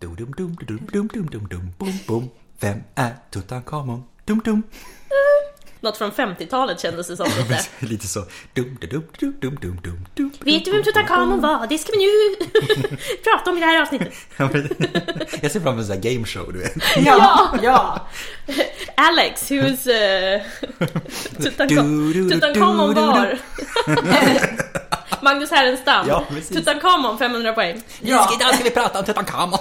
dum dum dum dum dum dum dum bom bom. Vem är Tutankhamon? Dum dum. Något från 50-talet kändes det som lite. Lite så. Dum dum dum dum dum dum dum. Vet du vem Tutankhamon var? Det ska vi nu prata om i det här avsnittet. Ja, men- Jag ser fram emot en sån här game show, du vet. Ja! ja. Alex, who's... Uh, Du, du, du, du, Tutankhamon du, du. var... Magnus Härenstam. Ja, precis. Tutankhamon, 500 poäng. Ja. Idag ska vi prata om Tutankhamon.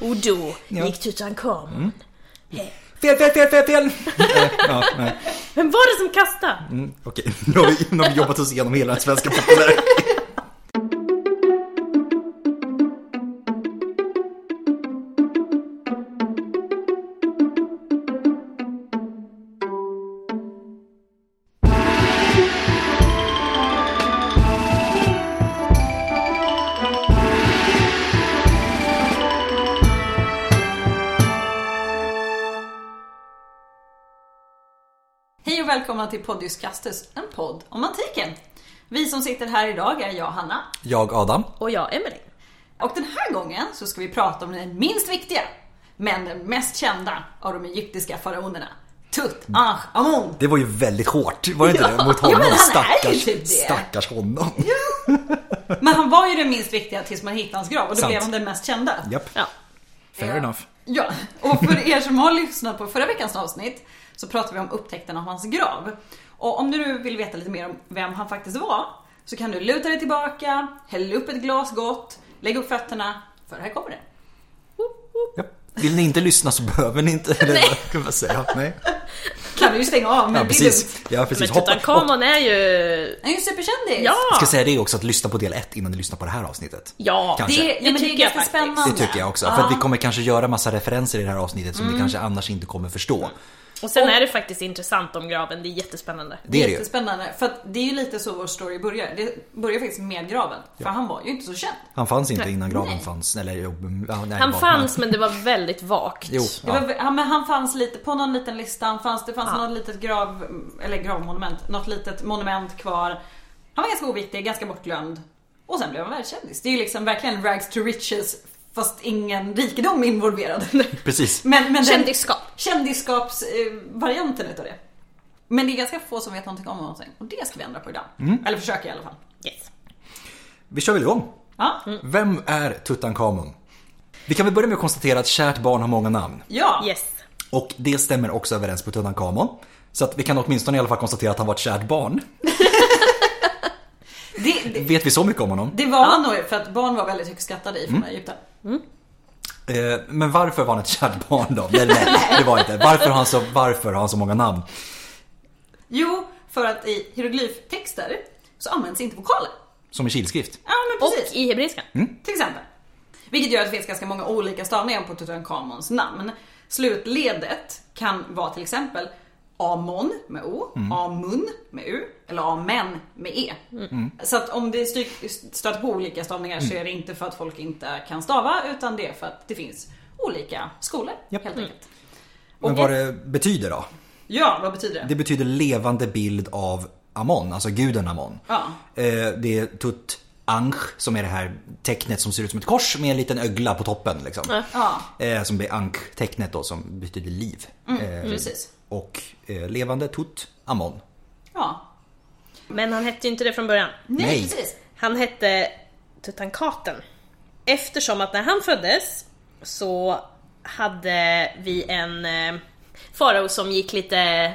Och då Ja. gick Tutankhamon. Fel, fel, fel, fel, fel! Eh, ja, nej. Vem var det som kastade? Mm, Okej, nu har vi- nu har vi jobbat oss igenom hela den svenska populären. Hej och välkomna till Podius Castus, en podd om antiken. Vi som sitter här idag är jag, Hanna. Jag, Adam. Och jag, Emelie. Och den här gången så ska vi prata om den minst viktiga, men den mest kända av de egyptiska faraonerna. Tutankhamon. Det var ju väldigt hårt, var det inte det? Mot Ja, honom, men han är ju stackars, typ det. stackars honom. Men han var ju den minst viktiga tills man hittade hans grav och då Sant. blev han den mest kända. Japp, Ja. fair enough. Ja, och för er som har lyssnat på förra veckans avsnitt så pratade vi om upptäckten av hans grav. Och om du nu vill veta lite mer om vem han faktiskt var så kan du luta dig tillbaka, häll upp ett glas gott, lägg upp fötterna, för här kommer det. Japp. Vill ni inte lyssna så behöver ni inte. Eller, vad kan man säga? Nej. Kan du ju stänga av, men Ja, det är lugnt. precis. Ja, precis. Men Hoppa, hoppa. Tutankhamon är ju... Han är ju superkändis. Ja! Jag ska säga det också, att lyssna på del 1 innan ni lyssnar på det här avsnittet. Ah. Ja, Ah. Kanske. Det, ja, men det är tycker jag ganska faktiskt. spännande. Det tycker jag också. För att vi kommer kanske göra massa referenser i det här avsnittet Mm. som ni kanske annars inte kommer förstå. Och sen är det faktiskt intressant om graven, det är jättespännande. Det är det ju. Jättespännande, för att det är ju lite så vår story börjar. Det börjar faktiskt med graven, för han var ju inte så känd. Han fanns inte innan graven fanns. Eller, jo, ja, nej, Han bara- fanns men det var väldigt vagt. Jo, Det ja. var, ja, men han fanns lite på någon liten lista, han fanns, det fanns Ja. något litet grav, eller gravmonument, något litet monument kvar. Han var ganska oviktig, ganska bortglömd. Och sen blev han världskändis. Det är ju liksom verkligen rags to riches fast ingen rikedom involverad. Precis. men, men den Kändisskap. kändisskapsvarianten utav det. Men det är ganska få som vet någonting om någonting och det ska vi ändra på idag. Eller försöka i alla fall. Yes. Vi kör väl igång. Ja, Vem är Tutankhamon? Vi kan väl börja med att konstatera att kärt barn har många namn. ja. Yes. Och det stämmer också överens på Tutankhamon. Så att vi kan åtminstone i alla fall konstatera att han var ett kärt barn. Det, det, Vet vi så mycket om honom? det var han nog för att barn var väldigt högt skattade i från Egypten. Eh, Men varför var han ett kärt barn då? Nej, nej, det var inte. Varför har han så, varför har han så många namn? Jo, för att i hieroglyftexter så används inte vokaler. Som i kilskrift. Ja, men precis. Och i hebreiskan. Mm. Till exempel. Vilket gör att det finns ganska många olika stavningar på Tutankhamons namn. Slutledet kan vara till exempel Amon med O, Amun med U eller Amen med E. Så att om det sty- stöter på olika stavningar så är det inte för att folk inte kan stava utan det är för att det finns olika skolor Japp. helt enkelt. Men vad det betyder då? Ja, vad betyder det? Det betyder levande bild av Amon, alltså guden Amon. Ja. Eh, Det är Tut Anch som är det här tecknet som ser ut som ett kors med en liten ögla på toppen. Liksom. Ja, Eh, Som blir Ankh-tecknet då som betyder liv. Mm. Eh, precis. Och eh, levande Tut Amon. Ja. Men han hette ju inte det från början. Nej, Nej. precis. Han hette Tutankaten. Eftersom att när han föddes så hade vi en eh, farao som gick lite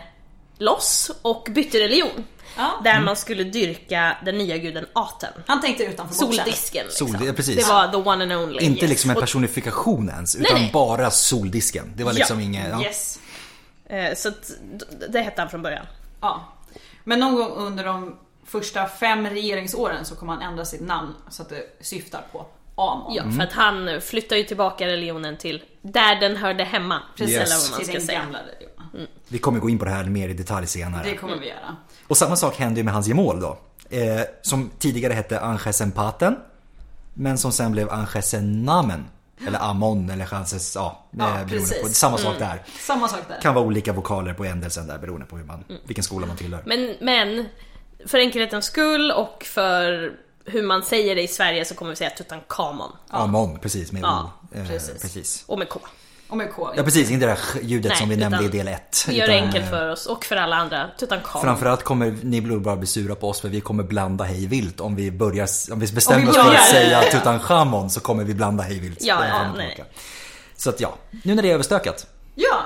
loss och bytte religion. Ja. Mm. Där man skulle dyrka den nya guden Aten. Han tänkte utanför boxen. Soldisken liksom. Sol- ja, precis. Det var the one and only. Inte yes. liksom en Och- personifikation ens, utan nej. bara soldisken. Det var liksom ja. inget... Ja. Yes. Eh, Så att, d- det hette han från början. Ja. Men någon gång under de första fem regeringsåren så kommer han ändra sitt namn så att det syftar på Amon. Mm. Ja, för att han flyttade ju tillbaka religionen till där den hörde hemma. Precis, Eller vad man till ska den säga. Mm. gamla religionen. Vi kommer gå in på det här mer i detalj senare. Det kommer vi göra. Och samma sak händer ju med hans gemål då. Eh, som tidigare hette Anchesempaten. Men som sen blev Anchesenamen. Eller Amon eller Chanses, ja. eh, beroende precis. på. Samma sak Mm. där. Samma sak där. Kan vara olika vokaler på ändelsen där beroende Mm. på hur man, vilken skola man tillhör. Men, men för enkelhetens skull och för hur man säger det i Sverige så kommer vi säga Tutankhamon. Amon, precis. Med Ja, o. Eh, precis. precis. Och med K. Och med K. Ja, precis. Inte det där ljudet Nej, som vi utan nämnde i del 1. Vi gör det enkelt för oss och för alla andra. Tutankhamon. Framförallt kommer ni blir bara bli sura på oss för vi kommer blanda hej vilt om vi börjar, om vi Om bestämmer vi oss för börjar. att säga Tutankhamon så kommer vi blanda hej vilt. Ja, fram och ja, tillbaka. Så att ja, nu när det är överstökat, Ja!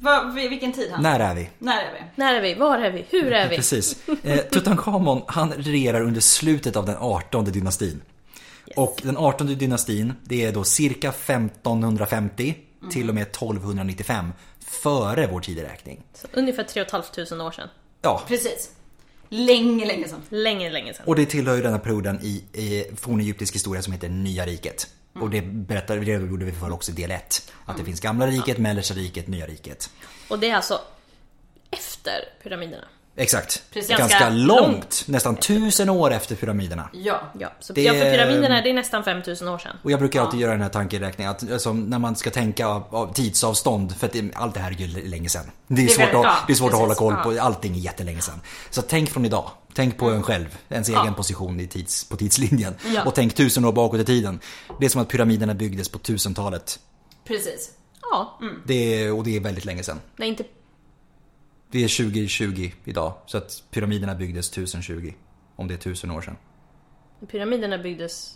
Va, vi- vilken tid han? när är vi? När är vi? När är vi? Var är vi? Hur är vi? Precis. Eh, Tutankhamon, han regerar under slutet av den 18 dynastin. Och den 18 dynastin, det är då cirka 1550 till och med 1295 före vår tideräkning. Så ungefär 3 500 år sedan. Ja, Precis. Länge, länge sedan. Länge, länge sedan. och det tillhör ju den här perioden i, i fornegyptisk historia som heter Nya riket. Och det berättade, det redogjorde vi för också i del 1. Att det finns Gamla riket, Mellersta riket, Nya riket. Och det är alltså efter pyramiderna. Exakt. Precis. Ganska, Ganska långt, långt nästan tusen år efter pyramiderna. Ja. Ja, så Det- ja, för pyramiderna det är nästan 5000 år sedan. Och jag brukar alltid göra den här tankeräkningen att alltså, när man ska tänka av, av tidsavstånd för att det, allt det här är ju l- länge sedan. Det är, är svårt, väldigt- ja, att, det är svårt att precis. hålla koll på, Ja. allting är jättelänge sedan. Så tänk från idag. Tänk på en själv, ens egen position i tids, på tidslinjen. Ja. Och tänk tusen år bakåt i tiden. Det är som att pyramiderna byggdes på 1000-talet. Precis. Ja, mm. Det är, och det är väldigt länge sedan. nej inte... Det är 2020 idag. Så att pyramiderna byggdes 1020. Om det är 1000 år sedan. Pyramiderna byggdes...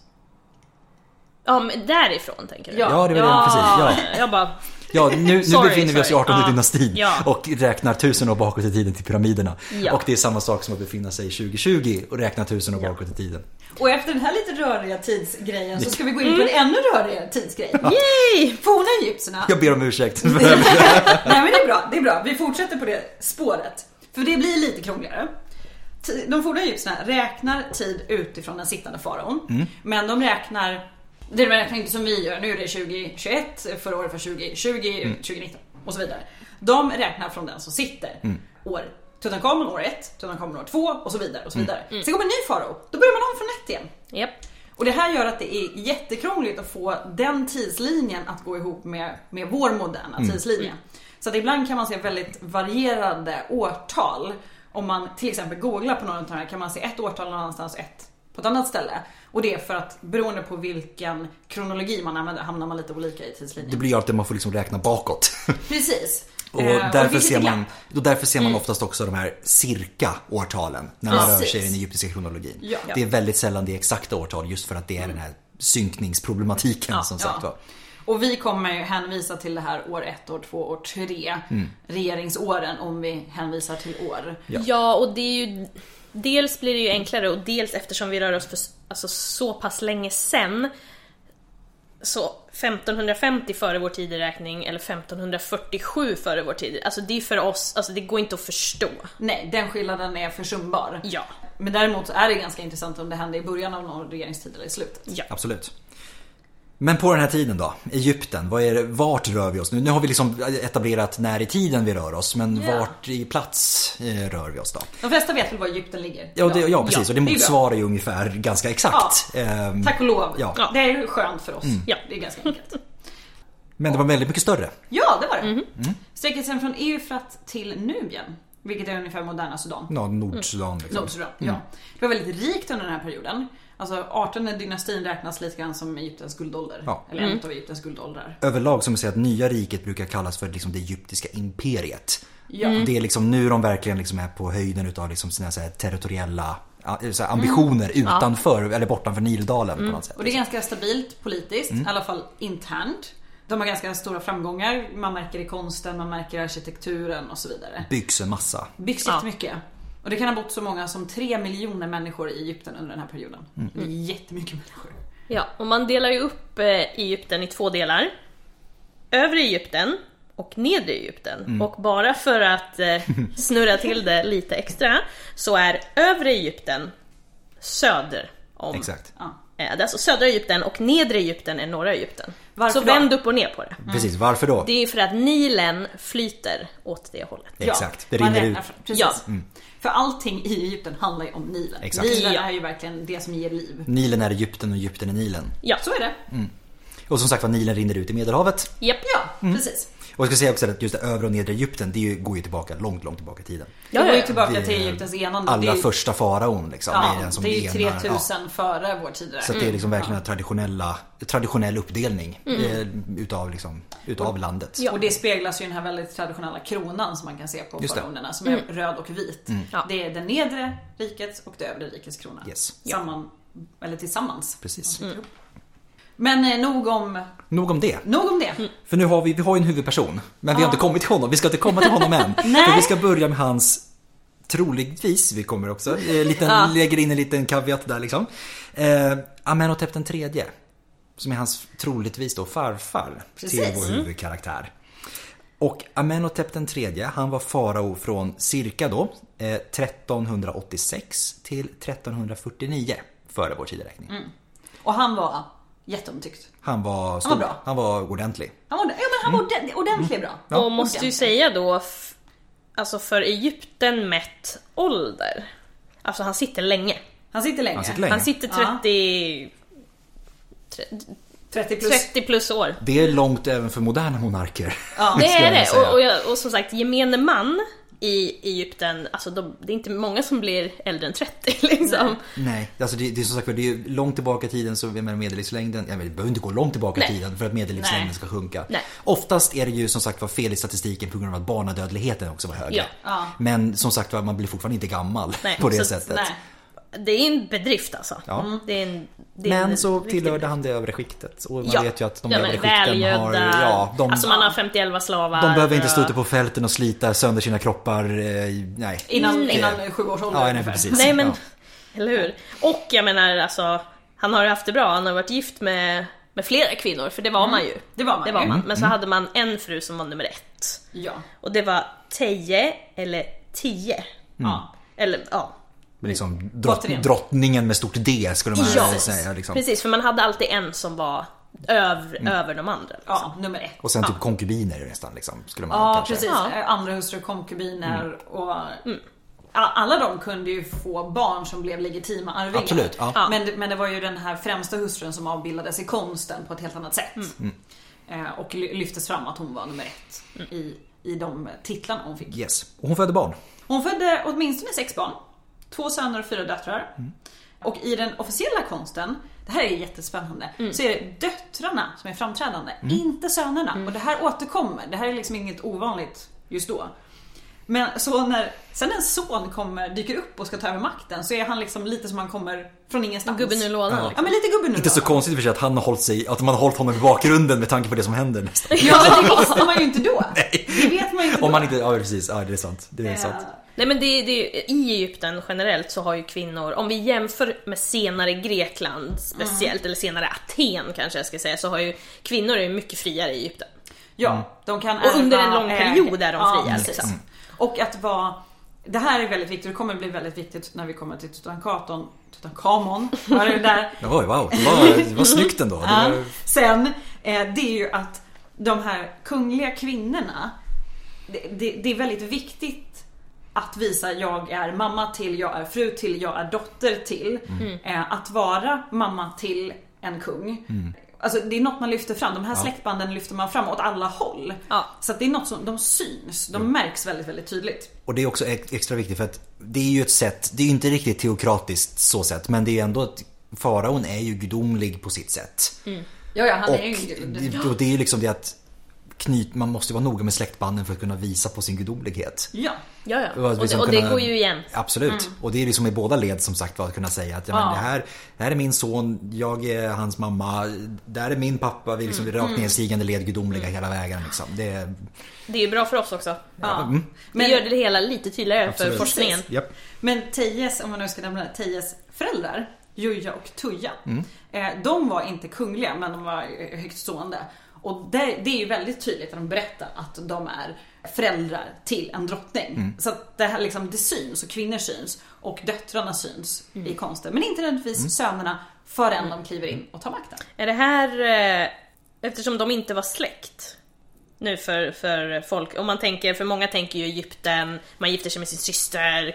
Ja, men därifrån tänker du? Ja. Ja, det var det. Precis. Ja. Jag bara... Ja, nu, nu Sorry, befinner vi oss i sorry. 18 Ja. dynastin Ja. och räknar tusen år bakåt i tiden till pyramiderna. Ja. Och det är samma sak som att befinna sig i 2020 och räkna tusen år bakåt i tiden. Och efter den här lite röriga tidsgrejen så ska vi gå in på en Mm. ännu rörigare tidsgrej. Yay! Forna egyptierna. Jag ber om ursäkt. Nej men det är bra, det är bra. Vi fortsätter på det spåret. För det blir lite krångligare. Ti- De forna egyptierna räknar tid utifrån den sittande faraon. Men de räknar, det räknar inte som vi gör, nu är det 2021, förra året var 2020, 2019 och så vidare. De räknar från den som sitter. År Tutankhamon år 1, Tutankhamon år 2 och så vidare. Och så vidare. Sen kommer en ny farao, då börjar man om från ett igen. Japp. Och det här gör att det är jättekrångligt att få den tidslinjen att gå ihop med, med vår moderna Mm. tidslinje. Så att ibland kan man se väldigt varierade årtal. Om man till exempel googlar på någon av de här kan man se ett årtal någon annanstans och ett på ett annat ställe. Och det är för att beroende på vilken kronologi man använder hamnar man lite olika i Det tidslinjen. blir ju alltid att man får liksom räkna bakåt. Precis. Och Eh, det därför, finns ser lite man, glapp. och därför ser man oftast också de här cirka årtalen när man rör Precis. sig i den egyptiska kronologin. Ja. Det är väldigt sällan det är exakta årtal just för att det är den här synkningsproblematiken som sagt var. Och vi kommer ju hänvisa till det här år 1, år 2, år 3. Mm. Regeringsåren om vi hänvisar till år. Ja. och det är ju... Dels blir det ju enklare och dels eftersom vi rör oss för s- alltså, så pass länge sen så 1550 före vår tideräkning eller 1547 före vår tid. Alltså det är för oss, alltså det går inte att förstå. Nej, den skillnaden är försumbar. Ja. Men däremot så är det ganska intressant om det hände i början av någon regeringstid eller i slutet. Ja. Absolut. Men på den här tiden då? Egypten, vad är det, vart rör vi oss nu? Nu har vi liksom etablerat när i tiden vi rör oss, men Ja. vart i plats eh, rör vi oss då? De flesta vet väl var Egypten ligger? Ja, det, ja precis. Ja, och det det är bra. motsvarar ju ungefär ganska exakt. Ehm, Tack och lov. Ja. Mm. Det är ju skönt för oss. Ja. Det är ganska enkelt. Men det var väldigt mycket större. Ja, det var det. Mm. Sträcker sig från Eufrat till Nubien, vilket är ungefär moderna Sudan. Ja, Mm. Nordsudan liksom. Nordsudan, ja. Det var väldigt rikt under den här perioden. Alltså 18 dynastin räknas lite grann som Egyptens guldålder. Ja. Eller en av Egyptens guldåldrar. Överlag som man säger att nya riket brukar kallas för liksom det egyptiska imperiet. Ja. Det är liksom nu de verkligen liksom är på höjden utav liksom sina så här territoriella ah, så här Mm. ambitioner utanför eller bortanför Nildalen på något sätt. Och det är ganska stabilt politiskt, Mm. i alla fall internt. De har ganska stora framgångar. Man märker i konsten, man märker i arkitekturen och så vidare. Byggs en massa. Byggs Ja. jättemycket. Och det kan ha bott så många som 3 miljoner människor i Egypten under den här perioden. Mm. Det är Mm. jättemycket människor. Ja, och man delar ju upp eh, Egypten i två delar. Övre Egypten och nedre Egypten. Mm. Och bara för att eh, snurra till det lite extra så är övre Egypten söder om. Exakt. Ja. Eh, det är alltså södra Egypten och nedre Egypten är norra Egypten. Varför så då? vänd upp och ner på det. Mm. Precis, varför då? Det är ju för att Nilen flyter åt det hållet. Ja. Exakt, det man rinner räknar ut. Mm. fram- Precis. Ja. För allting i Egypten handlar ju om Nilen. Exakt. Nilen Ja. är ju verkligen det som ger liv. Nilen är Egypten och Egypten är Nilen. Ja, Mm. Så är det. Och som sagt var Nilen rinner ut i Medelhavet. Japp. Ja, Mm. precis. Och jag ska säga också att just det övre och nedre Egypten det är ju- går ju tillbaka långt, långt tillbaka i tiden. Det Ja, går ja, ju ja. tillbaka Det är till Egyptens enande. Allra det är ju, första faraon liksom. ja, är den som det är ju lenar. 3000 före vår tid. Mm. Så att det är liksom verkligen en traditionella, traditionell uppdelning eh, utav, liksom, utav landet. Ja. Och det speglas ju i den här väldigt traditionella kronan som man kan se på Just det. Mm. faraonerna som är röd och vit. Mm. Ja. Det är den nedre rikets och det övre rikets krona. Yes. Samman, eller tillsammans. Precis. Mm. Men eh, nog om, Nog om det. nog om det. Mm. För nu har vi, vi har ju en huvudperson. Men vi har inte kommit till honom. Vi ska inte komma till honom än. Nej. För vi ska börja med hans, troligtvis, vi kommer också, eh, liten, Ja. lägger in en liten kaviat där liksom. Eh, Amenhotep den tredje. Som är hans, troligtvis då, farfar till Precis. vår huvudkaraktär. Och Amenhotep den tredje, han var farao från cirka då eh, 1386 till 1349 före vår tideräkning. Och han var jätteomtyckt. Han var stor, han var, bra. ordentlig. Han var, ja, men han var ordent- ordentligt bra. Mm. Och måste ju säga då, f- alltså för Egypten mätt ålder. Alltså han sitter länge. Han sitter länge. Han sitter länge. Han sitter 30, 30 plus. 30 plus år. Det är långt även för moderna monarker. Ja. Det skulle är jag det! säga. Och, och, jag, och som sagt, gemene man i Egypten, alltså de, det är inte många som blir äldre än 30 liksom. Nej, alltså det, det är som sagt det är ju långt tillbaka i tiden så jag menar medellivslängden, jag menar, det behöver inte gå långt tillbaka i Nej. tiden för att medellivslängden Nej. ska sjunka. Nej. Oftast är det ju som sagt var fel i statistiken på grund av att barnadödligheten också var högre. Ja. Ja. Men som sagt var, man blir fortfarande inte gammal Nej, på det så- sättet. Nej. Det är en bedrift alltså. Ja. Det är en, det är en Men så riktig tillhörde bedrift. han det övre skiktet och man Ja. vet ju att de ja, övre men skikten har... välgödda, Ja, de, Alltså man har 51 slavar. de behöver inte stå och- ute på fälten och slita sönder sina kroppar. eh, Nej. Innan, Nej. innan sjuårsåldern Ja, nej, ungefär. precis. Mm, Nej men, Ja. eller hur? Och jag menar alltså, han har ju haft det bra, han har varit gift med, med flera kvinnor, för det Mm. var man ju. Det var man Det var ju. man. Men så hade man en fru som var nummer ett. Ja. Och det var Teje, eller Tio. ja. Eller ja. Men liksom, drott, Mm. Återigen. drottningen med stort D skulle man Ja. säga. Liksom. Precis, för man hade alltid en som var över, över de andra. Ja, nummer ett. Och sen typ konkubiner nästan liksom, skulle man Ja kanske. Mm. precis, Eh, Ja. Mm. andra hustru, konkubiner och A- alla de kunde ju få barn som blev legitima arvingar. Absolut, ja. Ja. Men, men det var ju den här främsta hustrun som avbildades i konsten på ett helt annat sätt. Mm. Mm. Eh, Och ly- lyftes fram att hon var nummer ett i, i de titlarna hon fick. Yes. Och hon födde barn. Hon födde åtminstone sex barn. Två söner och fyra döttrar. Mm. Och i den officiella konsten, det här är jättespännande, Mm. så är det döttrarna som är framträdande, Mm. inte sönerna. Mm. Och det här återkommer, det här är liksom inget ovanligt just då. Men så när sen en son kommer, dyker upp och ska ta över makten så är han liksom lite som han kommer från ingenstans. Gubben ur lådan. Ja Liksom. men lite gubben ur Inte så lådan. konstigt i och för sig att han har hållit sig, att man har hållit honom i bakgrunden med tanke på det som händer nästan. Ja men det visste man ju inte då. Det vet man ju inte Om då. man inte, ja precis, ja det är sant. Det är Eh, sant. Nej men det, det, i Egypten generellt så har ju kvinnor, om vi jämför med senare Grekland speciellt, Mm. eller senare Aten kanske jag ska säga, så har ju kvinnor är ju mycket friare i Egypten. Mm. Ja, de kan Och under en ärva, lång äga. period är de Ja, fria, precis. liksom. Mm. Och att vara... Det här är väldigt viktigt, det kommer bli väldigt viktigt när vi kommer till Tutankhaton. Tutankhamon, var det där? Oj, wow, det var, det var snyggt ändå. Det Ja. var, Sen, eh, det är ju att de här kungliga kvinnorna, det, det, det är väldigt viktigt att visa jag är mamma till, jag är fru till, jag är dotter till. Eh, att vara mamma till en kung. Alltså det är något man lyfter fram, de här släktbanden lyfter man fram åt alla håll. Ja. Så att det är något som, de syns, de märks väldigt väldigt tydligt. och det är också ex- extra viktigt för att det är ju ett sätt, det är ju inte riktigt teokratiskt så sätt, men det är ändå att faraon är ju gudomlig på sitt sätt. Ja, ja han Och, är ju en gud. det, och det är ju liksom det att knyt, man måste vara noga med släktbanden för att kunna visa på sin gudomlighet. Ja. Ja, ja. att Och, det, liksom och det kunna- går ju Mm. igen. Absolut. Och det är liksom i båda led som sagt var att kunna säga att ja, men Ja. det, här, det här är min son, jag är hans mamma, där är min pappa. Vi är liksom rakt nedstigande led gudomliga hela vägen. Liksom. Det är, Det är ju bra Mm. för oss också. ja. Mm. Men, det gör det hela lite tydligare absolut. för forskningen. Japp. Men Tejes, om man nu ska nämna det, Tejes föräldrar, Juja och Tuja. Mm. Eh, de var inte kungliga men de var eh, högt stående. Och det, det är ju väldigt tydligt när de berättar att de är föräldrar till en drottning. Mm. Så att det här liksom, det syns och kvinnor syns och döttrarna syns Mm. i konsten. Men inte nödvändigtvis Mm. sönerna förrän de kliver in och tar makten. Är det här, eh, eftersom de inte var släkt nu för, för folk, om man tänker, för många tänker ju Egypten, man gifter sig med sin syster,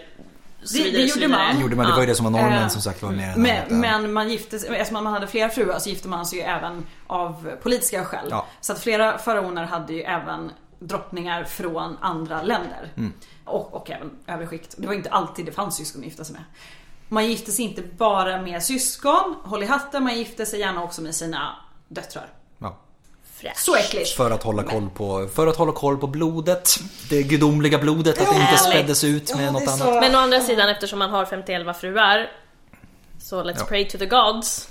så Det- vidare, det så gjorde vidare. man. Gjorde man, det var ju det som var normen Eh, som sagt var mer än annat. Men, men man gifte sig, eftersom man hade flera fruar så gifte man sig ju även av politiska skäl. Ja. Så att flera faraoner hade ju även drottningar från andra länder. Mm. Och, och även övre skikt. Det var inte alltid det fanns syskon att gifta sig med. Man gifte sig inte bara med syskon, håll i hatten, man gifte sig gärna också med sina döttrar. Ja. Fräscht. Så äckligt! För att hålla koll på, för att hålla koll på blodet. Det gudomliga blodet, att det inte Ärligt. späddes ut med något annat. Men å andra sidan, eftersom man har 51 fruar, så let's Ja. pray to the gods.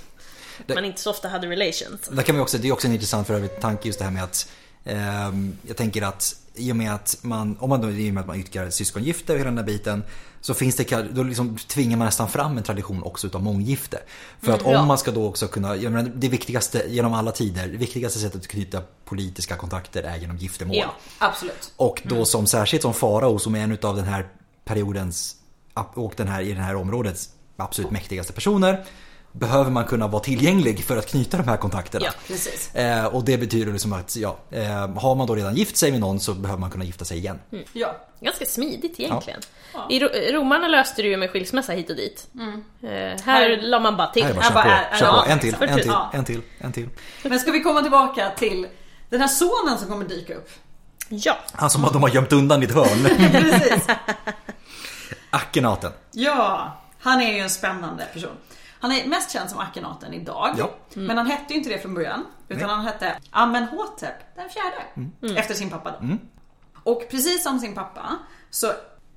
Det- Man inte så ofta hade relations. Där kan vi också, det är också en intressant för övrigt tanke just det här med att ehm, jag tänker att i och med att man, om man då, i och med att man idkar syskongifte och hela den här biten så finns det, ka- då liksom tvingar man nästan fram en tradition också utav månggifte. För att om Mm, ja. man ska då också kunna, jag menar, det viktigaste genom alla tider, det viktigaste sättet att knyta politiska kontakter är genom giftermål. Ja. Mm. Absolut. Och då som särskilt som farao som är en utav den här periodens och den här, i det här områdets absolut mäktigaste personer behöver man kunna vara tillgänglig för att knyta de här kontakterna. Ja, precis. Eh, och det betyder liksom att ja, eh, har man då redan gift sig med någon så behöver man kunna gifta sig igen. Ja. Ganska smidigt egentligen. I ro- romarna löste det ju med skilsmässa hit och dit. Eh, här Här- la man bara till. Här är bara Jag kör bara, på, är- är- kör ja, på. En till, exakt. en till, Ja. en till, en till. Men ska vi komma tillbaka till den här sonen som kommer dyka upp? Ja. Han som de har gömt undan i ett hörn. Precis. Akhenaten. Ja, han är ju en spännande person. Han är mest känd som Akhenaten idag. Ja. Men han hette ju inte det från början. Utan Nej. Mm. han hette Amenhotep den fjärde. Efter sin pappa då. Och precis som sin pappa så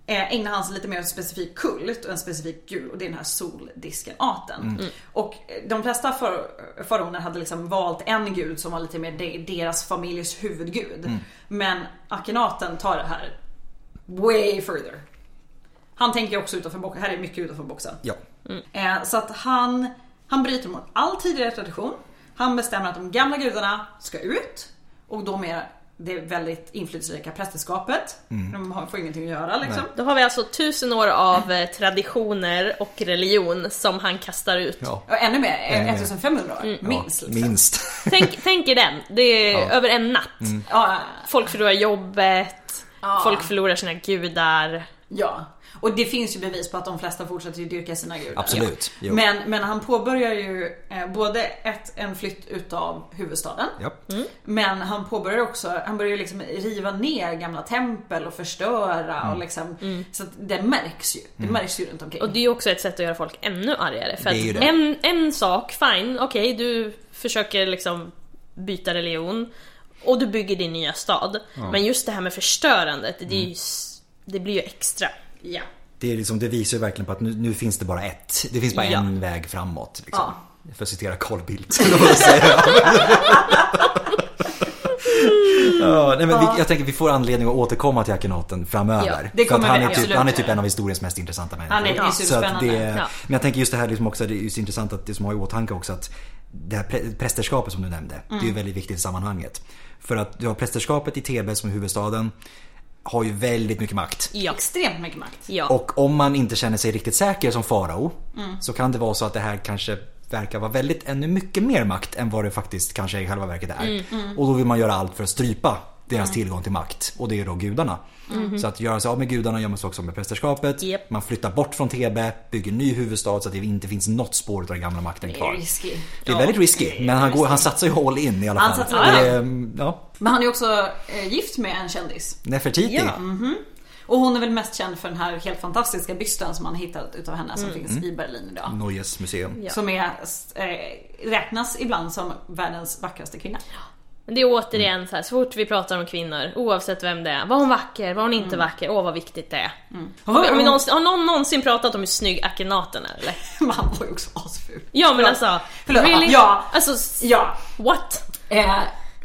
eh, ägnar han sig lite mer åt en specifik kult och en specifik gud och det är den här soldisken-aten. Mm. Och eh, de flesta far- faraoner hade liksom valt en gud som var lite mer de- deras familjs huvudgud. Mm. Men Akhenaten tar det här way further. Han tänker också utanför boxen. Här är mycket utanför boxen. Ja. Eh, så att han, han bryter mot all tidigare tradition. Han bestämmer att de gamla gudarna ska ut. Och då med det väldigt inflytelserika prästerskapet. Mm. De har- får ingenting att göra liksom. Då har vi alltså tusen år av eh, traditioner och religion som han kastar ut. Ja. Och ännu mer, eh, Ännu mer. 1500 år. Minst. Ja, Liksom. minst. Tänk, tänk er den, det är Ja. Mm. över en natt. Ja, Folk förlorar jobbet, Ja. folk förlorar sina gudar. ja. Och det finns ju bevis på att de flesta fortsätter ju dyrka sina gudar. Absolut. Ja. Jo. Men, men han påbörjar ju eh, både ett, en flytt utav huvudstaden. ja. Men han påbörjar också, han börjar ju liksom riva ner gamla tempel och förstöra och liksom, Så att det märks ju. Det märks ju runt omkring. Mm. Och det är ju också ett sätt att göra folk ännu argare. För Det är ju att det. en, en sak, fine, okej du försöker liksom byta religion och du bygger din nya stad. Men just det här med förstörandet, det, Mm. är ju, s- det blir ju extra. ja. Det, är liksom, det visar ju verkligen på att nu, nu finns det bara ett. Det finns bara Ja. en väg framåt. Liksom. För att citera Carl Bildt. ja, nej, men vi, jag tänker vi får anledning att återkomma till Akhenaten framöver. Ja, det För att kommer han, vi är typ, absolut han är typ göra. en av historiens mest intressanta människor. Han är- det är så att det, superspännande. Men jag tänker just det här liksom också, det är just intressant att det som har i åtanke också att det här prä- prästerskapet som du nämnde, det är Mm. ju väldigt viktigt i sammanhanget. För att du har prästerskapet i Thebe som är huvudstaden, har ju väldigt mycket makt. Ja. Extremt mycket makt. ja. Och om man inte känner sig riktigt säker som farao så kan det vara så att det här kanske verkar vara väldigt ännu mycket mer makt än vad det faktiskt kanske i själva verket är. Och då vill man göra allt för att strypa deras tillgång till makt och det är då gudarna. Så att göra sig av med gudarna gör man sig också med prästerskapet. Japp. Man flyttar bort från Thebe, bygger ny huvudstad så att det inte finns något spår av den gamla makten Det är kvar. risky. Det är väldigt risky men han, går, han satsar ju all in i alla Han fall. satsar all Det är, mm, ja, Men han är också eh, gift med en kändis. Nefertiti. Ja. Och hon är väl mest känd för den här helt fantastiska bysten som man har hittat utav henne som finns i Berlin idag. Neues museum. Mm. Ja. Som är, eh, räknas ibland som världens vackraste kvinna. Men det är återigen så här, så fort vi pratar om kvinnor, oavsett vem det är, var hon vacker, var hon Mm. inte vacker, åh vad viktigt det är. Har, vi, har, vi någonsin, har någon någonsin pratat om hur snygg Akhenaten är eller? Man var ju också asful. Ja men alltså, Förlåt. really? Ja. Alltså, s- Ja. what? Eh,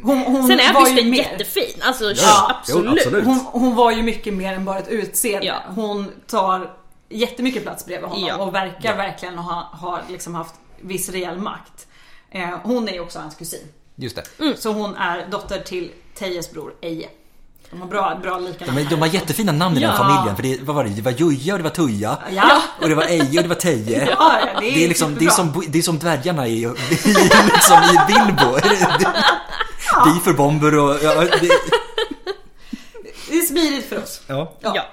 hon, hon Sen är var ju bysten mer- jättefin, alltså Ja. absolut. Jo, absolut. Hon, hon var ju mycket mer än bara ett utseende. Ja. Hon tar jättemycket plats bredvid honom Ja. och verkar verkligen ha, ha liksom haft viss reell makt. Eh, hon är ju också hans kusin. Just det. Så hon är dotter till Tejes bror Eje. De har bra, bra lika De, de har jättefina namn i den Ja. familjen. För det, vad var det? det var Juja och det var Tuja. Ja. Och det var Eje och det var Teje. Ja, ja, det är det, är liksom, det, är superbra. som, det är som dvärgarna i, i, liksom, i Bilbo. Det- Vi för bomber och... Ja, det, Det är smidigt för oss. ja. Ja.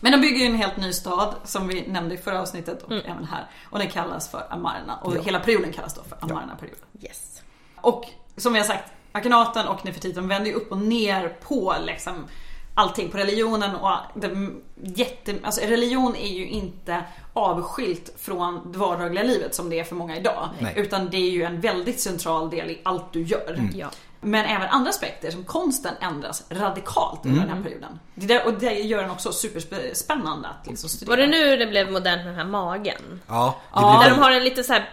Men de bygger ju en helt ny stad som vi nämnde i förra avsnittet och även här. Och den kallas för Amarna. Och hela perioden kallas då för Amarna-perioden. Yes. Och som vi har sagt, Akhenaten och Nefertiti vänder ju upp och ner på liksom allting, på religionen och det jätte, alltså religion är ju inte avskilt från det vardagliga livet som det är för många idag. Nej. Utan det är ju en väldigt central del i allt du gör. Ja. Men även andra aspekter som konsten ändras radikalt under den här perioden. Det där, och det gör den också superspännande att liksom studera. Var det nu det blev modernt med den här magen? Ja, det Ja, Där blir de har en lite så här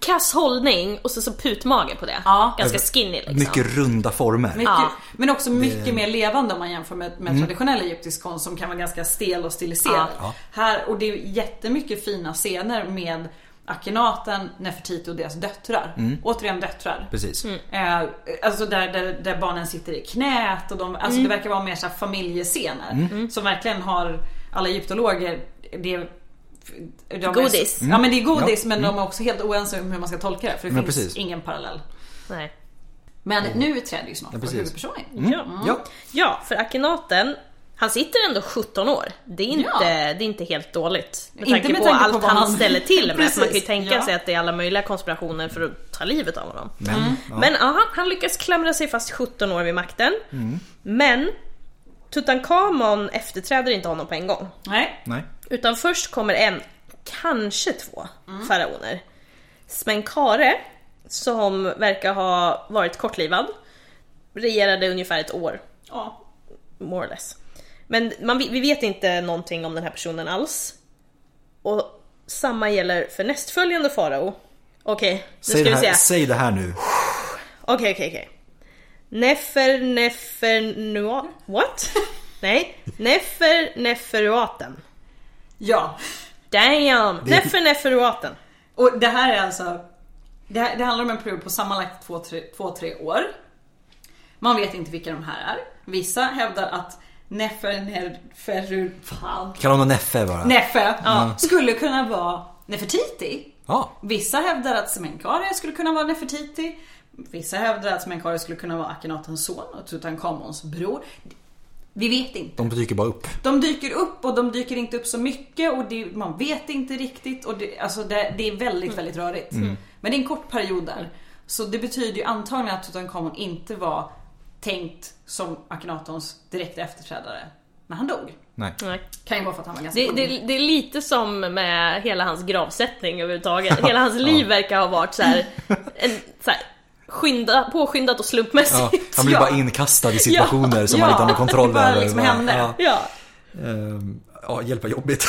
kass hållning och så, så putmage på det. Ja. Ganska skinny liksom. mycket runda former. Mycket, Ja. Men också mycket mer levande om man jämför med, med traditionell egyptisk konst som kan vara ganska stel och stiliserad. Mm. Ja. Här, och det är jättemycket fina scener med Akhenaten, Nefertiti och deras döttrar. Mm. Återigen döttrar. Precis. Eh, alltså där, där, där barnen sitter i knät och de, Mm. alltså det verkar vara mer så här familjescener. Mm. Som verkligen har alla egyptologer, det är de är- Godis. Ja men det är godis Mm. Ja. Mm. men de är också helt oense om hur man ska tolka det för det Men finns precis. ingen parallell. Nej. Men nu träder ju snart vår precis. Mm. huvudperson in. Ja. Ja, ja, för Akhenaten, han sitter ändå 17 år. Det är inte, Ja. det är inte helt dåligt. Med Inte tanke med på tanke på allt vad han, han- ställer till med. För man kan ju Precis, tänka ja. sig att det är alla möjliga konspirationer för att ta livet av honom. men, ja. Men aha, han lyckas klamra sig fast 17 år vid makten. Men Tutankhamon efterträder inte honom på en gång. Nej. Nej. Utan först kommer en, kanske två, Mm. faraoner. Smenkare, som verkar ha varit kortlivad, regerade ungefär ett år, Ja. more or less. Men man, vi vi vet inte någonting om den här personen alls. Och samma gäller för nästföljande farao. Okej, nu Säg, ska det vi se. här, säg det här nu. Okej, okej, okej. Nefer, nefer, nua... What? Nej. Nefer, neferuaten. Ja. Damn! Nefer, neferuaten. Och det här är alltså... Det, här, det handlar om en period på sammanlagt 2-3 år. Man vet inte vilka de här är. Vissa hävdar att Nefer, Neferu, fan. Kalla honom Neffe bara. Nefe ja, skulle kunna vara Nefertiti. Ja, Vissa hävdar att Semenkare skulle kunna vara Nefertiti. Vissa hävdar att Semenkare skulle kunna vara Akhenatens son och Tutankhamons bror. Vi vet inte. de dyker bara upp. De dyker upp och de dyker inte upp så mycket och det, man vet inte riktigt. Och det, alltså det, det är Mm. väldigt, väldigt rörigt. Men det är en kort period där. Så det betyder ju antagligen att Tutankhamon inte var tänkt som Akhenatons direkta efterträdare när han dog. Nej. Nej. Kan ju vara för att han var ganska Det, ung. det, det är lite som med hela hans gravsättning överhuvudtaget. Hela hans liv verkar ha varit så här, en, så här skynda, påskyndat och Ja, slumpmässigt. han blir Ja. bara inkastad i situationer som han ja. inte har någon kontroll Det bara över. liksom hände. Ja, Ja. ehm, ja, hjälp vad jobbigt.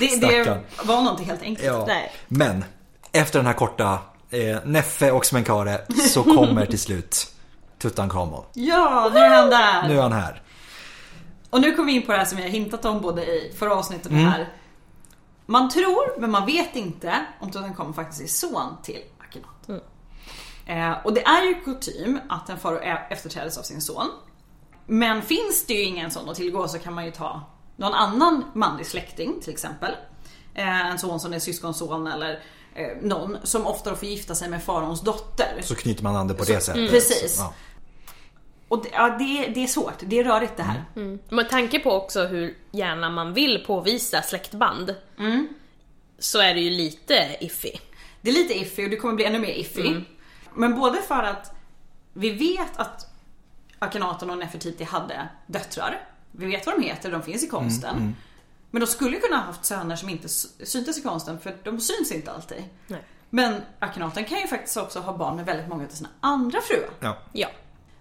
det, det stackarn. var något helt enkelt. Ja. Nej. Men efter den här korta eh, Neffe och Smenkare så kommer till slut Tutankhamon. Ja, nu är han där! Nu är han här. Och nu kommer vi in på det här som vi har hintat om både i förra avsnittet och här. Man tror, men man vet inte om Tutankhamon faktiskt är son till Akhenaten. Eh, och det är ju kutym att en farao ä- efterträds av sin son. Men finns det ju ingen sån att tillgå så kan man ju ta någon annan manlig släkting till exempel. Eh, en son som är syskonson eller eh, någon som ofta då får gifta sig med faraons dotter. Så knyter man an det på det sättet. precis. Så, ja. Och det, ja, det, det är svårt, det är rörigt det här. Mm. Med tanke på också hur gärna man vill påvisa släktband, Mm. så är det ju lite iffy. Det är lite iffy och det kommer bli ännu mer iffy. Men både för att vi vet att Akhenaten och Nefertiti hade döttrar. Vi vet vad de heter, de finns i konsten. Men de skulle kunna ha haft söner som inte s- syntes i konsten för de syns inte alltid. Nej. Men Akhenaten kan ju faktiskt också ha barn med väldigt många av sina andra fruar. Ja, Ja.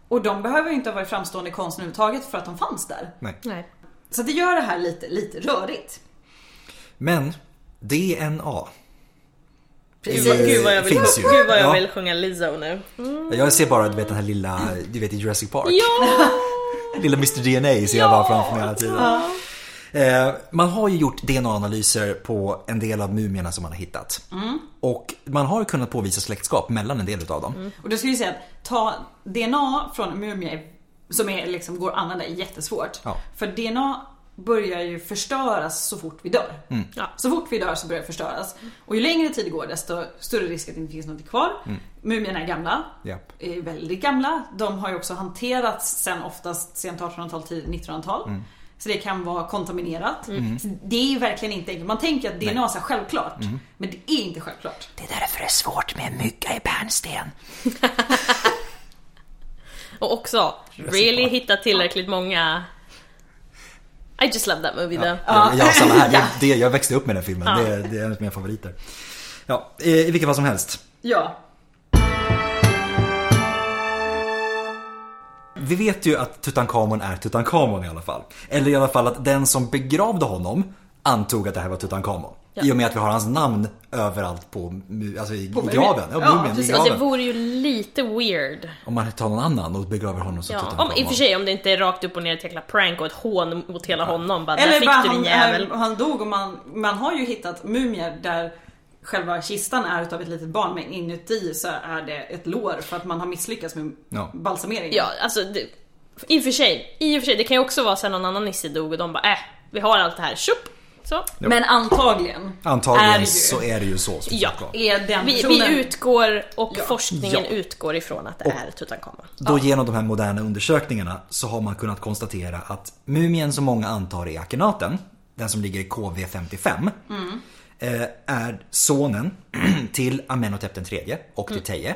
Och de behöver ju inte ha varit framstående i konsten överhuvudtaget för att de fanns där. nej. Nej. Så det gör det här lite, lite rörigt. Men DNA. Gud, Det vad- gud vad jag vill, Eh, finns ju. gud vad jag Ja. vill sjunga Lizzo nu. Jag ser bara du vet, den här lilla, du vet i Jurassic Park. Ja! Lilla Mr DNA ser jag bara framför mig hela tiden. Eh, man har ju gjort DNA-analyser på en del av mumierna som man har hittat. Och man har ju kunnat påvisa släktskap mellan en del utav dem. Och då skulle jag säga att ta DNA från en mumie som är, liksom, går att använda är jättesvårt. Ja. För DNA börjar ju förstöras så fort vi dör. Mm. Ja. Så fort vi dör så börjar det förstöras. Och ju längre tid går desto större risk att det inte finns något kvar. Mumierna är gamla. Mm. Japp. Är Mm. väldigt gamla. De har ju också hanterats sen oftast sent 1800-tal, tidigt 1900-tal. Så det kan vara kontaminerat. Så det är ju verkligen inte enkelt. Man tänker att DNA är så här självklart. Mm. Men det är inte självklart. Det är därför det är svårt med en mygga i bärnsten. Och också, really hitta tillräckligt många... I just love that movie though. Ja, Eh, ja, samma här. Det, det, jag växte upp med den filmen. Det, är- det är en av mina favoriter. Ja, eh, I vilket fall som helst. Ja. Vi vet ju att Tutankhamon är Tutankhamon i alla fall. Eller i alla fall att den som begravde honom antog att det här var Tutankhamon. Ja. I och med att vi har hans namn överallt på, mu- alltså i, i mumien. graven. Ja, Ja, mumien, i precis. Och Alltså, det graven. vore ju lite weird. Om man tar någon annan och begraver honom som Ja. Om, Tutankhamon. I och för sig om det inte är rakt upp och ner ett jäkla prank och ett hån mot hela honom. Bara, där Eller fick bara du din han, jävel. eh, han dog och man, man har ju hittat mumier där själva kistan är utav ett litet barn men inuti så är det ett lår för att man har misslyckats med Ja. balsameringen. Ja, alltså det, i och för sig. I och för sig, det kan ju också vara sen någon annan nisse dog och de bara äh, vi har allt det här, tjopp! Så. Jo. Men antagligen. Antagligen är ju, så är det ju så. Som Ja. sagt var. är den Vi, personen. vi utgår och Ja. forskningen Ja. utgår ifrån att det är Tutankhamon. Då genom de här moderna undersökningarna så har man kunnat konstatera att mumien som många antar är Akhenaten, den som ligger i KV55, Mm. eh, är sonen till Amenhotep den tredje och Mm. till Teje.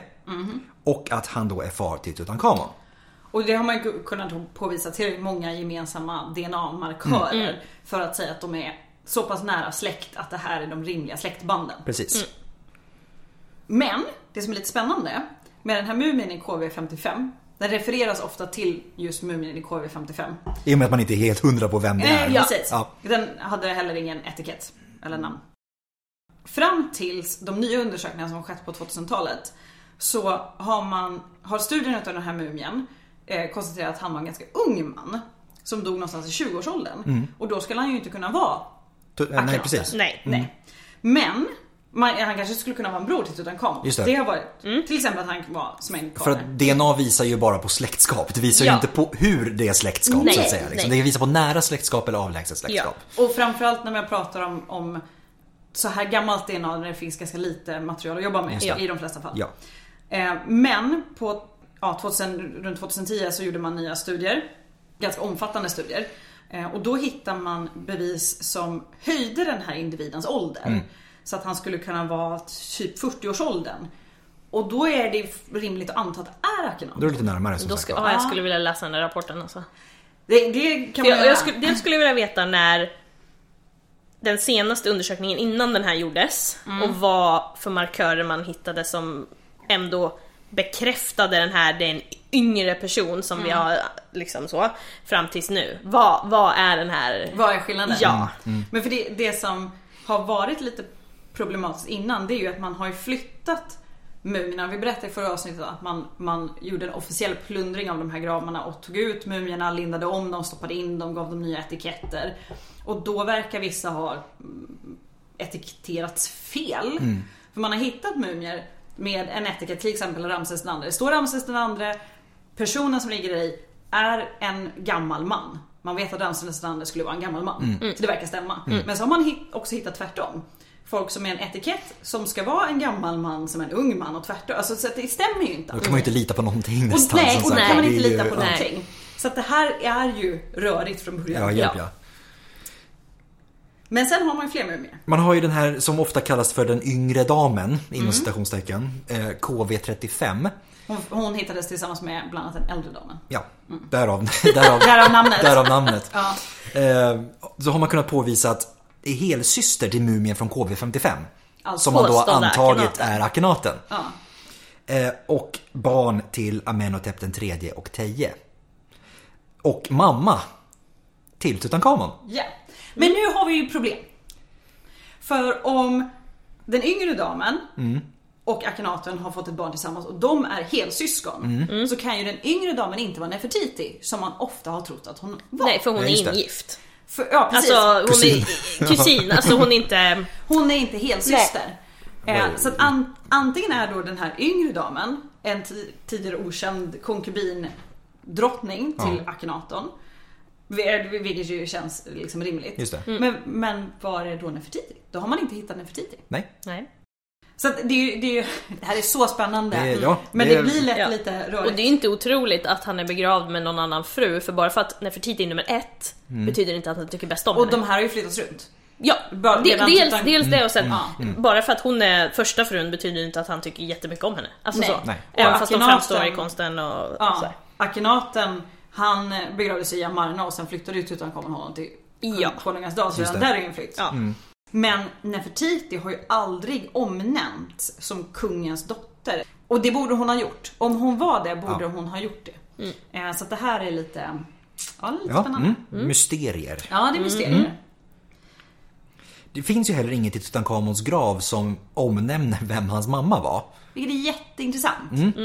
Och att han då är far till Tutankhamon. Och det har man ju kunnat påvisa tillräckligt många gemensamma DNA-markörer Mm. för att säga att de är så pass nära släkt att det här är de rimliga släktbanden. Precis. Mm. Men det som är lite spännande med den här mumien i KV55 den refereras ofta till just mumien i KV55. I och med att man inte är helt hundra på vem det är. Eh, precis. Ja. Den hade heller ingen etikett eller namn. Fram tills de nya undersökningarna som skett på 2000-talet så har, man, har studien av den här mumien eh, konstaterat att han var en ganska ung man som dog någonstans i 20-årsåldern. Mm. Och då skulle han ju inte kunna vara Tu- eh, Nej, Akhenaten. precis. Nej. Nej. Men man, han kanske skulle kunna vara en bror till Tutankhamon. Just det. har varit till exempel att han var smängd För att DNA visar ju bara på släktskap. Det visar Ja. ju inte på hur det är släktskap Nej, så att säga. Liksom. nej. Det visar på nära släktskap eller avlägset släktskap. Och framförallt när man pratar om, om så här gammalt DNA när det finns ganska lite material att jobba med Just det. i de flesta fall. Ja. Eh, Men på ja, 2000, runt 2010 så gjorde man nya studier. Ganska omfattande studier. Eh, Och då hittar man bevis som höjde den här individens ålder. Så att han skulle kunna vara typ 40-årsåldern. Och då är det rimligt att anta att det är Då är Akhenaten. det lite närmare som Då sagt ska, var. ja, jag skulle vilja läsa den där rapporten alltså. Det, det kan man Jag, göra. jag skulle, det skulle jag vilja veta när den senaste undersökningen innan den här gjordes och vad för markörer man hittade som ändå bekräftade den här, det är en yngre person som vi har liksom så, fram tills nu. Vad, vad är den här? Mm. Vad är skillnaden? Ja. Men för det, det som har varit lite problematiskt innan det är ju att man har ju flyttat mumierna. Vi berättade i förra avsnittet att man, man gjorde en officiell plundring av de här gravarna och tog ut mumierna, lindade om dem, stoppade in dem, gav dem nya etiketter. Och då verkar vissa ha mm, etiketterats fel. Mm. För man har hittat mumier med en etikett, till exempel Ramses II. Det står Ramses II, personen som ligger i är en gammal man. Man vet att Ramses II skulle vara en gammal man. Mm. Så det verkar stämma. Men så har man hit- också hittat tvärtom. Folk som är en etikett som ska vara en gammal man som en ung man och tvärtom. Alltså, så att det stämmer ju inte. Då kan man ju inte lita på någonting Och nästan. nej, som och då sagt. kan man Det inte är ju- lita på ja. någonting. Så att det här är ju rörigt från början. Ja, hjälp ja. Men sen har man ju fler mumier. Man har ju den här som ofta kallas för den yngre damen, inom Mm. citationstecken, eh, KV35. Hon, hon hittades tillsammans med bland annat den äldre damen. Ja, därav, därav, Mm. Därav namnet. därav namnet. Ja. Eh, så har man kunnat påvisa att det är helsyster till mumien från KV55. Alltså som man då påstådda antagit är Akhenaten. Akhenaten. Ja. Eh, och barn till Amenhotep den tredje och Teje. Och mamma till Tutankhamon. Ja. Men nu har vi ju problem. För om den yngre damen och Akhenaten har fått ett barn tillsammans och de är helsyskon. Så kan ju den yngre damen inte vara Nefertiti som man ofta har trott att hon var. Nej, för hon Ja, är just det. ingift. För, ja, precis. Alltså hon Kusin. är kusin, alltså hon är inte... Hon är inte helsyster. Eh, Oj. så att an, antingen är då den här yngre damen en ti- tidigare okänd konkubindrottning till Akhenaton. vi- Vilket ju känns liksom rimligt. Just det. Men, men var är då Nefertiti? Då har man inte hittat Nefertiti. Nej. Nej. Så att det, är ju, det, är ju, det här är så spännande. Det är- ja, Men det det, är- blir lätt Ja. lite Och det är rörigt. inte otroligt att han är begravd med någon annan fru, för bara för att Nefertiti är nummer ett betyder inte att han tycker bäst om Och henne. de här har ju flyttats runt. Ja, Bara- de, redan Mm. dels, utan- dels det och sen Mm. Ja. bara för att hon är första frun betyder inte att han tycker jättemycket om henne. Alltså Nej. så. Nej. Även Och fast de Akhenaten- framstår i konsten och och så Ja. här. Akhenaten, han begravdes i Jamarna och sen flyttade ut utan kommer honom till Ja. konungens dal. Så Just redan det. Mm. där är ju en flytt. Ja. Men Nefertiti har ju aldrig omnämnts som kungens dotter. Och det borde hon ha gjort. Om hon var det borde Ja. hon ha gjort det. Mm. Eh, Så att det här är lite, ja, lite Ja, spännande. mm. Mysterier. Ja, det är mysterier. Mm. Det finns ju heller inget i Tutankhamons grav som omnämner vem hans mamma var. Vilket är jätteintressant.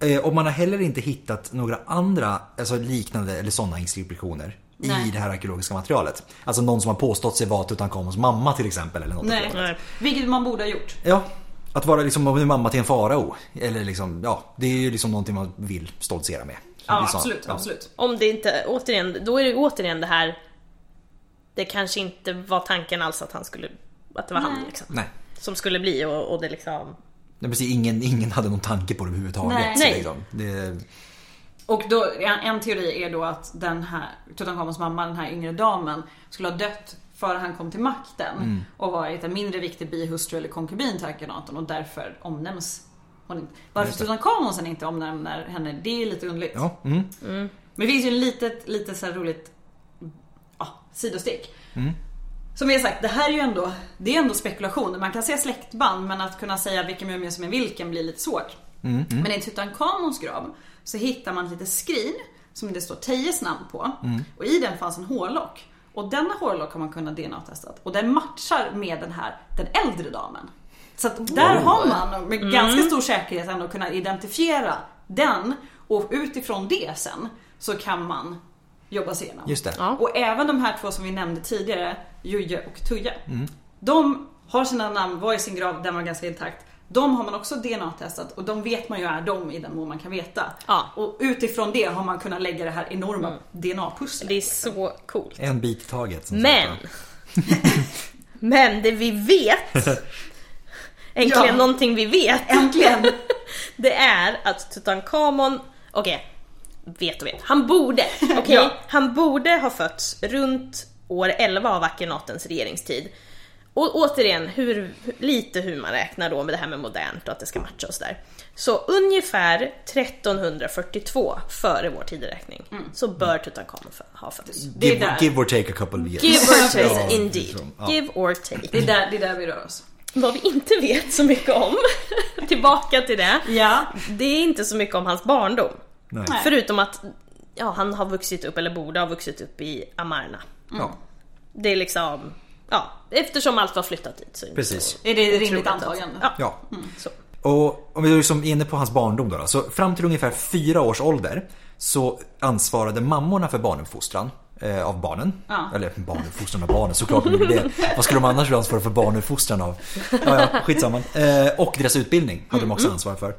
Eh, Och man har heller inte hittat några andra alltså liknande eller sådana inskriptioner i Nej. det här arkeologiska materialet. Alltså någon som har påstått sig vara Tutankhamons mamma till exempel. Eller något Nej. Nej. Vilket man borde ha gjort. Ja, att vara liksom en mamma till en farao. Eller liksom, ja, det är ju liksom någonting man vill stoltsera med. Ja, Det är så- absolut, ja. absolut. Om det inte, återigen, då är det återigen det här Det kanske inte var tanken alls att han skulle, att det var han Nej. liksom. Nej. Som skulle bli och, och det liksom Nej, precis, ingen, ingen hade någon tanke på det överhuvudtaget. Nej. så Nej. Liksom. Det, Och då, en, en teori är då att den här Tutankhamons mamma, den här yngre damen, skulle ha dött före han kom till makten Mm. och varit en mindre viktig bihustru eller konkubin till Akhenaton och därför omnämns hon inte. Varför Just det. Tutankhamon sen inte omnämner henne, det är lite underligt. ja, mm. Men det finns ju en litet, lite så här roligt ja, sidostick. Som vi har sagt, det här är ju ändå, det är ändå spekulation. Man kan se släktband men att kunna säga vilken mumie som är vilken blir lite svårt. Men i Tutankhamons grav så hittar man lite skrin som det står Tejes namn på. Och i den fanns en hårlock. Och denna hårlock har man kunnat DNA-testat. Och den matchar med den här, den äldre damen. Så att där har man Mm. med ganska stor säkerhet ändå kunnat identifiera den. Och utifrån det sen så kan man jobba sig igenom. Just det. Ja. Och även de här två som vi nämnde tidigare, Juje och Tuja. Mm. De har sina namn, var i sin grav, den var ganska intakt. De har man också DNA-testat och de vet man ju är de i den mån man kan veta. Ja. Mm. Och utifrån det har man kunnat lägga det här enorma DNA-pusslet. Det är så coolt. En bit i taget. som Men! sagt, va? Men det vi vet! Äntligen Ja. någonting vi vet! Äntligen! Det är att Tutankhamon, okej, vet och vet. Han borde, okej, Ja. han borde ha fötts runt år 11 av Akhenatens regeringstid. Och återigen, hur, lite hur man räknar då med det här med modernt och att det ska matcha och sådär. Så ungefär 1342 före vår tideräkning så bör Tutankhamon fö- ha fötts. Det är Give, där. give or take a couple of years. Give or take Ja, indeed. liksom, ja. Give or Det take. är där, det är där vi rör oss. Vad vi inte vet så mycket om, tillbaka till det, Ja. det är inte så mycket om hans barndom. Nej. Nej. Förutom att ja, han har vuxit upp, eller borde ha vuxit upp i Amarna. Ja, Det är liksom, ja, eftersom allt var flyttat dit så är det inte precis. Är det ett otroligt rimligt att- antagande? Mm. Ja, Ja. så. Och om vi är liksom inne på hans barndom då, då. Så fram till ungefär fyra års ålder så ansvarade mammorna för barnuppfostran eh, av barnen. Ja. Eller barnuppfostran av barnen, såklart de gjorde det. Vad skulle de annars ansvara för barnuppfostran av? Ja, ja, skitsamma. Eh, och deras utbildning hade de också Mm. ansvar för.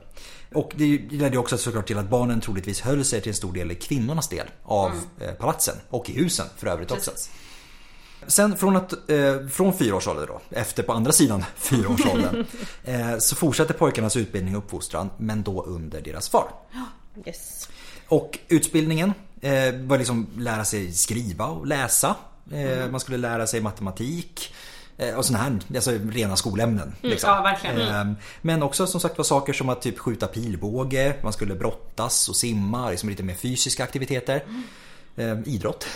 Och det ledde ju också såklart till att barnen troligtvis höll sig till en stor del kvinnornas del av eh, palatsen. Och i husen för övrigt också. Mm. Precis. Sen från, att, eh, från fyra års ålder då, efter på andra sidan fyra års åldern, eh, så fortsatte pojkarnas utbildning och uppfostran, men då under deras far. Yes. Och utbildningen eh, var liksom lära sig skriva och läsa. Eh, Mm. Man skulle lära sig matematik eh, och sån här, alltså rena skolämnen. Liksom. Mm, ja, verkligen. Eh, men också som sagt var saker som att typ skjuta pilbåge, man skulle brottas och simma, liksom lite mer fysiska aktiviteter. Mm. Eh, idrott.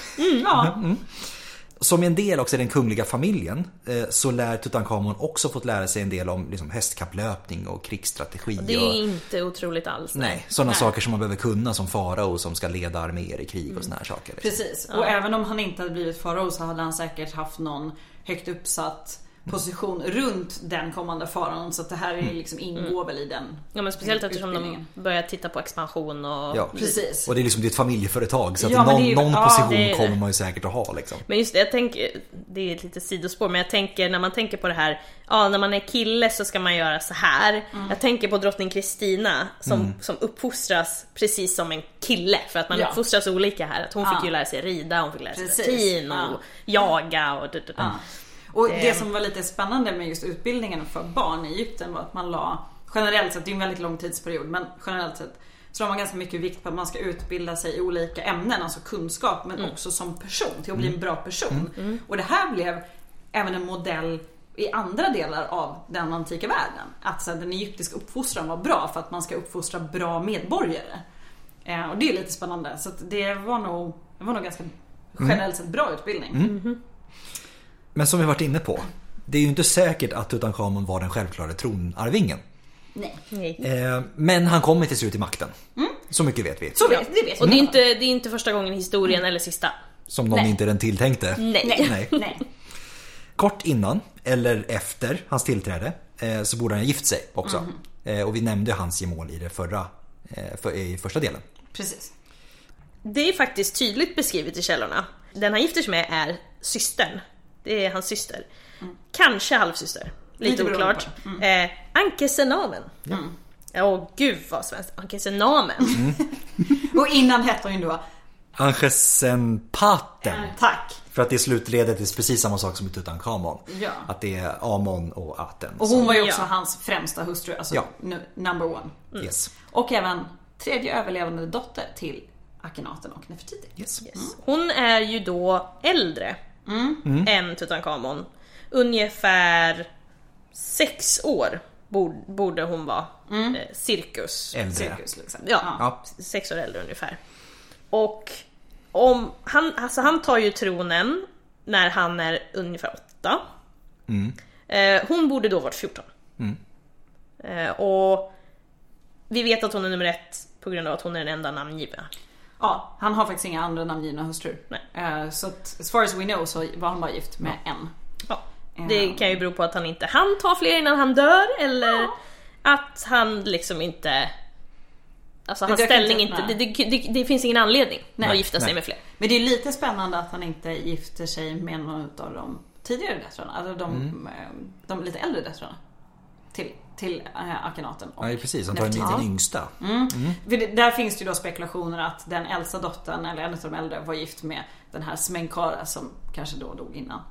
Ja. Som en del också i den kungliga familjen eh, så lär Tutankhamon också fått lära sig en del om liksom hästkapplöpning och krigsstrategi. Det är ju och, inte otroligt alls. nej, sådana saker som man behöver kunna som farao som ska leda arméer i krig och såna här saker. liksom. Precis. Och även om han inte hade blivit farao så hade han säkert haft någon högt uppsatt position runt den kommande faraon. Så att det här är liksom ingår väl i den. Ja, men speciellt eftersom de Mm, Utbildningen. börjar titta på expansion och... Ja. Precis. Och det är liksom det är ett familjeföretag så att Ja, men någon, det är ju- någon ja, position det är det. kommer man ju säkert att ha. Liksom. Men just det, jag tänker, det är ett litet sidospår, men jag tänker när man tänker på det här, ja när man är kille så ska man göra så här. Mm. Jag tänker på drottning Kristina som, Mm. som uppfostras precis som en kille, för att man Ja. uppfostras olika här. Att hon Ja. fick ju lära sig rida, hon fick lära sig Precis. latin och jaga och du, du, du. Ja. Och det- det som var lite spännande med just utbildningen för barn i Egypten var att man la, generellt sett, det är en väldigt lång tidsperiod, men generellt sett så la man ganska mycket vikt på att man ska utbilda sig i olika ämnen, alltså kunskap, men Mm. också som person, till att bli en bra person. Och det här blev även en modell i andra delar av den antika världen. Att så här, den egyptiska uppfostran var bra för att man ska uppfostra bra medborgare. Eh, och det är lite spännande. Så att det, var nog, det var nog ganska Mm. generellt sett bra utbildning. Men som vi varit inne på. Det är ju inte säkert att Tutankhamon var den självklara tronarvingen. Nej. Nej. Eh, Men han kommer till slut till makten. Så mycket vet vi. Mm. Så Ja. vet, det vet Och det är, vi. inte, det är inte första gången i historien eller sista. Som någon Nej. inte den tilltänkte. Nej. Nej. Nej. Kort innan, eller efter hans tillträde, eh, så borde han ha gift sig också. Mhm. Eh, Och vi nämnde hans gemål i, det förra, eh, för, i första delen. Precis. Det är faktiskt tydligt beskrivet i källorna. Den han gifter sig med är systern. Det är hans syster. Kanske halvsyster. Lite, Mm. Lite beroende oklart. på Mm. Eh, Anke Senamen. Åh gud vad svenskt. Anke Senamen. Mm. Och innan hette hon ju då Angesenpaten. Tack. För att det är slutledet är precis samma sak som i Tutankhamon. Ja. Att det är Amon och Aten. Och hon var ju Ja. också hans främsta hustru, alltså Ja. nu- number one. som, yes. Och även tredje överlevande dotter till Akhenaten och Nefertiti. Yes. Hon är ju då äldre Mm. än Tutankhamon. Ungefär sex år borde, borde hon vara. Mm. Eh, cirkus. Äldre. Cirkus liksom. Ja, Ja. sex år äldre ungefär. Och om, han, alltså han tar ju tronen när han är ungefär åtta. Eh, hon borde då varit 14. Eh, och vi vet att hon är nummer ett på grund av att hon är den enda namngivna. Ja, han har faktiskt inga andra namngivna hustrur. Nej. Eh, Så att, as far as we know så var han bara gift med en. Ja. Det kan ju bero på att han inte hann ta fler innan han dör eller att han liksom inte... Alltså hans dök inte ställning upp, inte... Det, det, det, det finns ingen anledning Nej. att gifta sig Nej. med fler. Men det är ju lite spännande att han inte gifter sig med någon av de tidigare döttrarna. Alltså de, Mm. eh, de lite äldre döttrarna. Till, till eh, Akhenaten och Ja, precis. Han tar en Nefertiti. liten yngsta. Mm. För det- där finns det ju då spekulationer att den äldsta dottern, eller en av de äldre, var gift med den här Smenkara som kanske då dog innan.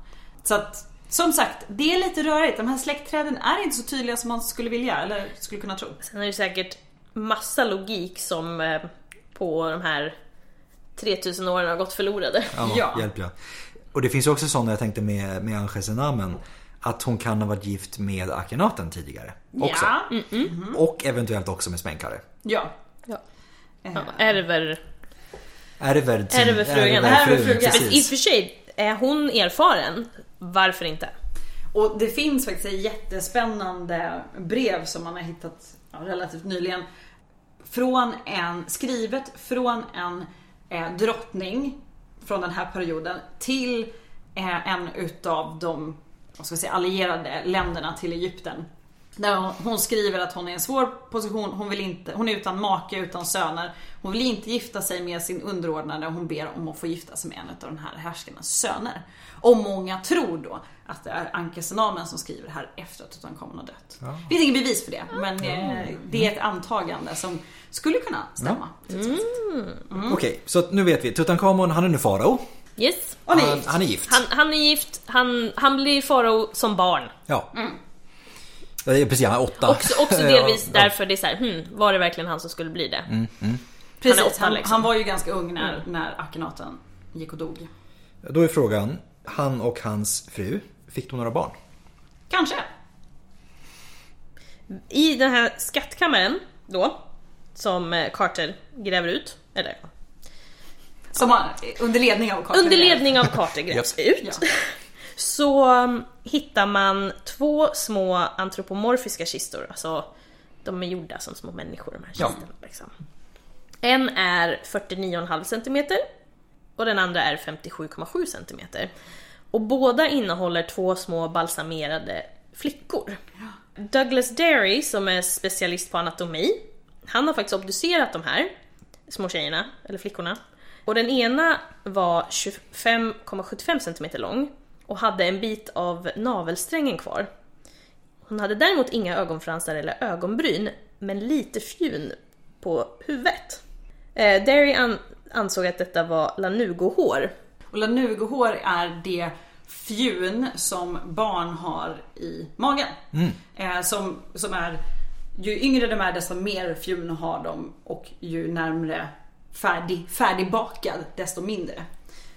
Så att, som sagt, det är lite rörigt. De här släktträden är inte så tydliga som man skulle vilja, eller skulle kunna tro. Sen är det säkert massa logik som eh, på de här 3000 åren har gått förlorade. Ja, Ja. Hjälp ja. Och det finns ju också sådana jag tänkte med, med Angesenamen. Att hon kan ha varit gift med Akhenaten tidigare. Också. Ja. Mm. Och eventuellt också med Smenkare. ja. Ja. Eh, Ärver, Mm, Ärver ärverfrugan. Ärverfrugan. Fast i och Precis. för sig, är hon erfaren, varför inte? Och det finns faktiskt ett jättespännande brev som man har hittat ja, relativt nyligen. Från en, skrivet från en eh, drottning från den här perioden till eh, en utav de vad ska jag säga, allierade länderna till Egypten. Där hon, hon skriver att hon är i en svår position, hon, vill inte, hon är utan make, utan söner. Hon vill inte gifta sig med sin underordnade och hon ber om att få gifta sig med en av den här härskarnas söner. Och många tror då att det är Anke Senamen som skriver det här efter att Tutankhamon har dött. Det finns inget bevis för det, men eh, det är ett antagande som skulle kunna stämma. Okej, så att nu vet vi. Tutankhamon, han är nu farao. Yes. Och Han, ni, han är gift. Han, han är gift, han, han blir farao som barn. Ja. Ja, det är Precis, han är åtta. Också, också Ja, delvis ja. Mm. därför det är såhär, hmm, var det verkligen han som skulle bli det? precis, han han, är åtta liksom. han var ju ganska ung när, när Akhenaten gick och dog. Då är frågan, han och hans fru, fick de några barn? Kanske. I den här skattkammaren då, som eh, Carter gräver ut, eller Som han, under ledning av Karl Under ledning av Carter grävs ut. Ja. Så um, hittar man två små antropomorfiska kistor. Alltså, de är gjorda som små människor de här Ja. kistorna. Liksom. En är 49,5 cm och den andra är 57,7 cm. Och båda innehåller två små balsamerade flickor. Douglas Derry som är specialist på anatomi, han har faktiskt obducerat de här små tjejerna, eller flickorna. Och den ena var 25,75 cm lång och hade en bit av navelsträngen kvar. Hon hade däremot inga ögonfransar eller ögonbryn, men lite fjun på huvudet. Eh, Derry an- ansåg att detta var lanugohår. Och lanugohår är det fjun som barn har i magen. Mm. Eh, som, som är, ju yngre de är desto mer fjun har de och ju närmre färdig, färdigbakad desto mindre.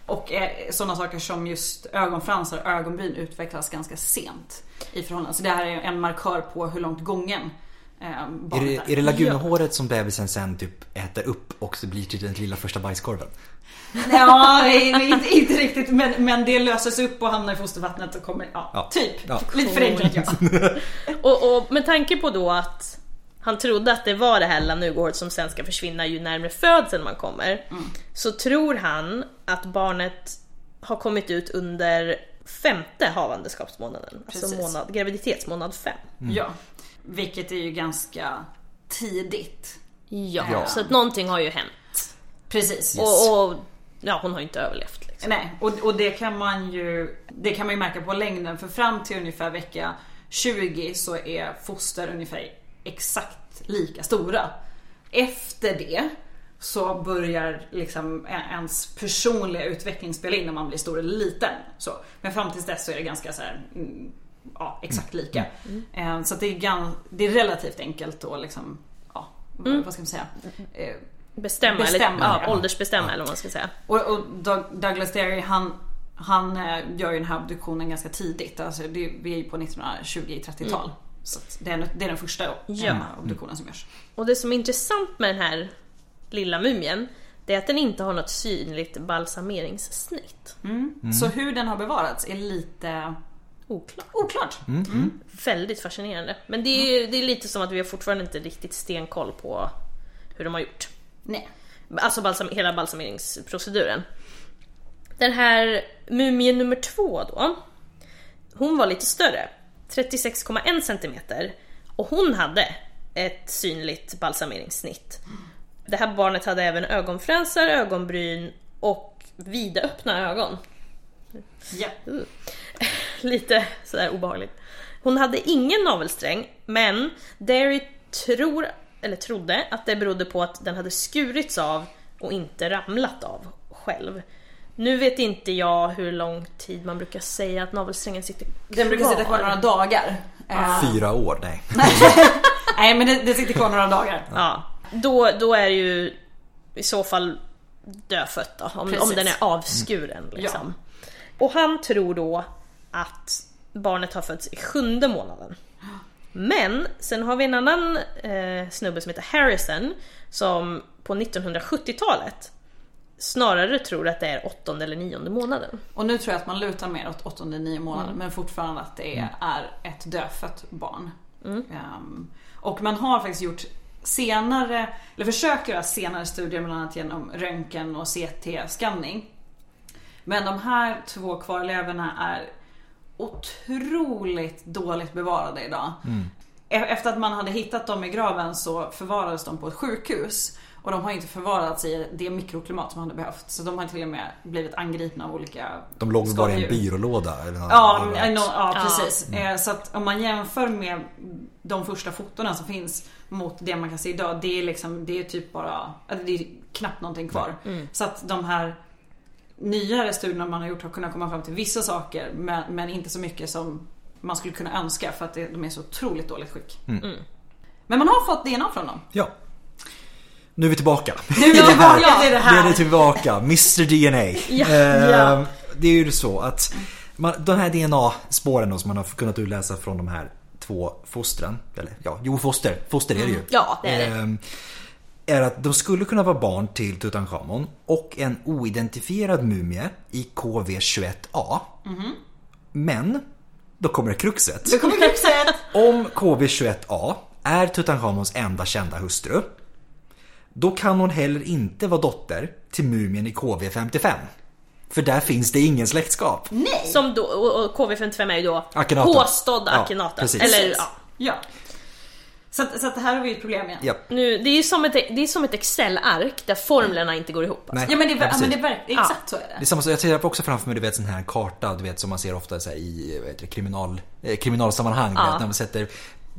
Och eh, sådana saker som just ögonfransar och ögonbryn utvecklas ganska sent i förhållande. Så det här är en markör på hur långt gången eh, Är barnet det, är det lagunhåret som bebisen sen typ äter upp och så blir till den lilla första bajskorven? Ja, inte, inte riktigt. Men, men det löses upp och hamnar i fostervattnet och kommer, ja, Ja. typ. Ja. Lite förenklat ja. Och, och med tanke på då att han trodde att det var det här lanugård som sen ska försvinna ju närmare födseln man kommer. Så tror han att barnet har kommit ut under femte havandeskapsmånaden. Alltså Precis. månad, graviditetsmånad fem. Mm. ja. Vilket är ju ganska tidigt. Ja, Ja. så att någonting har ju hänt. Precis. Och, och, Och, och ja, hon har ju inte överlevt liksom. nej, och, och det kan man ju Det kan man ju märka på längden. För fram till ungefär vecka 20 så är foster ungefär exakt lika stora. Efter det så börjar liksom ens personliga utveckling spela in när man blir stor eller liten. Så. Men fram tills dess så är det ganska så här, mm, ja, exakt lika. Eh, Så att det, är gan, det är relativt enkelt att liksom, ja, vad ska man säga? Eh, Bestämma, Bestämma, eller ja, ja. åldersbestämma eller vad man ska säga. Och, och Doug- Douglas Derry han, han eh, gör ju den här abduktionen ganska tidigt. Alltså det, vi är ju på 1920-30-tal. Så att det, är, den- det är den första eh, Ja. abduktionen som görs. Och det som är intressant med den här lilla mumien, det är att den inte har något synligt balsameringssnitt. Så hur den har bevarats är lite Oklart. oklart. Väldigt fascinerande. Men det är, ju, det är lite som att vi har fortfarande inte riktigt stenkoll på hur de har gjort. Nej. Alltså balsam, hela balsameringsproceduren. Den här mumien nummer två då. Hon var lite större. 36,1 centimeter. Och hon hade ett synligt balsameringssnitt. Det här barnet hade även ögonfransar, ögonbryn och vida öppna ögon. Ja. Lite sådär obehagligt. Hon hade ingen navelsträng, men Derry tror, eller trodde att det berodde på att den hade skurits av och inte ramlat av själv. Nu vet inte jag hur lång tid man brukar säga att navelsträngen sitter kvar. Den brukar sitta kvar några dagar. Eh, Fyra år, nej. nej men det, det sitter kvar några dagar. Ja. Då, då är det ju i så fall dödfött då, om, om Precis. den är avskuren. Liksom. Och han tror då att barnet har fötts i sjunde månaden. Men sen har vi en annan eh, snubbe som heter Harrison som på 1970-talet snarare tror att det är åttonde eller nionde månaden. Och nu tror jag att man lutar mer åt åttonde, nio månader men fortfarande att det är, är ett dödfött barn. Ehm, och man har faktiskt gjort senare, eller försökt göra senare studier bland annat genom röntgen och CT-skanning. Men de här två kvarlevorna är otroligt dåligt bevarade idag. E- Efter att man hade hittat dem i graven så förvarades de på ett sjukhus. Och de har inte förvarats i det mikroklimat som hade behövt. Så de har till och med blivit angripna av olika De låg bara i en skadedjur. byrålåda. Eller något. Ja, men- no, ja Ja. precis. Eh, Så att om man jämför med de första fotona som finns mot det man kan se idag. Det är liksom, det är typ bara, alltså det är knappt någonting kvar. Så att de här nyare studierna man har gjort har kunnat komma fram till vissa saker men, men inte så mycket som man skulle kunna önska för att det, de är så otroligt dåligt skick. Mm. Men man har fått DNA från dem. Ja. Nu är vi tillbaka. Nu är det här. Ja, det är det Nu är det här. tillbaka, Mr DNA. Ja, Eh, ja. Det är ju så att man, de här DNA-spåren då som man har kunnat utläsa från de här två fostren. Eller ja, jo foster. Foster är det ju. Mm. Ja, det är det. Ehm, är att de skulle kunna vara barn till Tutankhamon och en oidentifierad mumie i KV21A. Mm-hmm. Men, då kommer det kruxet. Du kommer knappt säga att Om KB21A är Tutankhamons enda kända hustru då kan hon heller inte vara dotter till mumien i KV55. För där finns det ingen släktskap. nej. Som då, och och KV55 är ju då Akenata. påstådd Ja, Akenata. precis. eller, ja. Ja. Så, att, så att det här har vi ett problem igen. Ja. Nu, det är ju som ett, det är som ett Excel-ark där formlerna inte går ihop. Alltså. Nej, Ja men det, ja, är- ja, precis. men det är verk- Ja. exakt så är det. Det är samma sak, jag ser också framför mig du vet, sån här karta du vet, som man ser ofta så här, i vad heter det, kriminal, eh, kriminalsammanhang. du Ja. Vet, när man sätter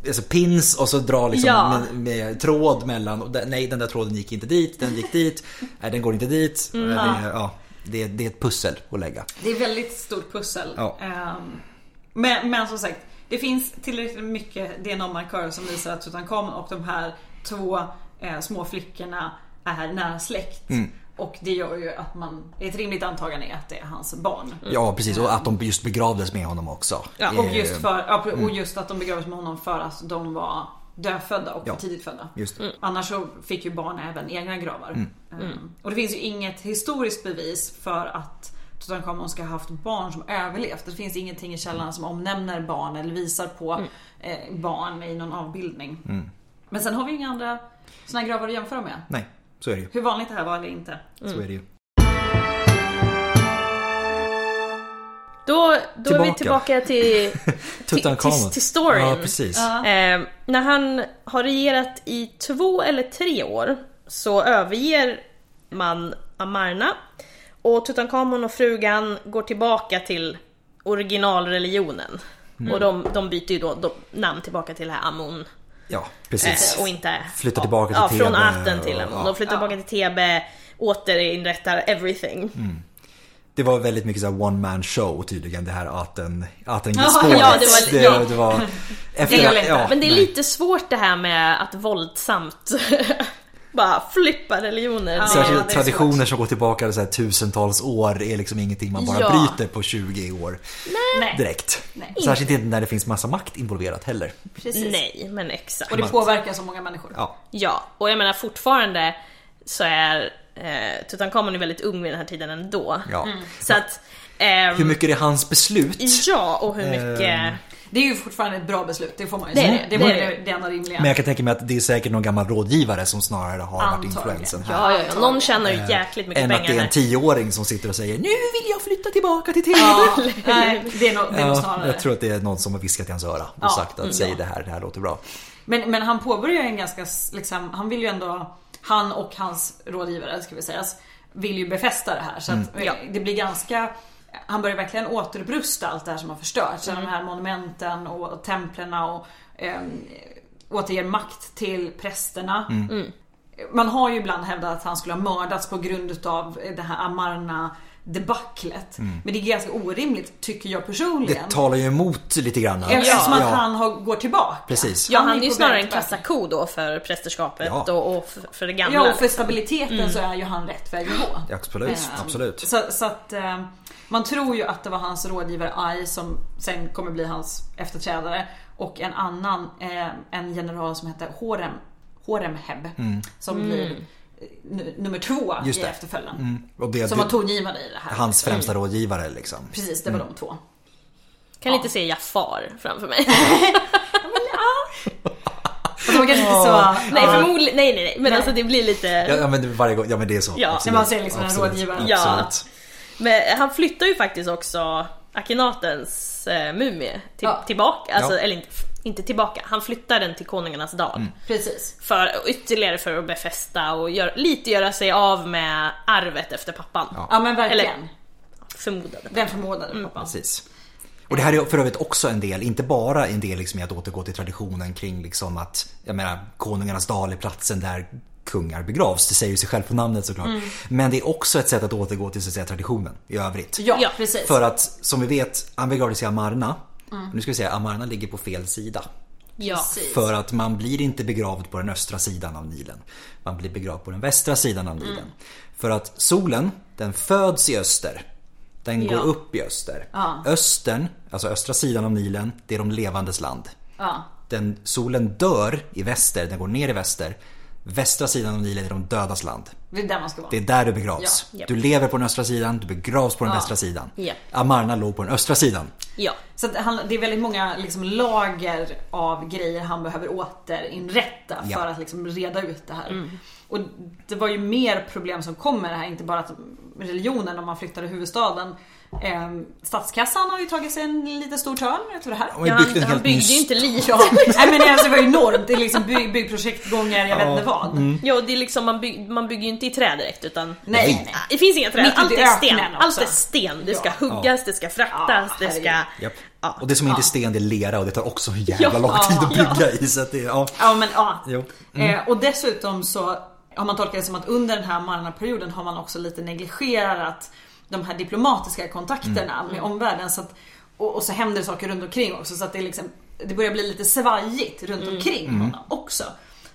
alltså, pins och så drar liksom Ja. med, med Mm, tråd mellan. Och där, nej, den där tråden gick inte dit, den gick dit, nej, den går inte dit. Eh, det- ja. Det är, det är ett pussel att lägga. Det är ett väldigt stort pussel. Ja. Ehm, men, men som sagt, det finns tillräckligt mycket DNA-markörer som visar att Tutankhamun och de här två eh, små flickorna är nära släkt. Mm. Och det gör ju att man, ett rimligt antagande är att det är hans barn. Ja, precis. Och att de just begravdes med honom också. Mm. Ja, Och Eh, just, för, ja, och just att de begravdes med honom för att de var dödfödda och Ja. för tidigt födda. Just Mm. det. Annars så fick ju barn även egna gravar. Mm. Mm. Ehm, Och det finns ju inget historiskt bevis för att Tutankhamon ska ha haft barn som överlevt. Det finns ingenting i källorna som omnämner barn eller visar på Mm. eh, barn i någon avbildning. Men sen har vi ju inga andra sådana gravar att jämföra med. Mm. Nej, så är det ju. Hur vanligt det här var eller inte. Mm. Så är det ju. Då, då är vi Tillbaka. tillbaka till, till, Tutankhamun. till, till storyn. Ja, precis. Eh, när han har regerat i två eller tre år så överger man Amarna och Tutankhamon och frugan går tillbaka till originalreligionen. Mm. Och de, de byter ju då de, namn tillbaka till det här Amon Ja, precis. eh, och inte... Flyttar tillbaka ja, till från Thebe Aten till och- Amon. ja. De flyttar tillbaka till Thebe, återinrättar everything. Mm. Det var väldigt mycket så här one man show tydligen det här aten aten Ja, spåret. ja, det var- det, ja. det var efter, Det är lätt. Men det är nej. lite svårt det här med att våldsamt bara flippa religioner. Det- Särskilt- Särskilt Ja, det är traditioner som går tillbaka så här, tusentals år är liksom ingenting man bara Ja. bryter på 20 år Nej. direkt. Nej. Särskilt inte när det finns massa makt involverat heller. Precis. Nej, men exakt. Och det påverkar så många människor. Ja, Ja, och jag menar fortfarande så är eh, Tutankhamon är väldigt ung vid den här tiden ändå. ja. Så att... Hur ehm, mycket är hans beslut? Mm. ja, och hur mycket... Ehm, Det är ju fortfarande ett bra beslut, det får man ju Det är säga. det, Det det var är det, det. det enda rimliga. Men jag kan tänka mig att det är säkert någon gammal rådgivare som snarare har varit Antagligen. influensen här. Ja, ja, ja, någon tjänar ju jäkligt Eh, mycket Än att pengar det är här. en tioåring som sitter och säger Nu vill jag flytta tillbaka till TV! Ja, nej, det är nog, det är nog Ja, snarare. jag tror att det är någon som har viskat i hans öra och Ja, sagt att mm, säg ja. det här, det här låter bra. Men, men han påbörjar ju en ganska, s- liksom, han vill ju ändå, han och hans rådgivare ska vi säga, vill ju befästa det här. Så att, Mm, eh, det blir ganska, han börjar verkligen återupprusta allt det här som har förstörts. Så Mm. De här monumenten och templerna och eh, återger makt till prästerna. Mm. Mm. Man har ju ibland hävdat att han skulle ha mördats på grund utav det här Amarna debaclet. Men det är ganska orimligt tycker jag personligen. Mm. Det talar ju emot lite grann. Eftersom att han har, går tillbaka. Precis. Ja, han är ju på snarare väg en tillbaka. kassako då för prästerskapet Ja. Mm. och, och för, för det gamla. Ja och för stabiliteten så är ju han rätt väg att gå. Ja, absolut, Eh, absolut. Så, så att eh, man tror ju att det var hans rådgivare Ai som sen kommer bli hans efterträdare. Och en annan, eh, en general som heter Horem, Horemheb. Som blir eh, nu- nummer två Mm. Just i det. efterföljen. Och det, Som det- var tongivande i det här. hans främsta rådgivare liksom. Precis, det var de två. Kan inte se Jafar framför mig. Och de var kanske inte så... nej, ja. förmodligen, nej, nej, nej. Men alltså det blir lite... Ja, ja men det- varje gång, ja men det är så. Ja, absolut, när man ser liksom en absolut, rådgivare. Absolut. Ja. Men han flyttar ju faktiskt också Akenatens eh, mumie till, Ja. tillbaka, alltså, Ja. Mm. eller inte, inte tillbaka, han flyttar den till konungarnas dal. Precis. För, ytterligare för att befästa och gör, lite göra sig av med arvet efter pappan. Ja. Ja men verkligen. Eller- Förmodade. Den förmodade pappan. Precis. Och det här är för övrigt också en del, inte bara en del liksom i att återgå till traditionen kring liksom att, jag menar, konungarnas dal är platsen där kungar begravs. Det säger ju sig själv på namnet såklart. Men det är också ett sätt att återgå till så att säga, traditionen i övrigt. Ja, Ja. precis. För att som vi vet, han begravdes i Amarna. Nu ska vi säga, Amarna ligger på fel sida. Ja. Precis. För att man blir inte begravd på den östra sidan av Nilen. Man blir begravd på den västra sidan av Nilen. Mm. För att solen, den föds i öster. Den Ja. går upp i öster. Östern, alltså östra sidan av Nilen, det är de levandes land. Ja. Den, solen dör i väster, den går ner i väster. Västra sidan av Nilen är de dödas land. Det är där man ska vara. Det är där du begravs. Ja. Japp. Du lever på den östra sidan, du begravs på den västra sidan. Japp. Amarna låg på den östra sidan. ja. Så att han, det är väldigt många liksom lager av grejer han behöver återinrätta Ja. för att liksom reda ut det här. Och det var ju mer problem som kom med det här, inte bara att religionen om man flyttade huvudstaden. Eh, statskassan har ju tagit sig en lite stor törn efter det här. De har ja ju byggt en han, han helt byggde ny ju inte lite. Ja, nej men alltså det var ju enormt. Det är liksom bygg, byggprojektgångar, jag vet inte vad. Ja, och det är liksom, man, bygg, man bygger ju inte i trä direkt utan... Nej, nej. Ah, Det finns inga träd, Mitt ute i allt är sten. öknen också. Allt är sten. Det ska Ja. huggas, det ska fraktas, Ja, det ska... herregud. Japp. Ja. Och det som inte är sten det är lera och det tar också en jävla Ja. lång tid att Ja. bygga i. Så att det, ja. Ja men ja. Jo. Mm. Eh, och dessutom så har man tolkat det som att under den här mannaperioden har man också lite negligerat de här diplomatiska kontakterna Mm. med omvärlden. Så att, och, och så händer det saker runt omkring också så att det, liksom, det börjar bli lite svajigt runt omkring Mm. honom också.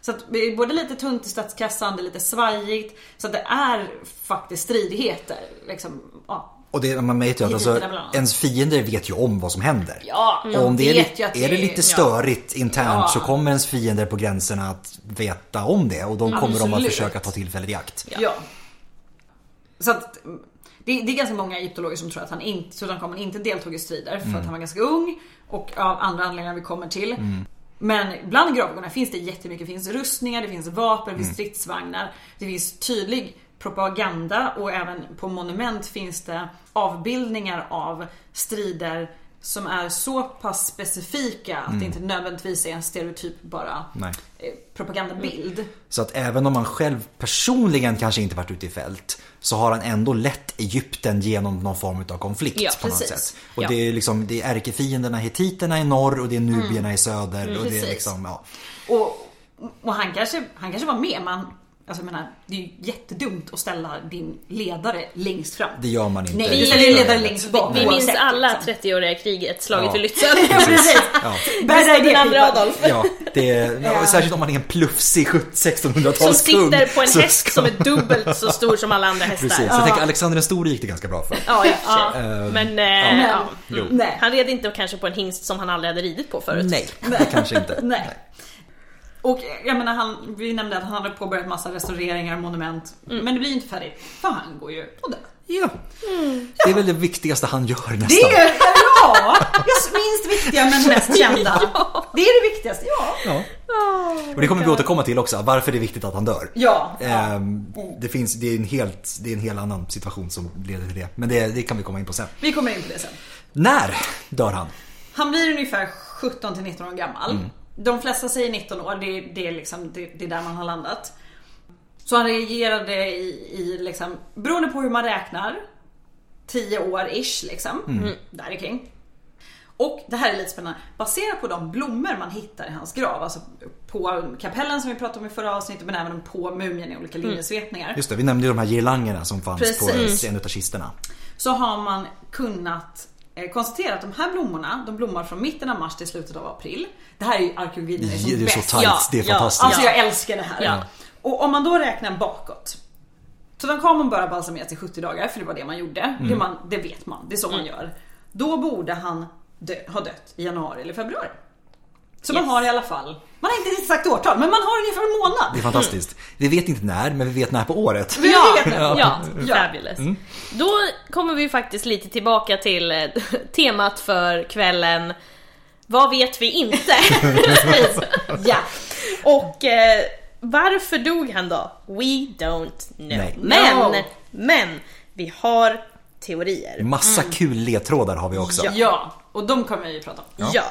Så att det är både lite tunt i statskassan, det är lite svajigt. Så att det är faktiskt stridigheter. Liksom, ja. Och det, man vet ju att alltså, Hittills bland annat. ens fiender vet ju om vad som händer. Ja, de Och om det är, vet li- ju att är det det- lite ja. störigt internt Ja. så kommer ens fiender på gränserna att veta om det och då kommer de att Absolut. försöka ta tillfället i akt. Ja. Så att, det, det är ganska många egyptologer som tror att han inte, Tutankhamun inte deltog i strider för att han var ganska ung och av andra anledningar vi kommer till. Men bland gravgårdarna finns det jättemycket. Det finns rustningar, det finns vapen, det finns stridsvagnar. Det finns tydlig propaganda och även på monument finns det avbildningar av strider som är så pass specifika att det inte nödvändigtvis är en stereotyp bara Nej. eh, propagandabild. Så att även om han själv personligen kanske inte varit ute i fält så har han ändå lett Egypten genom någon form av konflikt Ja, på något precis. sätt. Och Ja. det är liksom, det är ärkefienderna hittiterna i norr och det är nubierna i söder och det är Mm, precis. liksom, ja. Och, och han, kanske, han kanske var med men alltså jag menar, det är ju jättedumt att ställa din ledare längst fram. Det gör man inte. Nej, Det vi förstår ställer ju jag. ledare längst bak. Vi minns oavsett, alla liksom. 30-åriga kriget, slaget Ja. vid Lützen. Precis. Ja. Bära Den andra idépipan. Adolf. Ja, det är, Ja. Särskilt om man är en plufsig 1600-talskung. Som sitter på en så häst ska- som är dubbelt så stor som alla andra hästar. Precis, jag tänker Alexander den store gick det ganska bra för. Ja, i och för sig. Eh, Men, eh, Men- ja. Jo. Nej. Han red inte kanske på en hingst som han aldrig hade ridit på förut. Nej, det kanske inte. Nej. Och jag menar, han, vi nämnde att han hade påbörjat massa restaureringar och monument. Mm. Men det blir ju inte färdigt. För han går ju och dör. Ja. Det är väl det viktigaste han gör nästan. Det är ja, just minst viktiga men mest kända. Det är det viktigaste, ja. Ja. Men det kommer vi återkomma till också, varför det är viktigt att han dör. Ja. Ehm, Det, finns, det, är en helt, det är en helt annan situation som leder till det. Men det, det kan vi komma in på sen. Vi kommer in på det sen. När dör han? Han blir ungefär 17 till 19 år gammal. De flesta säger 19 år, det, det, är liksom, det, det är där man har landat. Så han regerade i, i liksom, beroende på hur man räknar, 10 år ish liksom. Där kring. Och det här är lite spännande. Baserat på de blommor man hittar i hans grav, alltså på kapellen som vi pratade om i förra avsnittet, men även på mumien i olika linjesvepningar. Just det, vi nämnde ju de här girlangerna som fanns Precis. på en utav kisterna. så har man kunnat eh, konstatera att de här blommorna, de blommar från mitten av mars till slutet av april. Det här är ju arkeologin är som Det är så bäst. tight, Ja, det är ja, fantastiskt. Alltså jag älskar det här. Ja. Och om man då räknar bakåt. Tutankhamon började balsameras i 70 dagar för det var det man gjorde. Det, man, det vet man, det är så man gör. Då borde han dö, ha dött i januari eller februari. Så man Yes. har i alla fall, man har inte riktigt sagt årtal men man har ungefär en månad. Det är fantastiskt. Vi vet inte när, men vi vet när på året. Vi Ja, vet det. ja, Ja. fabulous. Då kommer vi faktiskt lite tillbaka till eh, temat för kvällen. Vad vet vi inte? Precis. Ja. Och eh, varför dog han då? We don't know. Nej. Men, No. men, vi har teorier. Massa kul ledtrådar har vi också. Mm. Ja. ja, och de kommer vi ju prata om. Ja. Ja.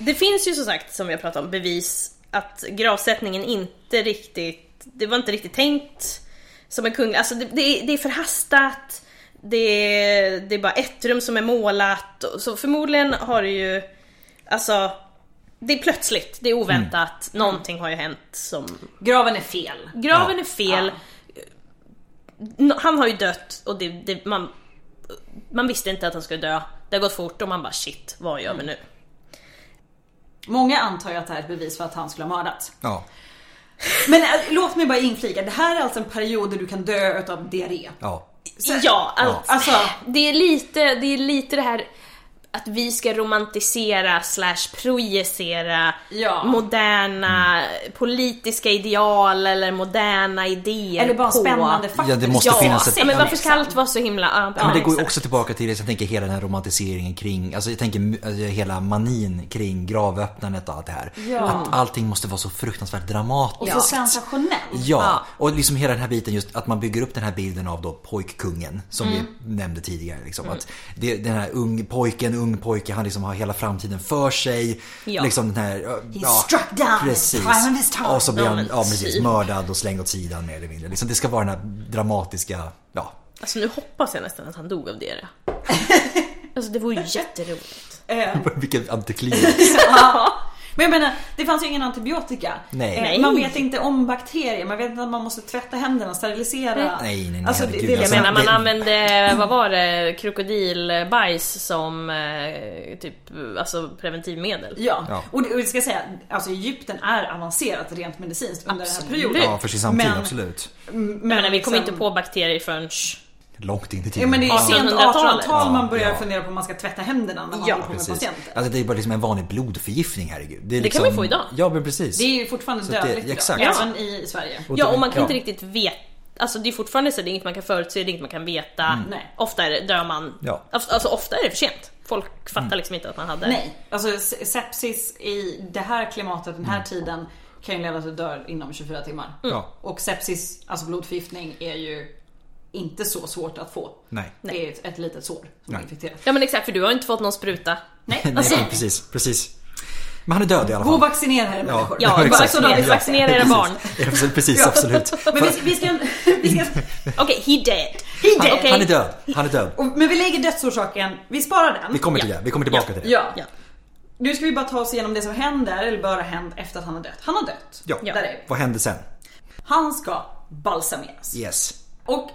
Det finns ju som sagt, som vi har pratat om, bevis att gravsättningen inte riktigt, det var inte riktigt tänkt som en kunglig, alltså det, det, är- det är förhastat, det, är- det är bara ett rum som är målat, och så förmodligen har det ju, alltså det är plötsligt, det är oväntat, någonting har ju hänt som... Graven är fel. Graven Ja. är fel, Nå- han har ju dött och det, det, man, man visste inte att han skulle dö. Det har gått fort och man bara shit, vad gör vi nu? Många antar ju att det här är ett bevis för att han skulle ha mördats. Ja. Men eh, låt mig bara inflika, det här är alltså en period där du kan dö utav diarré. ja. Ja, alltså, Alltså, det är lite det, är lite det här att vi ska romantisera slash projicera Ja. moderna politiska ideal eller moderna idéer eller bara på. spännande fakta. Ja, det måste Ja, finnas ett- ja, men varför ska liksom. allt vara så himla... Ja, Men det går ju exakt. också tillbaka till, jag tänker hela den här romantiseringen kring, alltså jag tänker mu- alltså hela manin kring gravöppnandet och allt det här. Ja. Att allting måste vara så fruktansvärt dramatiskt. Och så sensationellt. Ja, och liksom hela den här biten just att man bygger upp den här bilden av då pojkkungen som Mm. vi nämnde tidigare. Liksom, att det, den här ung pojken, ung pojke, han liksom har hela framtiden för sig. Ja. Liksom den här... struck down at precis. prime of his time. Och så blir Ja, han men ja, precis, typ. mördad och slängd åt sidan mer eller mindre. Liksom, det ska vara den här dramatiska... Ja. Alltså nu hoppas jag nästan att han dog av det. Alltså det vore ju jätteroligt. Eh, Vilken antiklimax. ja. Men jag menar, det fanns ju ingen antibiotika. Nej. Eh, Nej. Man vet inte om bakterier, man vet inte att man måste tvätta händerna, sterilisera. Nej, nej, nej, Alltså, det, herregud, det, Jag alltså. menar man det- använde, vad var det, krokodilbajs som eh, typ, alltså preventivmedel. Ja, Ja. och det, och det ska jag säga, alltså Egypten är avancerat rent medicinskt under Absolut. den här perioden. Ja, för sin samtid, Men- absolut. Men, Jag menar vi kom sen- inte på bakterier förrän... Långt in i tiden. Ja, men det är Ja. sent 1800-talet. 1800-tal man börjar Ja. fundera på om man ska tvätta händerna när man Ja, håller på med Precis. patienter. Alltså det är bara liksom en vanlig blodförgiftning, herregud. är liksom- Det kan man få idag. Ja, men precis. Det är ju fortfarande det- dödligt idag, exakt. Ja. även i Sverige. Och Ja det- och man kan ja. inte riktigt veta, alltså det är fortfarande så, det är inget man kan förutse, det är inget man kan veta. Nej. Ofta är det, dör man, Mm. Ja. Mm. alltså ofta är det för sent. Folk fattar liksom inte att man hade. Nej, alltså se- sepsis i det här klimatet, den här Mm. tiden kan ju leda till att du dör inom 24 timmar. Ja. Och sepsis, alltså blodförgiftning, är ju inte så svårt att få. Nej. Det är ett, ett litet sår som är Nej. infekterat. Ja men exakt, för du har inte fått någon spruta. Nej, Nej, alltså, nej, precis, precis. Men han är död i alla gå och fall. vaccinera er människor. Ja, Ja, exakt. vaccinera, Ja. vaccinera era barn. Ja, precis, precis absolut. Men vi, vi ska... Vi ska Okej, he dead. He dead. Okej. Han är död. Han är död. och, men vi lägger dödsorsaken, vi sparar den. Vi kommer till Ja. det. Vi kommer tillbaka till det. Ja. Ja. Nu ska vi bara ta oss igenom det som händer, eller bara hänt efter att han har dött. Han har dött. Ja. Där är vi. Vad hände sen? Han ska balsameras. Yes. Och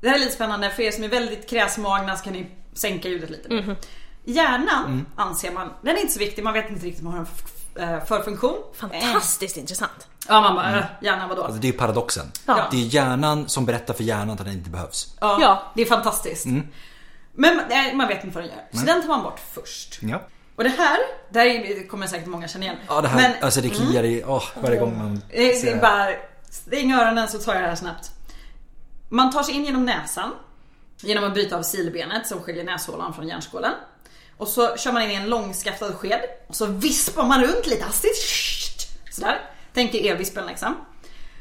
det här är lite spännande, för er som är väldigt kräsmagna så kan ni sänka ljudet lite. Mhm. Hjärnan Mm. anser man, den är inte så viktig, man vet inte riktigt vad den har för- eh, för funktion. Fantastiskt intressant. Eh, Ja man bara, mm. hjärnan vadå? Alltså, det är ju paradoxen. Ja. Det är hjärnan som berättar för hjärnan att den inte behövs. Ja, Ja. det är fantastiskt. Mm. Men eh, man vet inte vad den gör. Så den tar man bort först. Ja. Och det här, det här är- kommer säkert många känna igen. Mm. Ja, det här, Men alltså det kliar i, åh, varje gång man Eh, det är- det ser är det. bara, stäng öronen så tar jag det här snabbt. Man tar sig in genom näsan. Genom att bryta av silbenet som skiljer näshålan från hjärnskålen. Och så kör man in i en långskaftad sked. Och så vispar man runt lite hastigt. Sådär. Tänk er vispen liksom.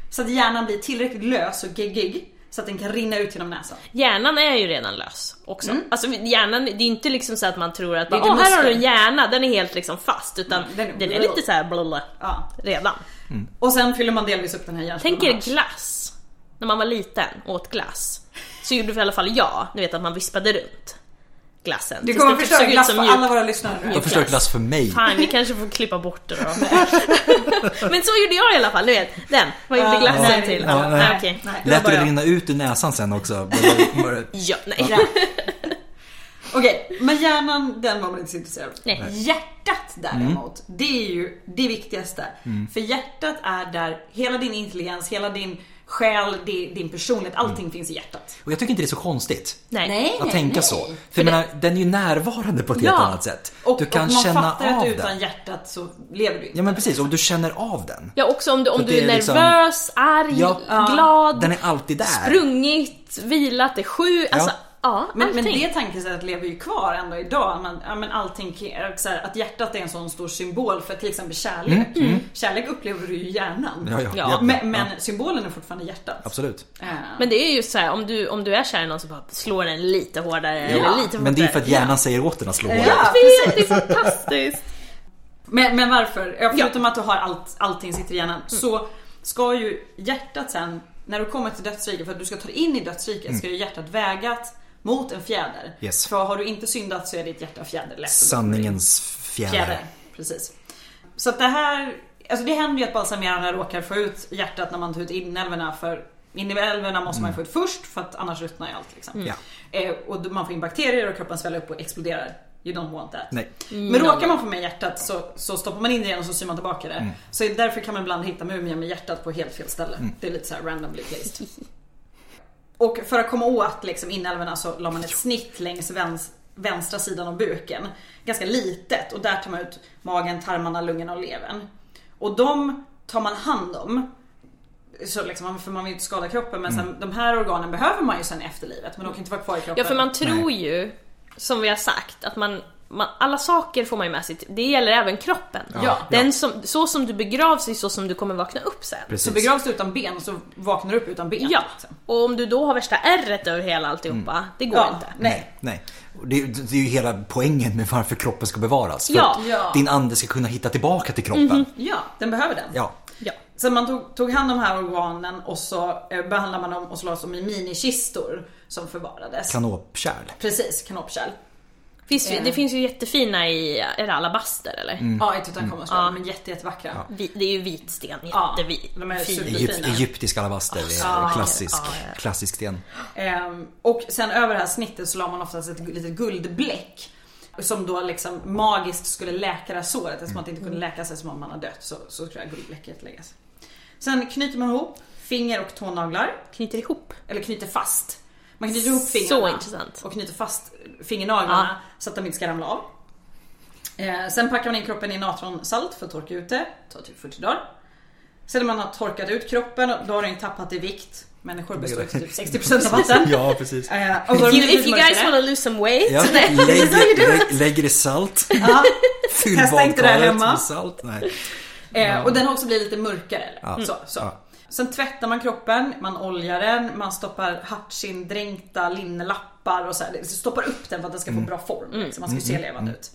Så att hjärnan blir tillräckligt lös och geggig. Så att den kan rinna ut genom näsan. Hjärnan är ju redan lös också. Alltså hjärnan, det är ju inte liksom så att man tror att Mm. Det är bara, "Åh, inte här har du en muskeln." hjärna, den är helt liksom fast. Utan Mm, den, den är är- lite så här blablabla Ja. redan. Och sen fyller man delvis upp den här hjärnskålen. Tänk er här. glass. När man var liten och åt glass. Så gjorde i alla fall jag, ni vet att man vispade runt glassen. Du tills kommer det typ förstöra såg ut glass som för mjuk- alla våra lyssnare nu. De förstör glass för mig. Fan, vi kanske får klippa bort det då. Men så gjorde jag i alla fall, du vet. Den. Vad gjorde Ja, glassen nej, till? nej, Ja, nej. nej, okej. Nej. Det var Lät bara det jag. rinna ut ur näsan sen också. Bara- bara- Ja, nej. Okej, men hjärnan den var man inte så intresserad av. Nej. Hjärtat däremot, Mm. det är ju det viktigaste. För hjärtat är där hela din intelligens, hela din själ, di- din personlighet, Mm. allting finns i hjärtat. Och jag tycker inte det är så konstigt. Nej. Nej. Att tänka så. För jag menar, den är ju närvarande på ett helt annat sätt. Och, Du kan och man känna fattar att av utan den. hjärtat så lever du inte. Ja men precis, och du känner av den. Ja, också om du, om Så du är, det är liksom- nervös, arg, Ja. glad, Den är alltid där. sprungit, vilat, är sju, alltså ja, Men, allting. men det tankesättet lever ju kvar ändå idag. Man, ja, men allting, ke- så här, att hjärtat är en sån stor symbol för till exempel kärlek. Kärlek upplever du ju i hjärnan. Mm, Ja, ja, Ja, jätte- Men, men symbolen är fortfarande hjärtat. Absolut. Eh, Men det är ju så här, om du, om du är kär i någon så bara slår den lite hårdare eller lite Men det är ju för att fortare. hjärnan säger åt den att slå Ja. håret. Jag vet, det är fantastiskt! Men, men varför? Ja, Förutom att du har allt, allting sitter i hjärnan Mm. så ska ju hjärtat sen, när du kommer till dödsriket, för att du ska ta dig in i dödsriket, ska ju hjärtat vägat mot en fjäder. Mm. Yes. För har du inte syndat så är ditt hjärta fjäderlätt. Sanningens Fjäder, fjäder. precis. Så att det här, alltså det händer ju att balsamerarna råkar få ut hjärtat när man tar ut inälvorna för inälvorna måste man ju få ut först för att annars ruttnar ju allt liksom. Mm. Ja. Eh, och man får in bakterier och kroppen sväller upp och exploderar. You don't want that. Nej. Mm. Men råkar man få med hjärtat så, så stoppar man in det igen och så syr man tillbaka det. Mm. Så därför kan man ibland hitta mumier med hjärtat på helt fel ställe. Det är lite så här randomly placed. Och för att komma åt liksom inälvorna så la man ett snitt längs väns- vänstra sidan av buken. Ganska litet och där tar man ut magen, tarmarna, lungorna och levern. Och de tar man hand om. Så liksom, för man vill ju inte skada kroppen men sen, de här organen behöver man ju sen i efterlivet men de kan inte vara kvar i kroppen. Mm. Ja för man tror ju, som vi har sagt, att man, man alla saker får man ju med sig, till- det gäller även kroppen. Ja. Den som, så som du begravs är så som du kommer vakna upp sen. Precis. Så begravs du utan ben så vaknar du upp utan ben. Ja, liksom. och om du då har värsta ärret över hela alltihopa, Mm. det går Ja, inte. Nej. Nej. Och Det, det är ju hela poängen med varför kroppen ska bevaras. För Ja. att Ja. Mhm. din ande ska kunna hitta tillbaka till kroppen. Ja, den behöver den. Ja. Ja. Så man tog, tog hand om de här organen och så eh, behandlade man dem och så lades de i minikistor som förvarades. Kanopkärl. Mm. Precis, kanopkärl. Finns ju, Eh. det finns ju jättefina i, är det alabaster eller? Ja, i Tutankhamons mm. de är jätte, jättevackra. Vi, det är ju vit sten, Ja, jättevit. de är fin. super- Egypt, Fina. egyptisk alabaster, det är Ah, klassisk, ja, ja. klassisk sten. Ehm, och sen över det här snittet så la man oftast ett gu- litet guldbläck. Som då liksom magiskt skulle läka det här såret. Eftersom att det inte kunde läka sig som om man hade dött så, så skulle det här guldbläcket läggas. Sen knyter man ihop finger och tånaglar. Knyter ihop. Eller knyter fast. Man knyter ihop Så fingrarna. intressant. Och knyter fast fingernaglarna Ja. så att de inte ska ramla av. Eh, sen packar man in kroppen i natronsalt för att torka ut det. Tar typ 40 dagar. Sen när man har torkat ut kroppen, då har den ju tappat i vikt. Människor består ju till typ 60% av vatten. Ja, precis. Eh, och så har de You, if blivit you guys mörkare. wanna lose some weight. Ja, Nej. lägg, lägg, lägger i salt, Ja. fyll Testa inte det här badkaret hemma. med salt. Nej. Eh, och den har också blivit lite mörkare. Ja. Så, så. Ja. Sen tvättar man kroppen, man oljar den, man stoppar hartsindränkta linnelappar och så här, stoppar upp den för att den Mm. ska få bra form. Mm. Liksom. Man ska ju se levande ut.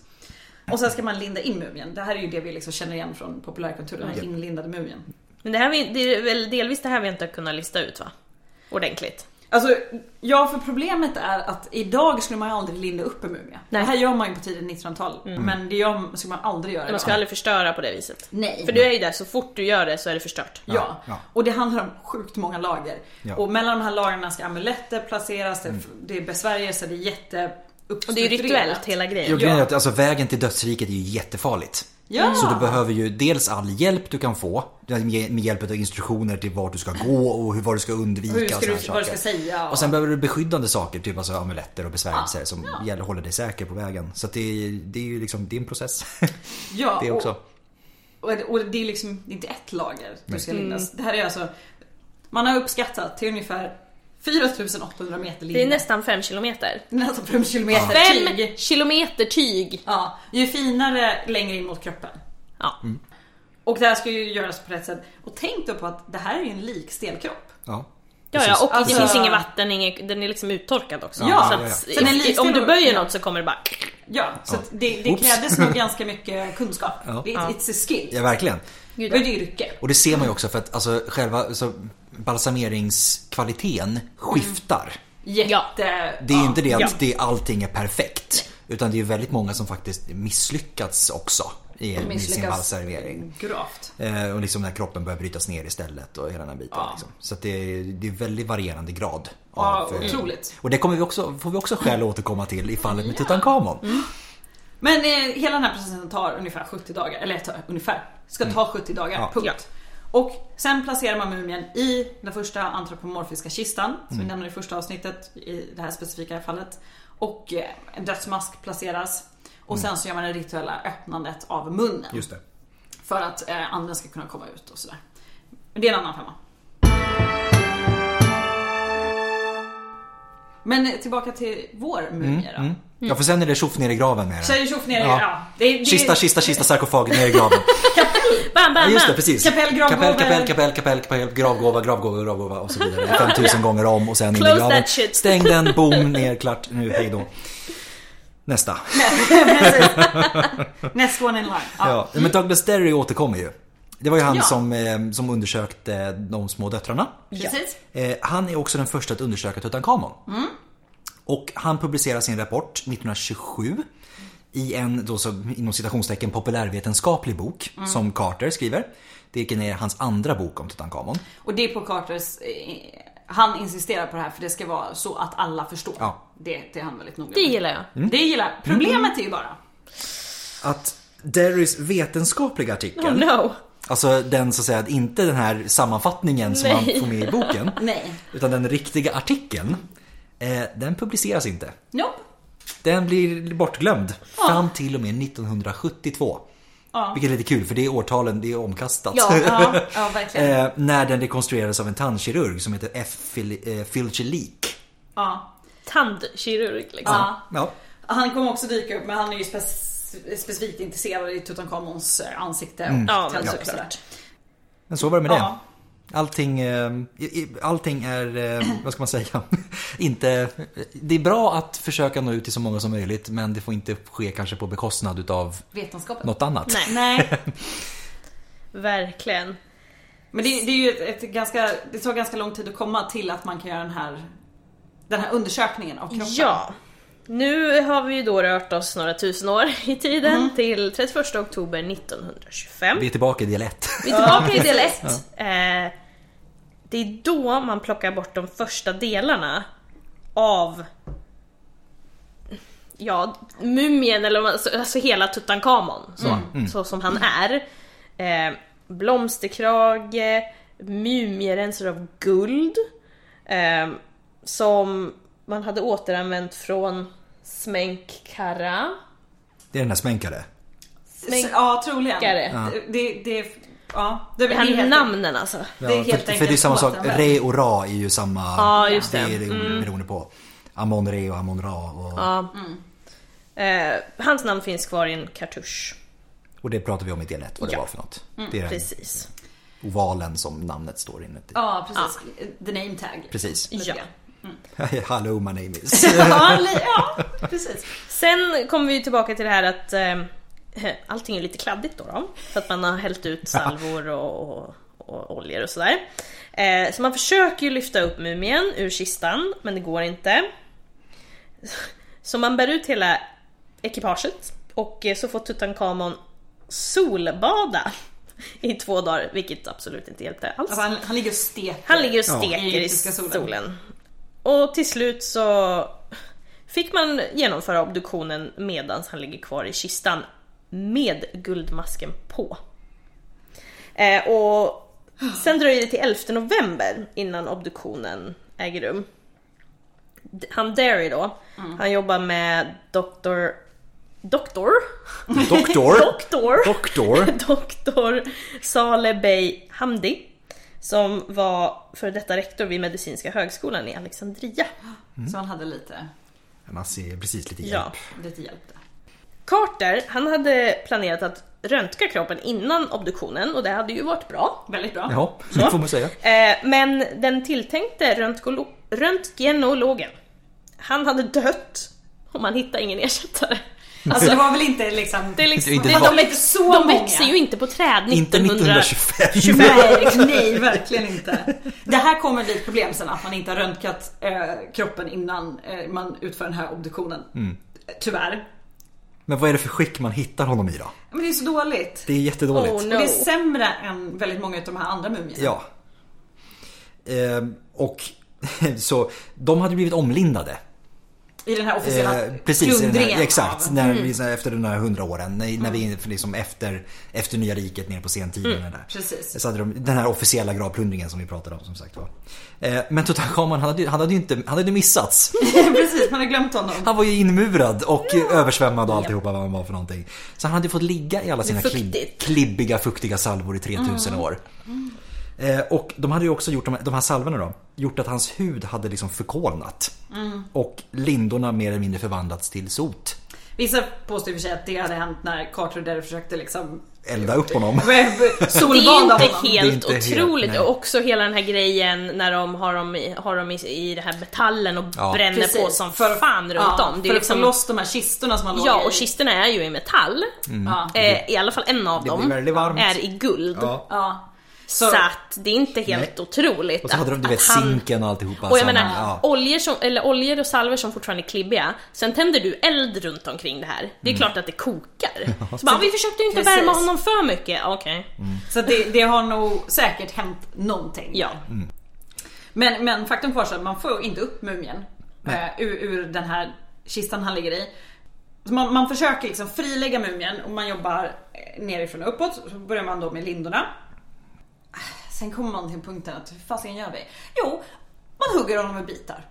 Och sen ska man linda in mumien. Det här är ju det vi liksom känner igen från populärkulturen, den här inlindade mumien. Men det, här vi, det är väl delvis det här vi inte har kunnat lista ut va? Ordentligt. Alltså, ja för problemet är att idag skulle man ju aldrig linda upp en mumie. Nej. Mm. Det här gör man ju på tidigt 1900-tal. Men det gör, skulle man aldrig göra Man ska idag. aldrig förstöra på det viset. Nej. För du är ju där, så fort du gör det så är det förstört. Ja. Ja, ja. och det handlar om sjukt många lager. Ja. Mm. Och mellan de här lagren ska amuletter placeras, det, det är besvärjelser, det är jätte Och det är ju rituellt hela Jo, grejen. grejen är att alltså, vägen till dödsriket är ju jättefarligt. Ja. Så du behöver ju dels all hjälp du kan få med med hjälp av instruktioner till vart du ska gå och hur, vad du ska undvika. Hur och såna här ska du, vad du ska saker. säga. Och sen behöver du beskyddande saker, typ alltså amuletter och besvärjelser Ja, som ja. gäller, håller dig säker på vägen. Så att det, är- det är ju liksom, det är en process. ja, det också. Och, och, och det är liksom det är inte ett lager du Mm. ska lindas. Det här är alltså, man har uppskattat till ungefär 4800 meter linje. Det är nästan 5 kilometer. nästan 5 kilometer tyg. 5 kilometer tyg! Ja, ju finare längre in mot kroppen. Ja. Mm. Och det här ska ju göras på rätt sätt. Och tänk då på att det här är ju en likstelkropp. Ja. Ja, ja, och Alltså- det finns inget vatten, inget, den är liksom uttorkad också. Ja. så Ja, ja. att, Så den är lite- om du böjer ja. något så kommer det bara... Ja, så att det, det Oops. krävdes nog ganska mycket kunskap. Ja. Det, Ja. it's a skill. ja, verkligen. Gud, Det är ett yrke. Och det ser man ju också för att alltså, själva alltså, balsameringskvaliteten skiftar. Mm. Jätte... Det är ju inte det att Ja. det, allting är perfekt. Utan det är ju väldigt många som faktiskt misslyckats också i, med sin balservering. Gravt. Eh, och liksom när kroppen börjar brytas ner istället och hela den här biten. Ja. Liksom. Så att det, är- det är väldigt varierande grad. Ja, av, eh, otroligt. Och det kommer vi också, får vi också skäl att återkomma till i fallet med Tutankhamon. Mm. Men eh, hela den här processen tar ungefär 70 dagar. Eller tar, ungefär. Ska ta 70 dagar. Mm. Ja. Punkt. Ja. Och sen placerar man mumien i den första antropomorfiska kistan. Som Mm. vi nämnde i första avsnittet i det här specifika fallet. Och eh, en dödsmask placeras. Och Mm. sen så gör man det rituella öppnandet av munnen. Just det. För att eh, anden ska kunna komma ut och sådär. Men det är en annan femma. Men eh, tillbaka till vår mumie då. Ja för sen är det tjoff ner i graven med Tjej det. och tjoff ner i... Mm, Ja. Ja. det, är- det, är- Kista, kista, kista, sarkofag ner i graven. Ja, Bam, bam, bam! just det, precis. Kapell, gravgåva. kapell, kapell, kapell, kapell, kapell, gravgåva, gravgåva, gravgåva och så vidare. 5000 gånger om och sen in i Close graven. that shit. Stäng den, boom, ner, klart, nu, hejdå. Nästa. Next one in line. Ja. Ja, men Douglas Derry återkommer ju. Det var ju han Ja. som, eh, som undersökte de små döttrarna. Precis. Eh, han är också den första att undersöka Tutankhamon. Mm. Och han publicerar sin rapport 1927 i en då så, inom citationstecken populärvetenskaplig bok Mm. som Carter skriver. Vilken är hans andra bok om Tutankhamon. Och det är på Carters... eh, Han insisterar på det här för det ska vara så att alla förstår. Ja. Mm. Det, det är han väldigt noga Det med. gillar jag. Det gillar jag. Problemet är ju bara... Att Derrys vetenskapliga artikel, Oh no! alltså den så att säga, inte den här sammanfattningen som han Nej. får med i boken. Nej. Utan den riktiga artikeln, eh, den publiceras inte. Nope. Den blir bortglömd fram till och med 1972. Ja. Vilket är lite kul för det är årtalen, det är omkastat. Ja, Ja, ja verkligen. eh, när den rekonstruerades av en tandkirurg som heter F. Fil- eh, Filchelik. Ja. Tandkirurg liksom. ja. Ja. Han kommer också dyka upp men han är ju spec- specifikt intresserad i Tutankhamons eh, ansikte och Mm. Ja, men tänder och såklart. sådär. Men så var det med Ja. det. Allting, eh, i- i- allting är, eh, vad ska man säga, inte... Det är bra att försöka nå ut till så många som möjligt men det får inte ske kanske på bekostnad utav Vetenskapen. något annat. Nej, Nej, verkligen. men det, det är ju ett, ett ganska, det tar ganska lång tid att komma till att man kan göra den här den här undersökningen av kroppen. Ja. Nu har vi ju då rört oss några tusen år i tiden Mm. till 31 oktober 1925. Vi är tillbaka i del 1. Vi är tillbaka i del 1. Eh, det är då man plockar bort de första delarna av ja, mumien, eller vad- alltså, alltså hela Tutankhamon. Så, Mm, så som han är. Eh, blomsterkrage, mumierensare av guld. Eh, som man hade återanvänt från Smenkkara. Det är den här smänkare. Men- S- ja, troligen. Gare. Ja. Det, det, ja, det, Det det är här helt- namnen alltså. Det är helt för, enkelt för det är samma sak, återanvänt. re och ra är ju samma... Ja, just det. Mm. Det är det beroende på. Amon re och Amon ra. Och, Ja. Mm. Eh, hans namn finns kvar i en kartusch. och det pratade vi om i del 1, vad det Ja. Mm, var för något. Det är den Precis. ovalen som namnet står inuti. Ja, precis. The name tag. Precis. Ja. Hello my name is. ja, li- ja, precis. Sen kommer vi tillbaka till det här att eh, allting är lite kladdigt då, då För att man har hällt ut salvor och, och, och oljor och sådär. Eh, så man försöker ju lyfta upp mumien ur kistan, men det går inte. Så man bär ut hela ekipaget och eh, så får Tutankhamon solbada i två dagar, vilket absolut inte hjälpte alls. Alltså, han, han ligger och steker. Han ligger och Ja, steker i i egyptiska solen. solen. Och till slut så fick man genomföra obduktionen medan han ligger kvar i kistan med guldmasken på. Eh, och sen dröjer det till 11 november innan obduktionen äger rum. D- Han Derry då, han jobbar med doktor... Doktor? Doktor. Doktor? Doktor. Doktor Saleh Bey Hamdi som var före detta rektor vid Medicinska högskolan i Alexandria. Så han hade lite, Man ser precis lite hjälp. Ja. lite hjälp där. Carter, han hade planerat att röntga kroppen innan obduktionen och det hade ju varit bra. Väldigt bra. Jaha, det får man säga. Eh, Men den tilltänkte röntgolo- röntgenologen, han hade dött och man hittade ingen ersättare. Alltså det var väl inte liksom... Det är liksom, Inte det, bara- de, väx, Så de många. växer ju inte på träd Inte 1925. 1925. Nej, nej, verkligen inte. Det här kommer bli ett problem sen att man inte har röntgat eh, kroppen innan eh, man utför den här obduktionen. Mm. Tyvärr. Men vad är det för skick man hittar honom i då? Men det är så dåligt. Det är jättedåligt. Oh, no. Och det är sämre än väldigt många av de här andra mumierna. Ja. Ehm, och så de hade blivit omlindade. I den här officiella Eh, precis, i den plundringen här, exakt. av- Mm. När vi, efter de här hundra åren. När, när vi liksom efter, efter nya riket nere på sentiden. Mm, där. precis. Så hade de, den här officiella gravplundringen som vi pratade om som sagt var. Eh, men Tutankhamon han hade, ju- han hade ju inte, han hade missats. precis, man har glömt honom. Han var ju inmurad och översvämmad och alltihopa vad han var för någonting. Så han hade ju fått ligga i alla sina klibb, Fuktigt. klibbiga, fuktiga salvor i 3000 år. Eh, och de hade ju också gjort de här, de här salvorna då, gjort att hans hud hade liksom förkolnat. Mm. Och lindorna mer eller mindre förvandlats till sot. Vissa påstår i och för sig att det hade hänt när Carter där försökte liksom Elda upp honom. Det är solbada inte honom. helt- helt Det är inte helt, otroligt. nej. och också hela den här grejen när de har dem i, har dem i, i den här metallen och Ja. bränner på som fan runt ja, om. Det är för att få liksom, loss de här kistorna som man ja, låg och i. kistorna är ju i metall. Ja. Eh, I alla fall en av Mm. Det blir dem väldigt varmt. är i guld. Ja. Ja. Så, Så att det är inte helt Nej. otroligt Och så hade de du att- vet att han- zinken och alltihopa. Och jag som- menar, ja. oljor, som, eller oljor och salver som fortfarande är klibbiga, sen tänder du eld runt omkring det här. Det är Mm. klart att det kokar. Så bara, "Ah, vi försökte ju inte Precis. värma honom för mycket. Okej. Mm. så att det, det har nog säkert hänt någonting. Ja. Men, men faktum kvarstår att man får inte upp mumien eh, ur, ur den här kistan han ligger i. Så man, man försöker liksom frilägga mumien och man jobbar eh, nerifrån och uppåt. Så börjar man då med lindorna. Ah, Sen kommer man till punkten att hur fasiken gör vi? Jo, man hugger honom med bitar.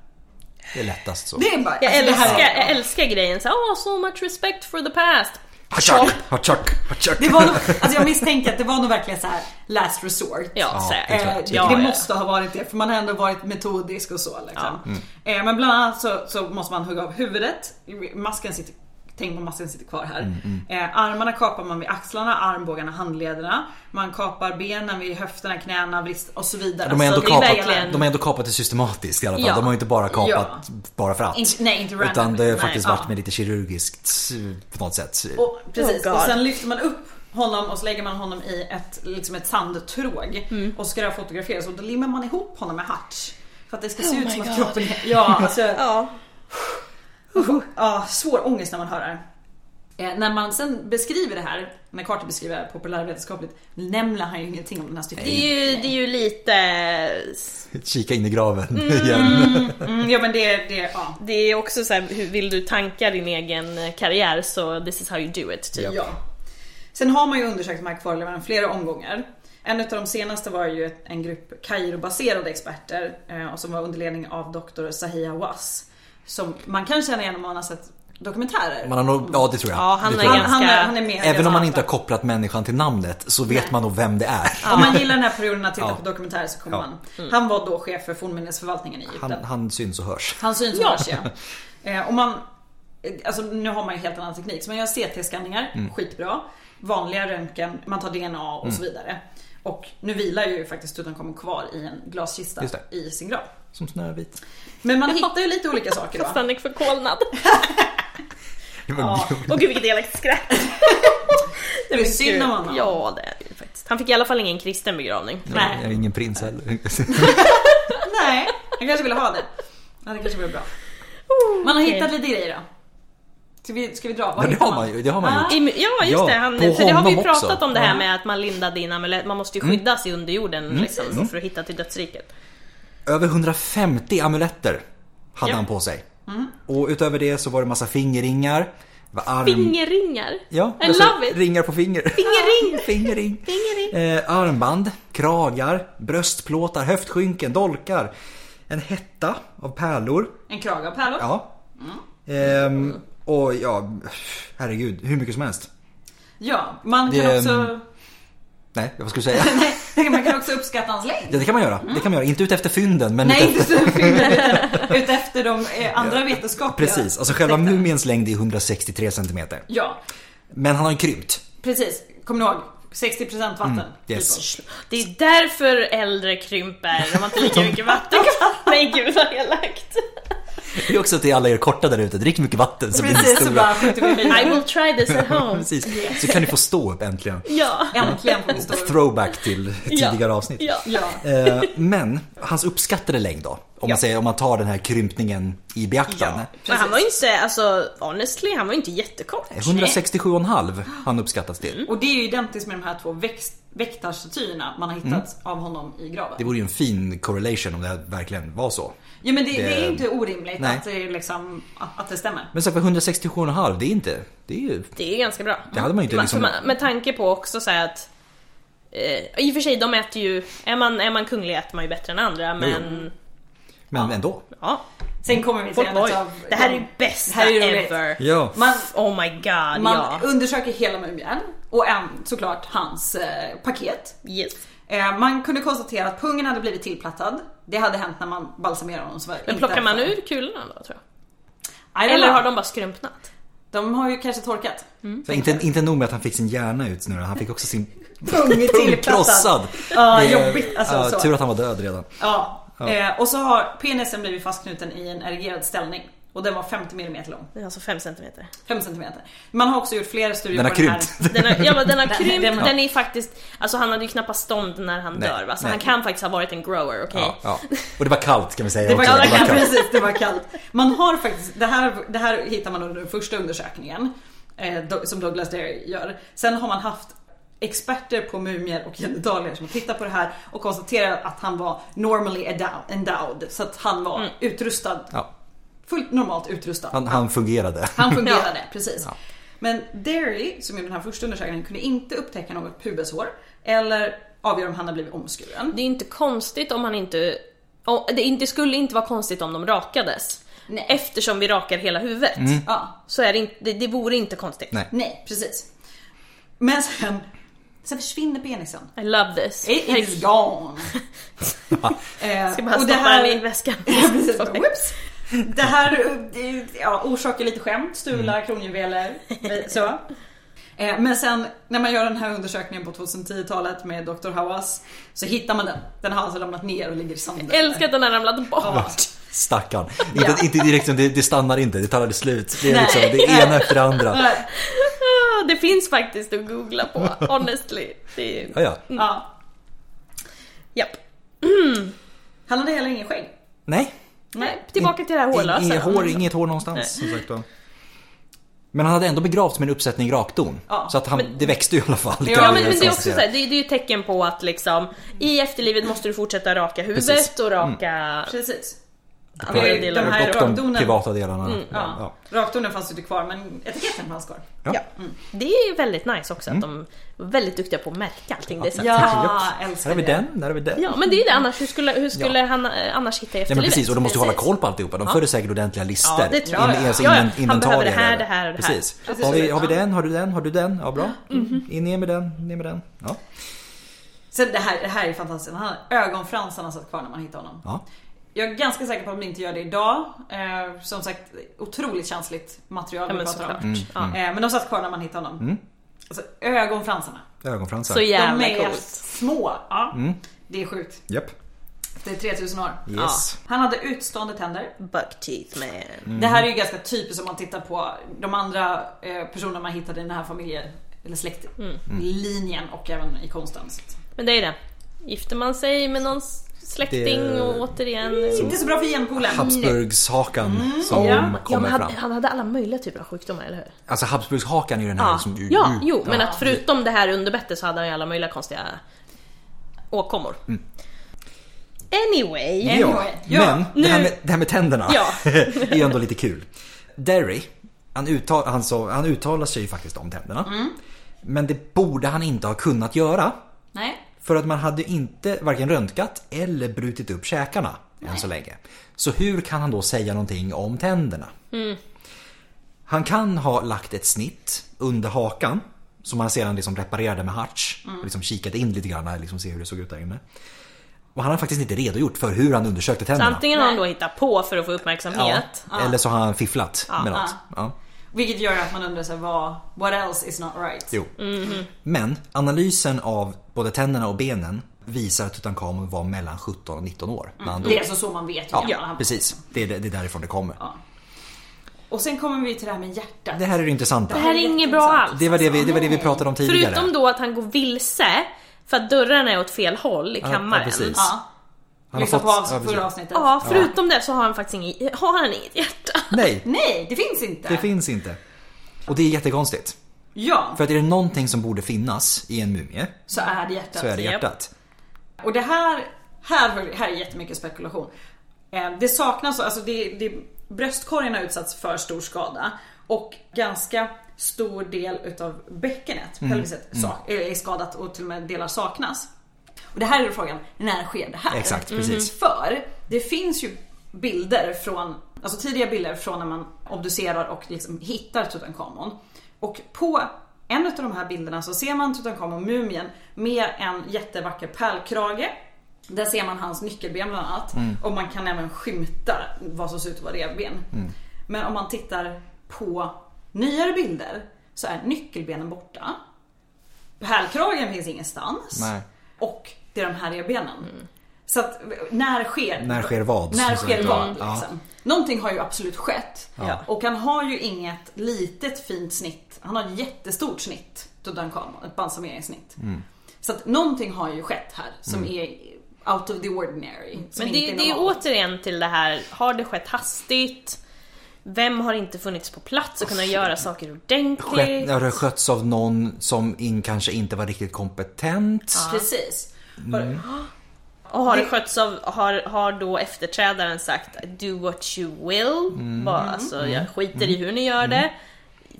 Det är lättast så. Det är bara... Jag alltså, det här älskar, är- jag älskar grejen så oh, so much respect for the past. Hachack, hachack, hachack. Det var nog, alltså jag misstänker att det var nog verkligen så här last resort. Ja, Ja, så, det eh, tror jag. Eh, ja, Det- det ja. måste ha varit det för man har ändå varit metodisk och så. Liksom. Mm. Eh, men bland annat så, så måste man hugga av huvudet. Masken sitter, tänk på masken sitter kvar här. Mm, Eh, armarna kapar man vid axlarna, armbågarna, handlederna. Man kapar benen vid höfterna, knäna, vrist och så vidare. De har ändå, så Alltså, det är kapat, verkligen- de har ändå kapat det systematiskt i alla fall. Ja. De har ju inte bara kapat Ja. bara för att. Inte- nej, inte random. utan det har Nej, faktiskt ja. varit med lite kirurgiskt eh, på något sätt. Och, precis. Oh God. och sen lyfter man upp honom och så lägger man honom i ett, liksom ett sandtråg Mm. och ska fotograferas och då limmar Oh man ihop honom med harts. För att det ska se ut som att kroppen är... Ja, alltså, Ja. Usch, ja, svår ångest när man hör det här. Eh, när man sen beskriver det här, när Carter beskriver det här populärvetenskapligt, nämner han ju ingenting om den här Det stycken. är ju, det är ju lite... Kika in i graven igen. Mm, ja men det, det, ja. Det är också så här, hur vill du tanka din egen karriär så this is how you do it, typ. Ja. Ja. Sen har man ju undersökt de här kvarlevorna flera omgångar. En av de senaste var ju ett- en grupp Kairo-baserade experter eh, och som var under ledning av doktor Sahia Was. Som man kan känna igen om man har sett dokumentärer. Man har nog, ja det tror jag. Ja, han det är tror jag. ganska- han, är, han är med. Även om man inte har har kopplat människan till namnet så vet man nog vem det är. Om man gillar den här perioden att titta Ja. på dokumentärer så kommer Ja. man. Han var då chef för fornminnesförvaltningen i Egypten. Han, han syns och hörs. Han syns och hörs ja. Eh, och man, eh, alltså nu har man ju helt annan teknik. Så man gör CT-skanningar, Mm. skitbra. Vanliga röntgen, man tar DNA och så vidare. Och nu vilar ju faktiskt Tutankhamun kvar i en glaskista Just det. i sin grav. Som Snövit. Men man hittar ju lite olika saker Fast då. han är förkolnad. Ja. Åh gud vilket elakt skratt. Det är synd om honom. Ja det är det ju faktiskt. Han fick i alla fall ingen kristen begravning. Jag är ingen prins heller. Nej, han kanske ville ha det. Ja, det kanske vore bra. Man har Okej. hittat lite grejer då. Ska vi, ska vi dra? Vad Men det hittar har man ju. Det har man Ah. gjort. I- Ja just Ja, det, han, på för det har vi ju honom pratat också. om det här Ja. med att man lindade in amulett, man måste ju skyddas i underjorden liksom, Mm. för att hitta till dödsriket. Över 150 amuletter hade Ja. han på sig. Mm. Och utöver det så var det massa fingerringar. Det var arm... Fingerringar! Ehm, Ja, I alltså, love it! ringar på finger. Fingerring! Fingerring. Fingerring. Eh, armband, kragar, bröstplåtar, höftskynken, dolkar. En hetta av pärlor. En krage av pärlor. Ja. Ehm, och ja, herregud, hur mycket som helst. Ja, man kan Det- ehm, också... Nej, vad ska du säga? Nej, man kan också uppskatta hans längd. Ja, det kan man göra. Det kan man göra. Inte ute efter fynden, men Nej, ute inte efter... så utefter de eh, andra vetenskapliga. Precis, alltså själva mumiens längd är 163 centimeter. Ja, Men han har ju krympt. precis. Kom ni ihåg? 60% vatten. Mm, typ. Yes. Alltså, Det är därför äldre krymper, de har inte lika mycket vatten Nej gud vad elakt! Det är också till alla er korta där ute, drick mycket vatten så blir ni Precis, så stora. bara skjuter vi vidare. I will try this at home. Precis. Så kan ni få stå upp äntligen. Ja. Äntligen får vi stå upp. Throwback till tidigare avsnitt. Ja. Ja. Eh, Men hans uppskattade längd då? Om man, säger, om man tar den här krympningen i beaktande. Men han var ju inte, alltså honestly, han var ju inte jättekort. 167,5 han uppskattas till. Och det är ju identiskt med de här två växt- väktarstatyerna man har hittat av honom i graven. Mm. Det vore ju en fin correlation om det här verkligen var så. Ja men det, det, det- är inte orimligt Nej. att det, liksom, att, att det stämmer. Men så här, för 167,5 det är inte... Det är ju... Det är ganska bra. Det hade man ju inte Man- liksom- man- Med tanke på också så här att eh, I och för sig, de äter ju... Är man, är man kunglig äter man ju bättre än andra men... Men ändå. Ja, Sen kommer vi till folk en var ju... utav Det här är de- ju bästa Det här är ju roligt. ever! Ja. Man, Oh my god, ja. man undersöker hela mumien och en, såklart hans eh, paket. Yes. Eh, Man kunde konstatera att pungen hade blivit tillplattad. Det hade hänt när man balsamerade honom. Så var det Men inte plockar man efter. ur kulorna då tror jag? I don't Eller know. har de Mm. bara skrumpnat? De har ju kanske torkat. Så inte, inte nog med att han fick sin hjärna utsnurrad, han fick också sin Pung pung krossad. Ja, Det är- jobbigt. Alltså, ja, så. tur att han var död redan. Ja. Eh, och så har penisen blivit fastknuten i en erigerad ställning. Och den var 50 mm lång. Det är alltså 5 centimeter. 5 cm. Man har också gjort flera studier Den har på den här. krympt. Den har, ja, men den har Den- krympt, den- den är faktiskt... Alltså han hade ju knappast stånd när han Nej, dör va? Så nej. han kan faktiskt ha varit en grower, okej? Ja, ja. Och det var kallt kan vi säga Mm. Det var, också. kallt, precis, det var kallt. Man har faktiskt, det här, det här hittar man under den första undersökningen eh, do- som Douglas Derry gör. Sen har man haft experter på mumier och genitalier som har tittat på det här och konstaterat att han var normally endow- endowed. Så att han var utrustad, Ja, fullt normalt utrustad. han, han fungerade. Han fungerade, precis. Men Derry, som gjorde den här första undersökningen, kunde inte upptäcka något pubeshår eller avgöra om han hade blivit omskuren. Det är inte konstigt om han inte... om- Det inte, skulle inte vara konstigt om de rakades. Nej. Eftersom vi rakar hela huvudet. Ja, Så är det, inte, det, det vore inte konstigt. Mm. Nej. Nej, precis. Men sen, sen försvinner penisen. I love this. It is gone. Ska Eh, bara och stoppa det här- den i väskan. Ja, precis. Whoops. Det här eh, ja, orsakar lite skämt, stula Mm. kronjuveler. eh, Så. Eh, Men sen när man gör den här undersökningen på 2010-talet med Dr. Hawass så hittar man den. Den har alltså ramlat ner och ligger i sanden. Älskar att den har ramlat bort. Stackarn. Inte, inte direkt, det, det stannar inte, det tar aldrig slut. Det är Nej. liksom det ena efter det andra. Mm. Nej. Ah, Det finns faktiskt att googla på, honestly. Det är, Ja, ja. Ja. japp. Han hade heller ingen skägg. Nej, Nej, tillbaka till det här hårlösa. Mm. Inget hår, inget hår någonstans. Som sagt. va. Men han hade ändå begravts med en uppsättning rakdon. Ja, så att han, det växte ju i alla fall. Ja, kan men, vi men det är också så konstatera. här, det, är- det är ju ett tecken på att liksom i efterlivet måste du fortsätta raka huvudet Precis. Mm. och raka... Precis. Andra Det är ju delar. de här Och de rakdonen. privata delarna. Mm, Ja. Rakdonen fanns ju inte kvar men etiketten fanns kvar. Mm. Ja. Ja. Det är ju väldigt nice också att Mm. de är väldigt duktiga på att märka allting. Det är så här- Ja, Här älskar har vi det. den, där har vi den. ja, men det är ju det annars. Hur skulle, hur skulle han eh, annars hitta i efterlivet? Ja men precis, och de måste ju hålla Precis. koll på alltihopa. De förde säkert ordentliga listor. Ja, det tror jag. In, alltså Ja, ja. inven- Han inventarier behöver det här, över. det här och det här. Precis. Precis. Har, vi, har vi Ja. den, har du den, har du den? Ja bra. Mm-hmm. In ner med den, ner med den. Ja. Sen det här, det här är fantastiskt. Han har ögonfransarna satt kvar när man hittar honom. Ja. Jag är ganska säker på att de inte gör det idag. Eh, som sagt, otroligt känsligt material Ja, vi men pratar såklart. Mm, om. Eh, men de satt kvar när man hittade honom. Alltså ögonfransarna. Ögonfransar. Så de jävla är coolt. små. Ja. Mm. Det är sjukt. Japp. Det är 3000 år. Yes. Han hade utstående tänder. Buck teeth man. Mm. Det här är ju ganska typiskt om man tittar på de andra eh, personerna man hittade i den här familjen eller Mm. släktlinjen och även i konsten. Så att- Men det är ju det. Gifter man sig med någon s- släkting Det- och återigen... Inte så bra för genpoolen. Habsburgshakan som Ja. Mm. Ja, kommer men han, fram. han hade alla möjliga typer av sjukdomar, eller hur? Alltså Habsburgshakan är ju den här Ja, som ju, ja ju- jo, men att förutom det här underbettet så hade han ju alla möjliga konstiga åkommor. Anyway. Mm. Ja, Anyway, ja. men det, här Nu- med, det här med tänderna Ja. är ju ändå lite kul. Derry, han, uttal, han, så, han uttalar sig ju faktiskt om tänderna. Mm. Men det borde han inte ha kunnat göra. Nej. För att man hade inte varken röntgat eller brutit upp käkarna än så länge. Så hur kan han då säga någonting om tänderna? Han kan ha lagt ett snitt under hakan som han sedan liksom reparerade med harts. Och liksom kikat in lite grann och liksom se hur det såg ut där inne. Och han har faktiskt inte redogjort för hur han undersökte Så tänderna. antingen har han då hittat på för att få uppmärksamhet. ja. Eller så har han fifflat med något. Ja. Vilket gör att man undrar sig vad, what else is not right? Jo. Men analysen av både tänderna och benen visar att Tutankhamun var mellan 17 och 19 år när han dog. Det är alltså så man vet hur Ja, gammal han var. precis. Det är, det är därifrån det kommer. Och sen kommer vi till det här med hjärtat. Det här är det intressanta. Det här är inget bra alls. Det var det vi, det var det vi pratade om tidigare. Förutom då att han går vilse för att dörrarna är åt fel håll i Ja, kammaren. Ja, precis. Ja. Han Lyssna på avs- ja, precis. förra avsnittet. Ja, förutom det så har han faktiskt inget, har han inget hjärta. Nej, Nej, det finns inte. det finns inte. Och det är jättekonstigt. ja, För att är det någonting som borde finnas i en mumie så är det hjärtat. så är det Japp. hjärtat. Och det här, här, har vi- här är jättemycket spekulation. Eh, Det saknas, alltså det, det, bröstkorgen har utsatts för stor skada och ganska stor del utav bäckenet, Mm. pelviset, sa- är skadat och till och med delar saknas. Och det här är då frågan, när sker det här? Mm-hmm. Exakt, precis. För det finns ju bilder från, alltså tidiga bilder från när man obducerar och liksom hittar Tutankhamon. Och på en av de här bilderna så ser man Tutankhamon-mumien med en jättevacker pärlkrage. Där ser man hans nyckelben bland annat. Och man kan även skymta vad som ser ut att vara revben. Men om man tittar på nyare bilder så är nyckelbenen borta. Pärlkragen finns ingenstans. Nej. Och det är de här revbenen. Så att, när sker När sker vad? När Så- sker ja. vad Ja. liksom. Någonting har ju absolut skett. Och han har ju inget litet fint snitt. Han har ett jättestort snitt. Tutankhamon, ett balsameringssnitt. Mm. Så att någonting har ju skett här som är out of the ordinary. som Men det, inte det är ju normalt. återigen till det här, har det skett hastigt? Vem har inte funnits på plats och kunnat göra saker Skett, ordentligt? har det skötts av någon som in, kanske inte var riktigt kompetent? Precis. Mm. Har- Och har det det- skötts av, har, har då efterträdaren sagt Do what you will? Mm. Bara, alltså, jag skiter i hur ni gör det.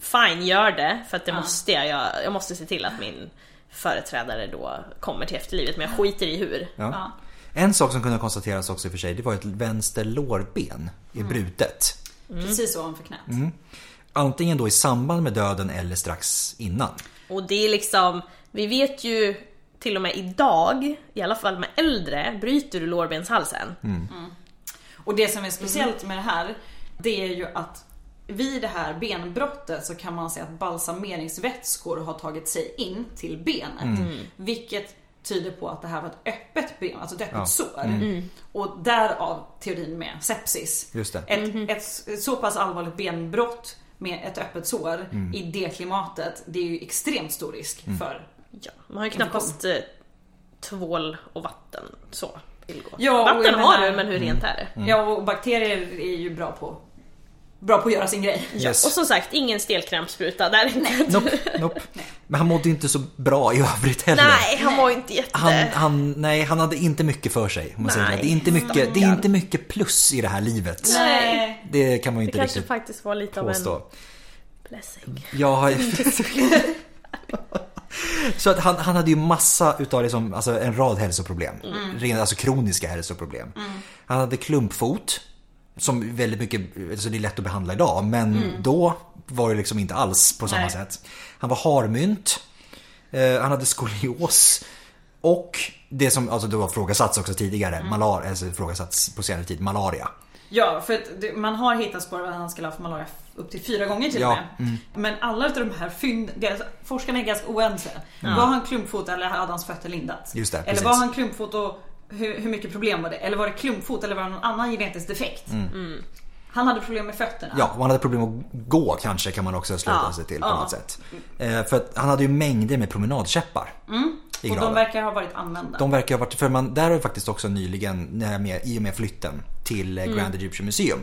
Fine, gör det. För att det måste jag, jag, jag måste se till att min företrädare då kommer till efterlivet. Men jag skiter i hur. Ja. En sak som kunde konstateras också i och för sig, det var ju att vänster lårben är Mm. brutet. Precis ovanför knät. Mm. Antingen då i samband med döden eller strax innan. Och det är liksom, vi vet ju till och med idag, i alla fall med äldre, bryter du lårbenshalsen. Mm. Och det som är speciellt med det här, det är ju att vid det här benbrottet så kan man se att balsameringsvätskor har tagit sig in till benet. Vilket tyder på att det här var ett öppet ben, alltså ett öppet sår. Och därav teorin med sepsis. Just det. Ett, ett så pass allvarligt benbrott med ett öppet sår i det klimatet, det är ju extremt stor risk för Ja, man har ju knappast eh, tvål och vatten så. vill gå. Ja, och Vatten jag har menar- Mm. du, men hur rent är det? Ja och bakterier är ju bra på, bra på att göra sin grej. Och som sagt, ingen stelkrampsspruta där inte. Nope, nope. Men han mådde inte så bra i övrigt heller. Nej, han var ju inte jätte... Han, han, nej, han hade inte mycket för sig. Om man säger Nej, så. det, är inte mycket, det är inte mycket plus i det här livet. Nej. Det kan man ju Det inte kanske riktigt faktiskt var lite av en påstå. blessing. Jag har... Så att han, han hade ju massa utav liksom, alltså en rad hälsoproblem. Rena, alltså kroniska hälsoproblem. Han hade klumpfot. Som väldigt mycket, alltså det är lätt att behandla idag men då var det liksom inte alls på samma Nej. sätt. Han var harmynt. Eh, han hade skolios. Och det som alltså det var frågasatts också tidigare, malaria, alltså frågasatts på senare tid, malaria. Ja, för att det, man har hittat spår av att han skulle ha haft malaria f- upp till fyra gånger till och Ja, mm. med. Men alla utav de här fynd, det är alltså- forskarna är ganska oense. Var han klumpfot eller hade hans fötter lindats? Mm. Just det, eller precis. var han klumpfot och hur, hur mycket problem var det? Eller var det klumpfot eller var det någon annan genetisk defekt? Mm. Han hade problem med fötterna. Mm. Ja, och han hade problem att gå kanske kan man också sluta Ja, sig till på ja. något sätt. Eh, för att han hade ju mängder med promenadkäppar. I Mm, och graven. de verkar ha varit använda. De verkar ha varit, för man, där har ju faktiskt också nyligen, när jag med, i och med flytten till eh, Grand Mm. Egyptian Museum,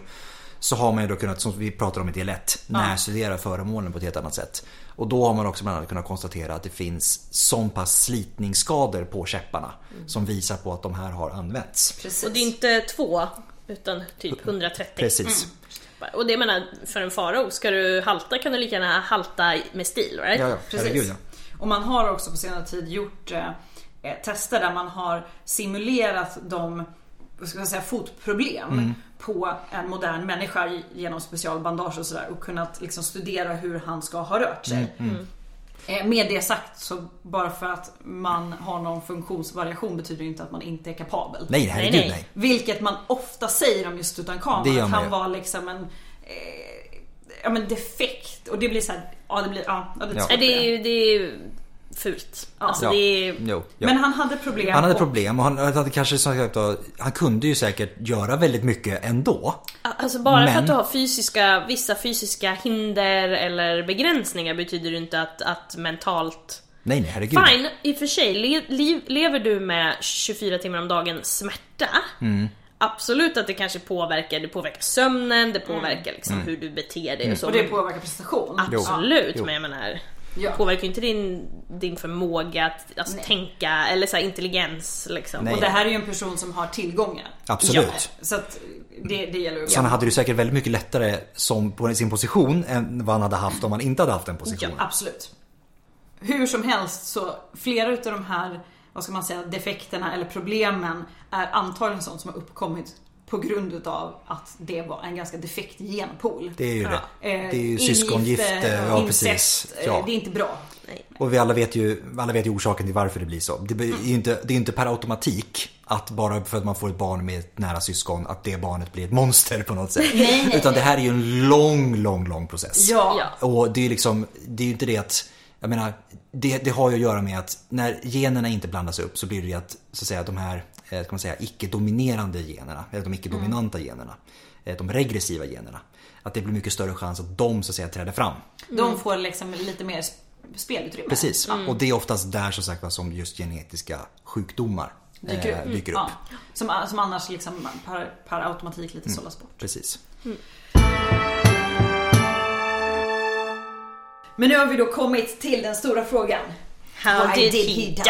så har man ju då kunnat, som vi pratade om i del 1, närstudera föremålen på ett helt annat sätt. Och då har man också bland annat kunnat konstatera att det finns sån pass slitningsskador på käpparna Mm. som visar på att de här har använts. Precis. Och det är inte två, utan typ 130. Mm. Precis. Och det menar, för en farao, ska du halta kan du lika gärna halta med stil, right? Ja, ja. Precis. Herregud, ja. Och man har också på senare tid gjort eh, eh, tester där man har simulerat de vad ska man säga, fotproblem Mm. på en modern människa i- genom specialbandage och sådär och kunnat liksom studera hur han ska ha rört Mm, sig. Eh, Med det sagt så bara för att man har någon funktionsvariation betyder det inte att man inte är kapabel. Nej, herregud nej. nej. Vilket man ofta säger om just Tutankhamun. Det gör att man han ju. var liksom en eh, ja, men defekt. Och det blir så här, ja det blir, ja, ja, det är Ja. Nej, svårt Det för är ju det är ju fult. Alltså Ja. det är... Jo, ja. Men han hade problem. Han hade och- problem och han, han hade kanske som sagt då, han kunde ju säkert göra väldigt mycket ändå. Alltså bara för Men- att du har fysiska, vissa fysiska hinder eller begränsningar betyder det inte att, att mentalt... Nej nej herregud. Fine, i och för sig, le, liv, lever du med 24 timmar om dagen smärta, absolut att det kanske påverkar, det påverkar sömnen, det påverkar liksom hur du beter dig och så. Mm. Och det påverkar prestation. Absolut, Jo. men jag menar, Ja. påverkar ju inte din, din förmåga att alltså, tänka eller så här, intelligens liksom. Nej. Och Och det här är ju en person som har tillgångar. Absolut. Så att det, det gäller ju. Så han hade det säkert väldigt mycket lättare som på sin position än vad han hade haft om han inte hade haft en position. Absolut. Hur som helst så flera utav de här, vad ska man säga, defekterna eller problemen är antagligen sånt som har uppkommit på grund utav att det var en ganska defekt genpool. Det är ju det. Eh, Det är ju ingifte, syskongifte. Ja, precis. incest, eh, Ja. Det är inte bra. Och vi alla vet, ju, alla vet ju orsaken till varför det blir så. Det be- Mm. är ju inte, det är inte per automatik att bara för att man får ett barn med ett nära syskon att det barnet blir ett monster på något sätt. Nej, nej, Utan det här är ju en lång, lång, lång process. Ja. Ja. Och det är ju liksom, det är ju inte det att, jag menar, det, det har ju att göra med att när generna inte blandas upp så blir det ju att, så att säga, de här, eh, ska man säga, icke-dominerande generna, eller de icke-dominanta Mm. generna, eh, de regressiva generna, att det blir mycket större chans att de så att säga träder fram. De får liksom lite mer sp- spelutrymme. Precis, Mm. och det är oftast där som sagt var, som just genetiska sjukdomar eh, Dyker upp. Mm. dyker upp. Ja. Som, som annars liksom per, per Mm. automatik lite sållas bort. Precis. Men nu har vi då kommit till den stora frågan. How Why did, did he he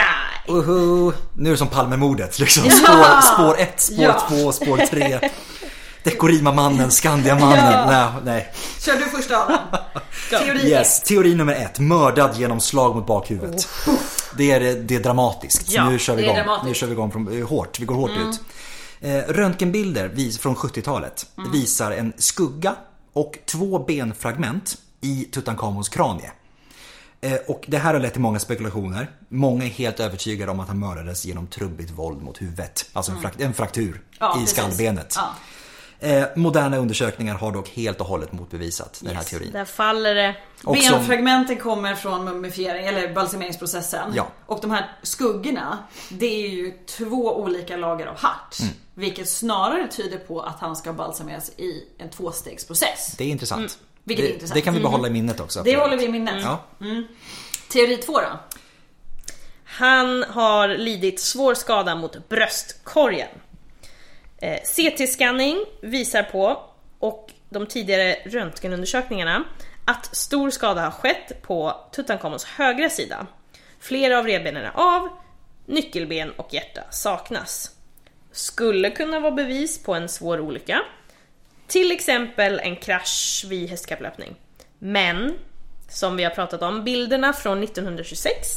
die? Uhu. Nu är det som Palmemordet liksom. Spår, spår ett, spår Ja. två, spår tre. Dekorima-mannen, Skandiamannen. Nej, nej. Kör du först Adam. Teori Yes, teori nummer ett. Mördad genom slag mot bakhuvudet. Det, är, det är dramatiskt. Ja, nu kör vi det är igång. dramatiskt. Mm. Nu kör vi igång från, eh, hårt. Vi går hårt ut. Eh, röntgenbilder vis, från 70-talet Mm. visar en skugga och två benfragment i Tutankhamons kranie. Eh, Och det här har lett till många spekulationer. Många är helt övertygade om att han mördades genom trubbigt våld mot huvudet. Alltså en, frakt- en fraktur Mm. Ja, i precis. skallbenet. Ja. Eh, moderna undersökningar har dock helt och hållet motbevisat den här teorin. Där faller det. Och som- Benfragmenten kommer från mumifiering eller balsameringsprocessen. Ja. Och de här skuggorna, det är ju två olika lager av harts. Mm. Vilket snarare tyder på att han ska balsameras i en tvåstegsprocess. Det är intressant. Mm. Vilket är det, intressant. Mm. det kan vi behålla i minnet också. Det håller vi i minnet. Ja. Teori två då? Han har lidit svår skada mot bröstkorgen. Eh, CT-scanning visar på, och de tidigare röntgenundersökningarna, att stor skada har skett på Tutankhamons högra sida. Flera av revbenen är av, nyckelben och hjärta saknas. Skulle kunna vara bevis på en svår olycka. Till exempel en krasch vid hästkapplöpning. Men, som vi har pratat om, bilderna från 1926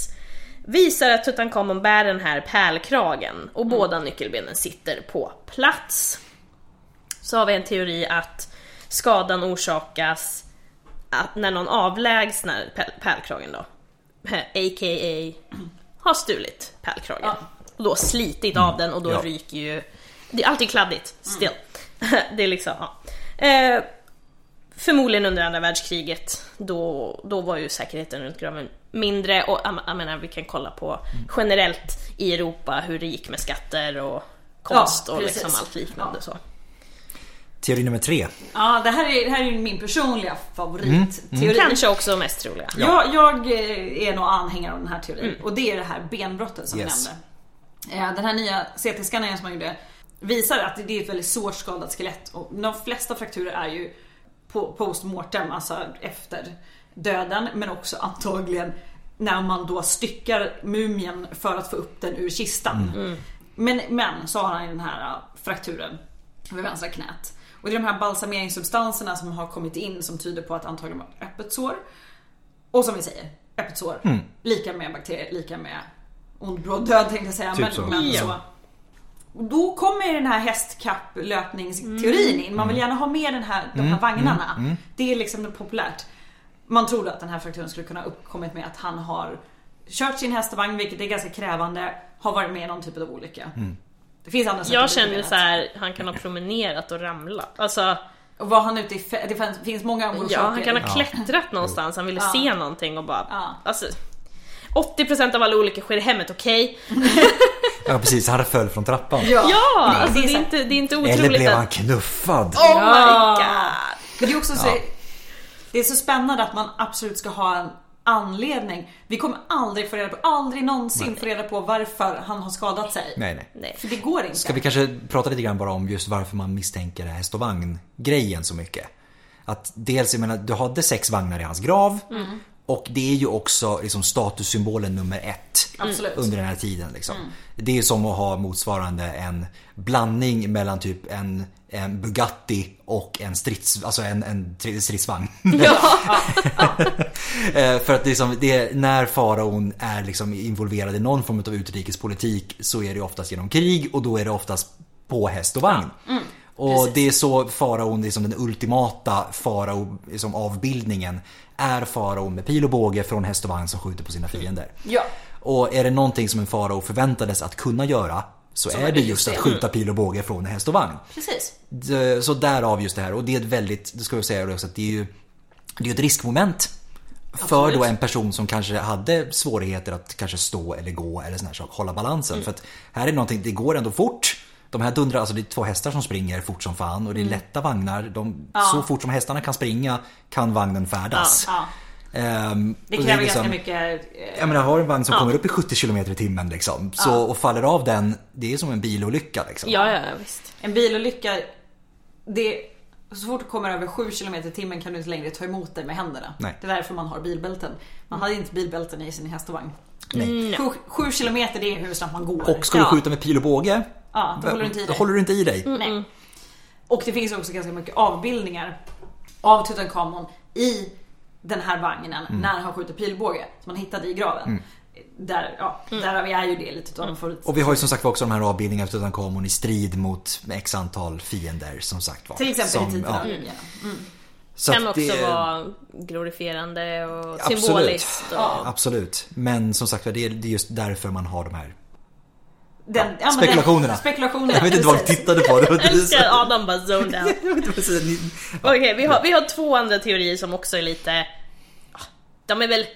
visar att Tutankhamon bär den här pärlkragen och båda nyckelbenen sitter på plats. Så har vi en teori att skadan orsakas att när någon avlägsnar pär- pärlkragen då. A.k.a. har stulit pärlkragen. Ja. Och då slitit av den och då Ja. ryker ju... Det är alltid kladdigt, still. det är liksom, ja. Eh, förmodligen under andra världskriget. Då, då var ju säkerheten runt graven mindre och jag, jag menar vi kan kolla på generellt i Europa hur det gick med skatter och konst och precis. liksom allt liknande Ja. så. Teori nummer tre. Ja, det här är, det här är ju min personliga Mm. favoritteori. Kanske också mest troliga. Jag, jag eh, är nog anhängare av den här teorin och det är det här benbrottet som Yes. jag nämnde. Eh, Den här nya CT-scannaren som man gjorde visar att det är ett väldigt svårt skadat skelett och de flesta frakturer är ju po- post-mortem, alltså efter döden men också antagligen när man då styckar mumien för att få upp den ur kistan. Men, men så har han ju den här ja, frakturen vid vänstra knät. Och det är de här balsameringssubstanserna som har kommit in som tyder på att antagligen var ett öppet sår. Och som vi säger, öppet sår. Mm. Lika med bakterier, lika med ond bråd död tänkte jag säga. Typ men, så. men Ja. så. Och Då kommer ju den här hästkapplöpningsteorin in. Man Mm. vill gärna ha med den här, de här vagnarna. Det är liksom det populärt. Man trodde att den här frakturen skulle kunna ha uppkommit med att han har kört sin hästvagn, vilket är ganska krävande, har varit med i någon typ av olycka. Mm. Det finns andra sätt Jag att känner ju motivera så här, han kan ha promenerat och ramlat. Alltså, Och var han ute i fe- Det fanns- finns många orsaker. ja, han kan ha klättrat någonstans, han ville Ja. se någonting och bara... Ja. Alltså, 80% av alla olyckor sker i hemmet, okej? Ja precis, han föll från trappan. Ja! Ja! Alltså, det, Det är är så- inte, det är inte otroligt Eller blev han att... knuffad? Oh Ja. my god! Men det är också så, det är så spännande att man absolut ska ha en anledning. Vi kommer aldrig få reda på, aldrig någonsin få reda på varför han har skadat sig. Nej, nej. Nej. För det går inte. Ska vi kanske prata lite grann bara om just varför man misstänker häst och vagn-grejen så mycket? Att dels, jag menar, du hade sex vagnar i hans grav och det är ju också liksom statussymbolen nummer ett Absolut. under den här tiden. Liksom. Det är ju som att ha motsvarande en blandning mellan typ en, en Bugatti och en, strids, alltså en, en tri- stridsvagn. Ja. Eh, För att liksom, det är, när faraon är liksom involverad i någon form av utrikespolitik så är det oftast genom krig och då är det oftast på häst och vagn. och det är så faraon, liksom den ultimata farao, liksom avbildningen, är faraon med pil och båge från häst och vagn som skjuter på sina fiender. Ja. Och är det någonting som en farao förväntades att kunna göra så, är det just att skjuta pil och båge från häst och vagn. Precis. D- Eh, Så därav just det här och det är ett väldigt, det ska jag säga också att det är ju Det är ju ett riskmoment För då en person som kanske hade svårigheter att kanske stå eller gå eller sån här sak, hålla balansen. Mm. För att här är någonting, det går ändå fort. De här dundrar, alltså det är två hästar som springer fort som fan och Mm. det är lätta vagnar. De, Så fort som hästarna kan springa kan vagnen färdas. Ja. Ehm, Det och kräver är liksom- ganska mycket... eh, jag menar, har en vagn som kommer upp i 70 km i timmen liksom, så, och faller av den, det är som en bilolycka. Liksom. ja, ja, visst. En bilolycka, det... Så fort du kommer över 7 km i timmen kan du inte längre ta emot dig med händerna. Nej. Det är därför man har bilbälten. Man hade inte bilbälten i sin häst och vagn. Nej. Mm. 7 km det är hur snabbt man går. Och ska du Ja. skjuta med pil och båge, Ja, då håller du inte i dig. håller du inte i dig. Mm. Nej. Och det finns också ganska mycket avbildningar av Tutankhamon i den här vagnen Mm. när han skjuter pilbåge som man hittade i graven. Där, ja, därav är ju det lite av en favorit. Mm. Och vi har ju som sagt också de här avbildningarna av Tutankhamon i strid mot x antal fiender som sagt var. Till exempel som, i titeln ja. av linjen. Så Mm. kan att också det- vara glorifierande och Absolut. symboliskt. Och, Ja. Absolut. Men som sagt var, det är det är just därför man har de här. Mm. Den, ja, men Spekulationerna. Den, spekulationerna. Jag vet inte vad vi precis. tittade på. Det var inte så- Älskar Adam bara zone down. Jag vet inte precis. Ni- Okej, vi, har, vi har två andra teorier som också är lite... ah, De är väl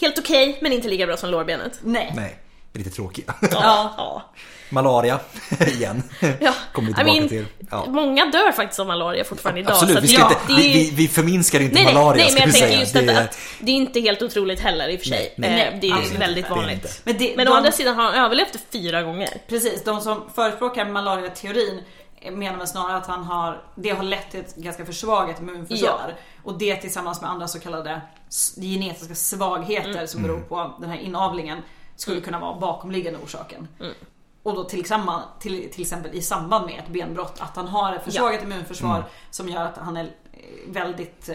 helt okej, men inte lika bra som lårbenet. Nej. Nej, det är lite tråkigt. Ja. ja. Malaria, igen. ja. Kommer vi I tillbaka mean, till. Ja. Många dör faktiskt av malaria fortfarande idag. Absolut, vi, ska ja, inte, vi, vi, vi förminskar inte Nej, nej, malaria nej ska men vi jag tänker säga. just Det detta är- att det är inte helt otroligt heller i och för sig. Nej, Eh, nej, det är ju absolut väldigt inte. Det är det vanligt. inte. Men, det, Men de, å andra sidan har han överlevt det fyra gånger. Precis, de som förespråkar malariateorin menar väl snarare att han har, det har lett till ett ganska försvagat immunförsvar. Och det tillsammans med andra så kallade s- genetiska svagheter Mm. som beror på den här inavlingen skulle kunna vara bakomliggande orsaken. Mm. Och då till, samma- till, till exempel i samband med ett benbrott att han har ett försvagat immunförsvar Mm. som gör att han är eh, väldigt eh,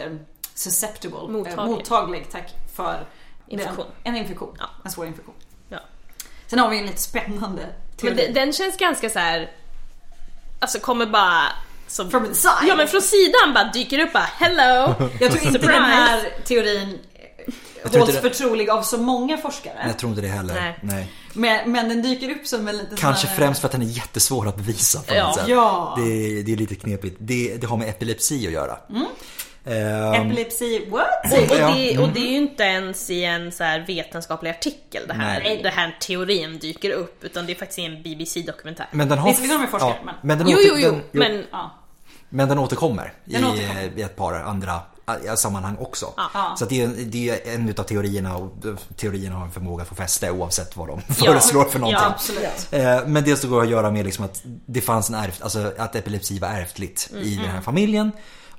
susceptible, eh, Mottaglig. mottaglig tack, för Infektion. Den, en infektion. Ja. En svår infektion. Ja. Sen har vi en lite spännande Men teori. de- den känns ganska så här. Alltså kommer bara... Som, From the side. ja men från sidan bara dyker upp bara hello! Jag tror inte Surprise. den här teorin tror hålls inte för trolig av så många forskare. Jag tror inte det heller. Nej. Nej. Men, men den dyker upp som en liten Kanske sån här- främst för att den är jättesvår att bevisa på Ja. något sätt. Ja. Det, det är lite knepigt. Det, det har med epilepsi att göra. Ehm, Epilepsi, what? Och, och, Ja. det, och det är ju inte ens i en så här vetenskaplig artikel det här, Nej. det här teorin dyker upp utan det är faktiskt i en BBC-dokumentär. men den har... Visserligen har de forskare, men- men, den Jo, åter, jo, jo, den, men Ja. men den återkommer, Den i, återkommer. i ett par andra eh, sammanhang också. Ja. Så att det, är, det är en utav teorierna och eh, teorierna har en förmåga att få fäste oavsett vad de föreslår för någonting. Ja, Absolut. Eh, Men det som går att göra med liksom att det fanns en ärft, alltså att epilepsi var ärftligt Mm, i den här familjen.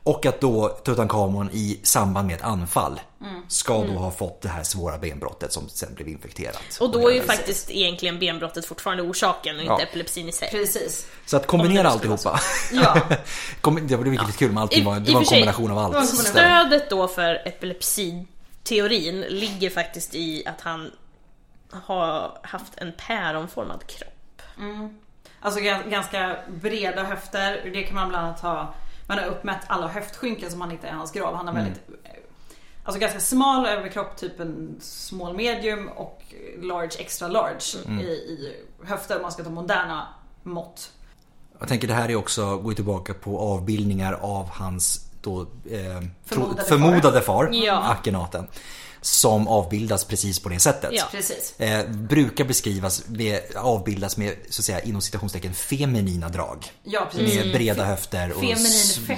Och att då Tutankhamon i samband med ett anfall Mm. ska då ha fått det här svåra benbrottet som sen blev infekterat. Och då är ju faktiskt egentligen benbrottet fortfarande orsaken och inte Ja. epilepsin i sig. Precis. Så att kombinera alltihopa. Ja. Kom- det var riktigt kul med allting. I- var- Det i var och en för sig- kombination av allt. det var en kombination. Så- Stödet då för epilepsiteorin ligger faktiskt i att han har haft en päronformad kropp. Alltså ga- ganska breda höfter. Det kan man bland annat ha. Man har uppmätt alla höftskynken som man hittar i hans grav. Han har Mm. väldigt eh, Alltså ganska smal överkropp, typ en small medium och large extra large Mm. i, i höfter om man ska ta moderna mått. Jag tänker det här är också, går ju tillbaka på avbildningar av hans då, eh, Förmodade förmodade, förmodade far, Ja. Akhenaten. Som avbildas precis på det sättet. Ja. Precis. Eh, brukar beskrivas, med, avbildas med så att säga inom citationstecken feminina drag. Ja precis. Med breda höfter och... Mm. sm- Feminin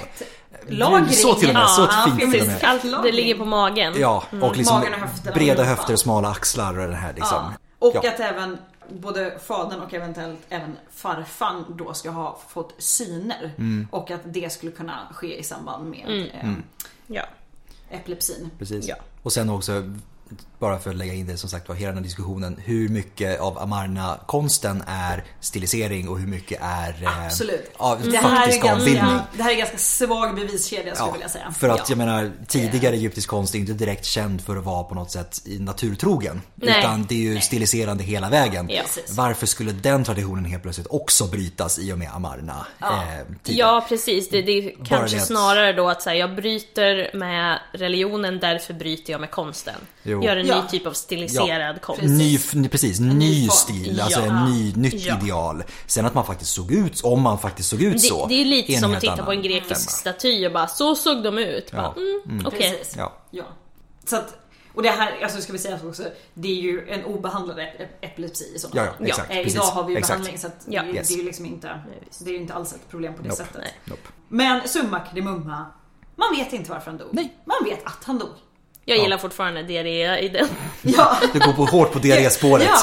fettlagring. Så till och med, så Ja, fint till och med. Allt det ligger på magen. Ja, och liksom Magen och höfterna. breda Mm. höfter och smala axlar och det här liksom. Ja. Och Ja. att även både fadern och eventuellt även farfan då ska ha fått syner. Mm. Och att det skulle kunna ske i samband med eh, Ja. epilepsin. Precis. Ja. Och sen också, bara för att lägga in det som sagt var, hela den här diskussionen. Hur mycket av Amarna-konsten är stilisering och hur mycket är eh, Absolut. ja, det, här är faktisk avbildning? ganska, det här är ganska svag beviskedja skulle jag vilja säga. För att Ja. Eh. jag menar tidigare egyptisk konst är inte direkt känd för att vara på något sätt naturtrogen. Nej. Utan det är ju stiliserande hela vägen. Ja. Precis. Varför skulle den traditionen helt plötsligt också brytas i och med Amarna? Ja, eh, tiden? Ja precis, det, det är kanske det att- snarare då att så här, jag bryter med religionen, därför bryter jag med konsten. Jo. Gör en Ja. ny typ av stiliserad konst. Ny, ny, precis, ny, ny form. stil, alltså Ja. en ny, nytt Ja. ideal. Sen att man faktiskt såg ut, om man faktiskt såg ut så. Det, det är lite en som helt att titta på annan en grekisk femma. staty och bara så såg de ut. Bara, Ja. mm, Okej. Precis. Ja. Ja. Så att, och det här, alltså ska vi säga också, det är ju en obehandlad ep- epilepsi i sådana Ja, ja, fall. exakt, Eh, precis. Idag har vi ju Exakt. behandling så att Ja. det, är- Yes. det är ju liksom inte, det är ju inte alls ett problem på det Nope. sättet. Nej. Nope. Men summa kardemumma, man vet inte varför han dog. Man vet att han dog. Jag gillar fortfarande diarré i den. Ja. Det går på, hårt på diarréspåret. ja.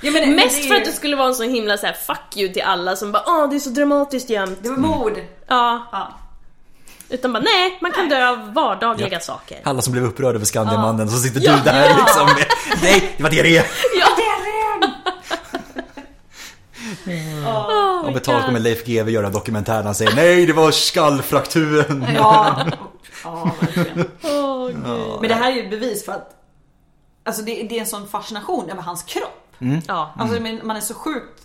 ja men, det är Mest ju- för att det skulle vara en sån himla så här, fuck you till alla som bara åh det är så dramatiskt jämt. Det var mord. Ja, Ja. utan bara nej, man kan dö av vardagliga saker. Alla som blev upprörda över Skandiamannen, så sitter Ja. du där liksom med, Nej, det var E. diarré! Ja. Oh Om my ett tag God. kommer Leif GW göra en dokumentär där han säger nej det var skallfrakturen. Ja. ja, verkligen. Åh, gud. Men det här är ju ett bevis för att Alltså det, det är en sån fascination över hans kropp. Ja. Alltså men man är så sjukt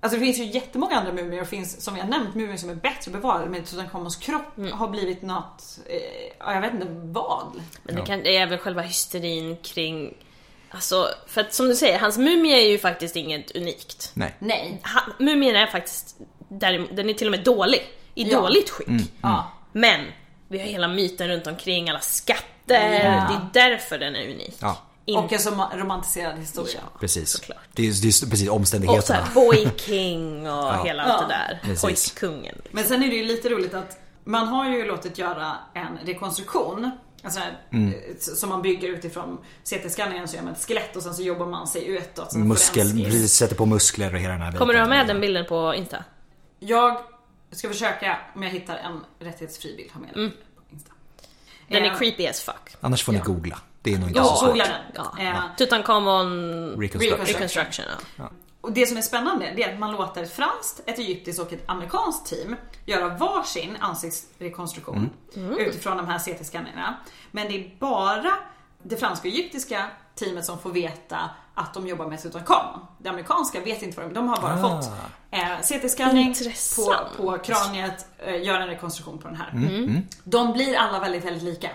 Alltså det finns ju jättemånga andra mumier och finns som jag nämnt mumier som är bättre bevarade men Tutankhamons kropp har blivit något, eh, ja, jag vet inte vad. Men det, kan, det är väl själva hysterin kring... Alltså, för att som du säger, hans mumie är ju faktiskt inget unikt. Nej. Nej. Han, mumien är faktiskt... däremot- Den är till och med dålig. I Ja. Mm. dåligt skick. Ja. Men vi har hela myten runt omkring, alla skatter. Ja. Det är därför den är unik. Ja. Inte Och en så romantiserad historia. Precis. Såklart. Det är, det är precis och så omständigheterna. här, Boy King och hela allt det där. Precis. Pojkkungen. Men sen är det ju lite roligt att man har ju låtit göra en rekonstruktion. Alltså, eh, Som man bygger utifrån CT-skanningen så gör man ett skelett och sen så jobbar man sig utåt. som Muskel, forensisk. vi sätter på muskler och hela den här Kommer du ha biten. med den bilden på Insta? Jag Jag ska försöka om jag hittar en rättighetsfri bild ha med den på Insta. Mm. Den Eh, är creepy as fuck. Annars får ni googla. Det är nog inte Ja, så svårt. googla den. Ja. Eh, Tutankhamon Reconstruct. Reconstruct. reconstruction. Ja. Och det som är spännande det är att man låter ett franskt, ett egyptiskt och ett amerikanskt team göra varsin ansiktsrekonstruktion utifrån de här CT-skannerna. Men det är bara det franska och egyptiska teamet som får veta att de jobbar med Tutankhamon. Det amerikanska vet inte vad de, de har bara Ah. fått eh, CT-skanning på, Intressant. på kraniet, eh, göra en rekonstruktion på den här. De blir alla väldigt, väldigt lika.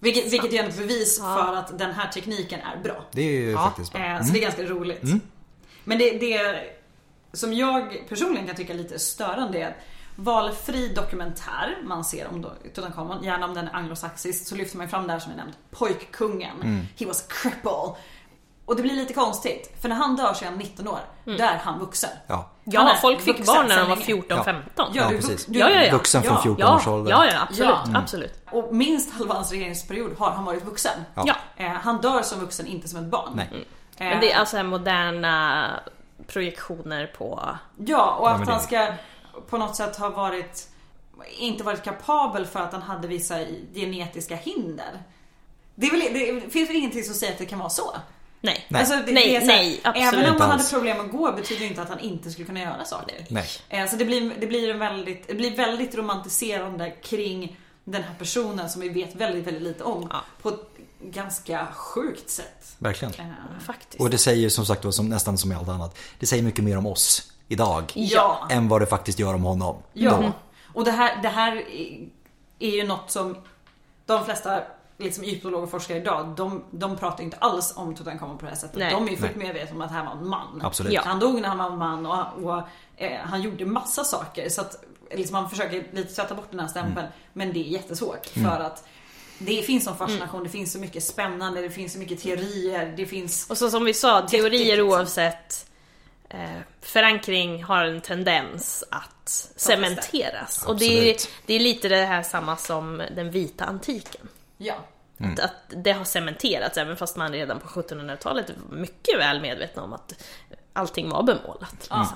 Vilket, vilket är ett bevis för att den här tekniken är bra. Det är ju faktiskt bra. Eh, Så det är ganska roligt. Mm. Men det, det som jag personligen kan tycka är lite störande är att valfri dokumentär man ser om då- Tutankhamon, gärna om den är anglosaxisk, så lyfter man fram det här som jag nämnt, pojkkungen. Mm. He was a cripple. Och det blir lite konstigt, för när han dör så är han 19 år. Då är han vuxen. Ja. Han är Mm. Ja, folk fick vuxen barn när sedan de var länge. 14, Ja. 15. Ja, Ja, du är precis. vux- du- Ja, ja, ja. Vuxen från Ja. 14 Ja, års ja, ålder. ja, absolut. Ja. Mm. absolut. Och minst halva hans regeringsperiod har han varit vuxen. Ja. Eh, han dör som vuxen, inte som ett barn. Nej. Eh, Men det är alltså här moderna projektioner på... Ja, och men att det- han ska på något sätt ha varit inte varit kapabel för att han hade vissa genetiska hinder. Det, är väl, det finns väl ingenting som säger att det kan vara så? Alltså, Nej. Nej. det, Nej, det är så här, nej, absolut. Även om Inte han hade alls. problem att gå betyder ju inte att han inte skulle kunna göra saker. Nej. Eh, Så det blir, det, blir en väldigt, det blir väldigt romantiserande kring den här personen som vi vet väldigt, väldigt lite om. Ja. På ett ganska sjukt sätt. Verkligen. Eh, Faktiskt. Och det säger som sagt då, som, nästan som i allt annat. Det säger mycket mer om oss idag. ja. Än vad det faktiskt gör om honom. Ja. Mm. Då. Och det här, det här är- är ju något som de flesta liksom, egyptologer och forskare idag, de, de pratar inte alls om Tutankhamon på det här sättet. Nej. De är ju fullt Nej. medvetna om att det här var en man. Absolut. Ja. Han dog när han var en man och, och eh, han gjorde massa saker. Så att liksom, man försöker lite tvätta bort den här stämpeln. Mm. Men det är jättesvårt. För att det finns sån Mm. fascination, det finns så mycket spännande, det finns så mycket teorier, det finns... Och så som vi sa, teorier liksom. oavsett eh, förankring har en tendens att cementeras. Och det är, Absolut. det är lite det här samma som den vita antiken. Ja. Mm. Att, att det har cementerats även fast man redan på 1700-talet var mycket väl medvetna om att allting var bemålat. ja.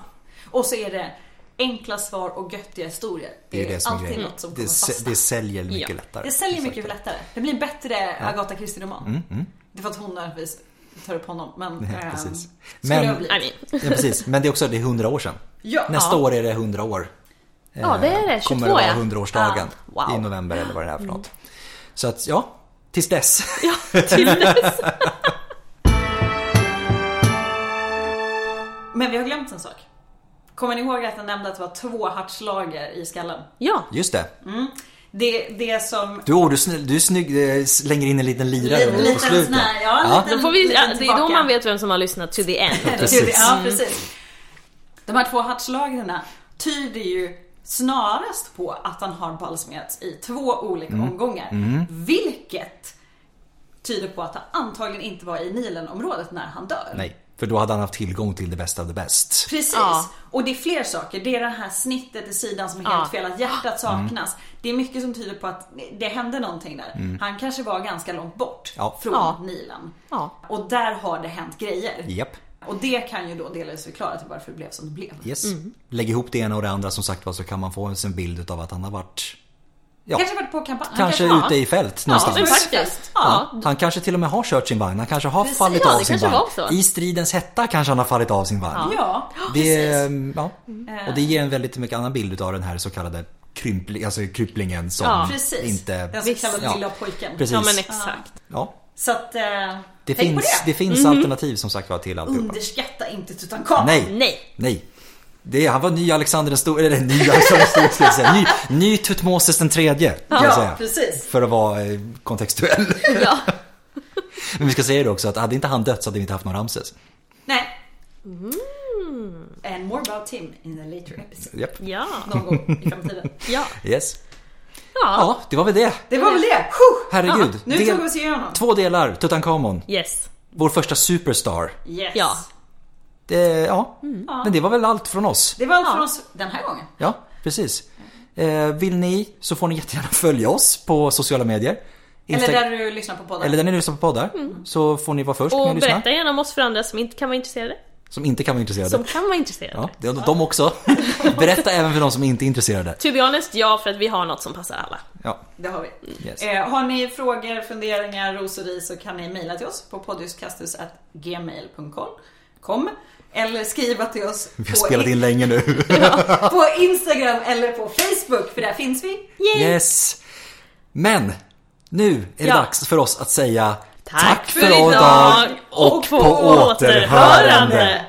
Och så är det enkla svar och göttiga historier. Det är det som är alltid grejen. något som kommer Det, fastna. sä- det säljer mycket Ja. lättare. Det säljer mycket lättare. Det blir en bättre Agatha Christie-roman. Det är för att hon nödvändigtvis tar upp honom. Men, Mm, Ja, ehm, precis. skulle Men- jag bli. I mean. Ja, precis. Men det är också det är 100 år sedan. Ja. Eh, Nästa Ja. år är det 100 år. Ja, det är det. 22 Eh, Kommer det vara ja. 100-årsdagen Ah, wow. i november eller vad det är Mm. för något. Så att ja, tills dess. Ja, till dess. men vi har glömt en sak. Kommer ni ihåg att jag nämnde att det var två hartslager i skallen? Ja, Just det. Det, det som... Du, åh, du, är snäll- du är snygg, eh, slänger in en liten lirare Liten- på liten slutet. sån här, ja, då får vi, Lite ja, det är då tillbaka. man vet vem som har lyssnat to the end. Precis. Ja, precis. De här två hartslagren tyder ju snarast på att han har balsmerats i två olika Mm. omgångar. Vilket tyder på att han antagligen inte var i Nilenområdet när han dör. Nej, för då hade han haft tillgång till the best of the best. Precis. Ja. Och det är fler saker. Det är det här snittet i sidan som är helt Ja. fel, att hjärtat saknas. Det är mycket som tyder på att det hände någonting där. Han kanske var ganska långt bort Mm. Ja. från Ja. Nilen. Ja. Och där har det hänt grejer. Japp. Och det kan ju då delvis förklara till varför det blev som det blev. Yes. Mm. Lägg ihop det ena och det andra som sagt var så kan man få en bild utav att han har varit ja, Kanske varit på kampanj. han kanske var- ute i fält någonstans. men så är det faktiskt. fest. Ja. Ja, han kanske till och med har kört sin vagn. Han kanske har Precis. fallit Ja, av det sin kanske vagn. var så. I stridens hetta kanske han har fallit av sin vagn. Ja. Mm. Eh. Det, ehm, ja. Och det ger en väldigt mycket annan bild utav den här så kallade krympli, alltså krypplingen som Ja. Precis. inte... Den så kallade Ja. lilla pojken. Precis. Ja men exakt. Ja. Så att, eh, Det tänk finns, på det det. Mhm. finns alternativ som sagt var till alltihopa. Underskatta inte Tutankhamon. Nej. Nej. Nej. Det, han var ny Alexander den store, eller ny Alexander den store skulle jag säga. Ny, ny Tutmosis den tredje. kan jag Ja, säga. precis. För att vara eh, kontextuell. Ja. Men vi ska säga det också att hade inte han dött så hade vi inte haft någon Ramses. Nej. And more about him in a later episode. Japp. Ja. Någon gång i framtiden. Ja. Yes. Ja. Ja, det var väl det. Det var väl det! Huh! Herregud. Nu Del- tog vi oss igenom. Två delar, Tutankhamon. Yes. Vår första superstar. Yes. Ja. Det, ja. Mm. Men det var väl allt från oss. Det var allt från oss den här gången. Ja, precis. Eh, vill ni så får ni jättegärna följa oss på sociala medier. Eller Insta- där du lyssnar på podden. Eller där ni lyssnar på poddar. Så får ni vara först med Mm. Och att lyssna. berätta gärna om oss för andra som inte kan vara intresserade. Som inte kan vara intresserade. Som kan vara intresserade. Ja, det, de också. Berätta även för de som inte är intresserade. To be honest, ja för att vi har något som passar alla. Ja, Det har vi. Yes. Eh, har ni frågor, funderingar, roseri så kan ni mejla till oss på poddiuskastus.gmail.com Kom. eller skriva till oss vi har på, spelat in länge nu. på Instagram eller på Facebook för där finns vi. Yay! Yes! Men nu är det Ja. dags för oss att säga Tack för idag och på återhörande.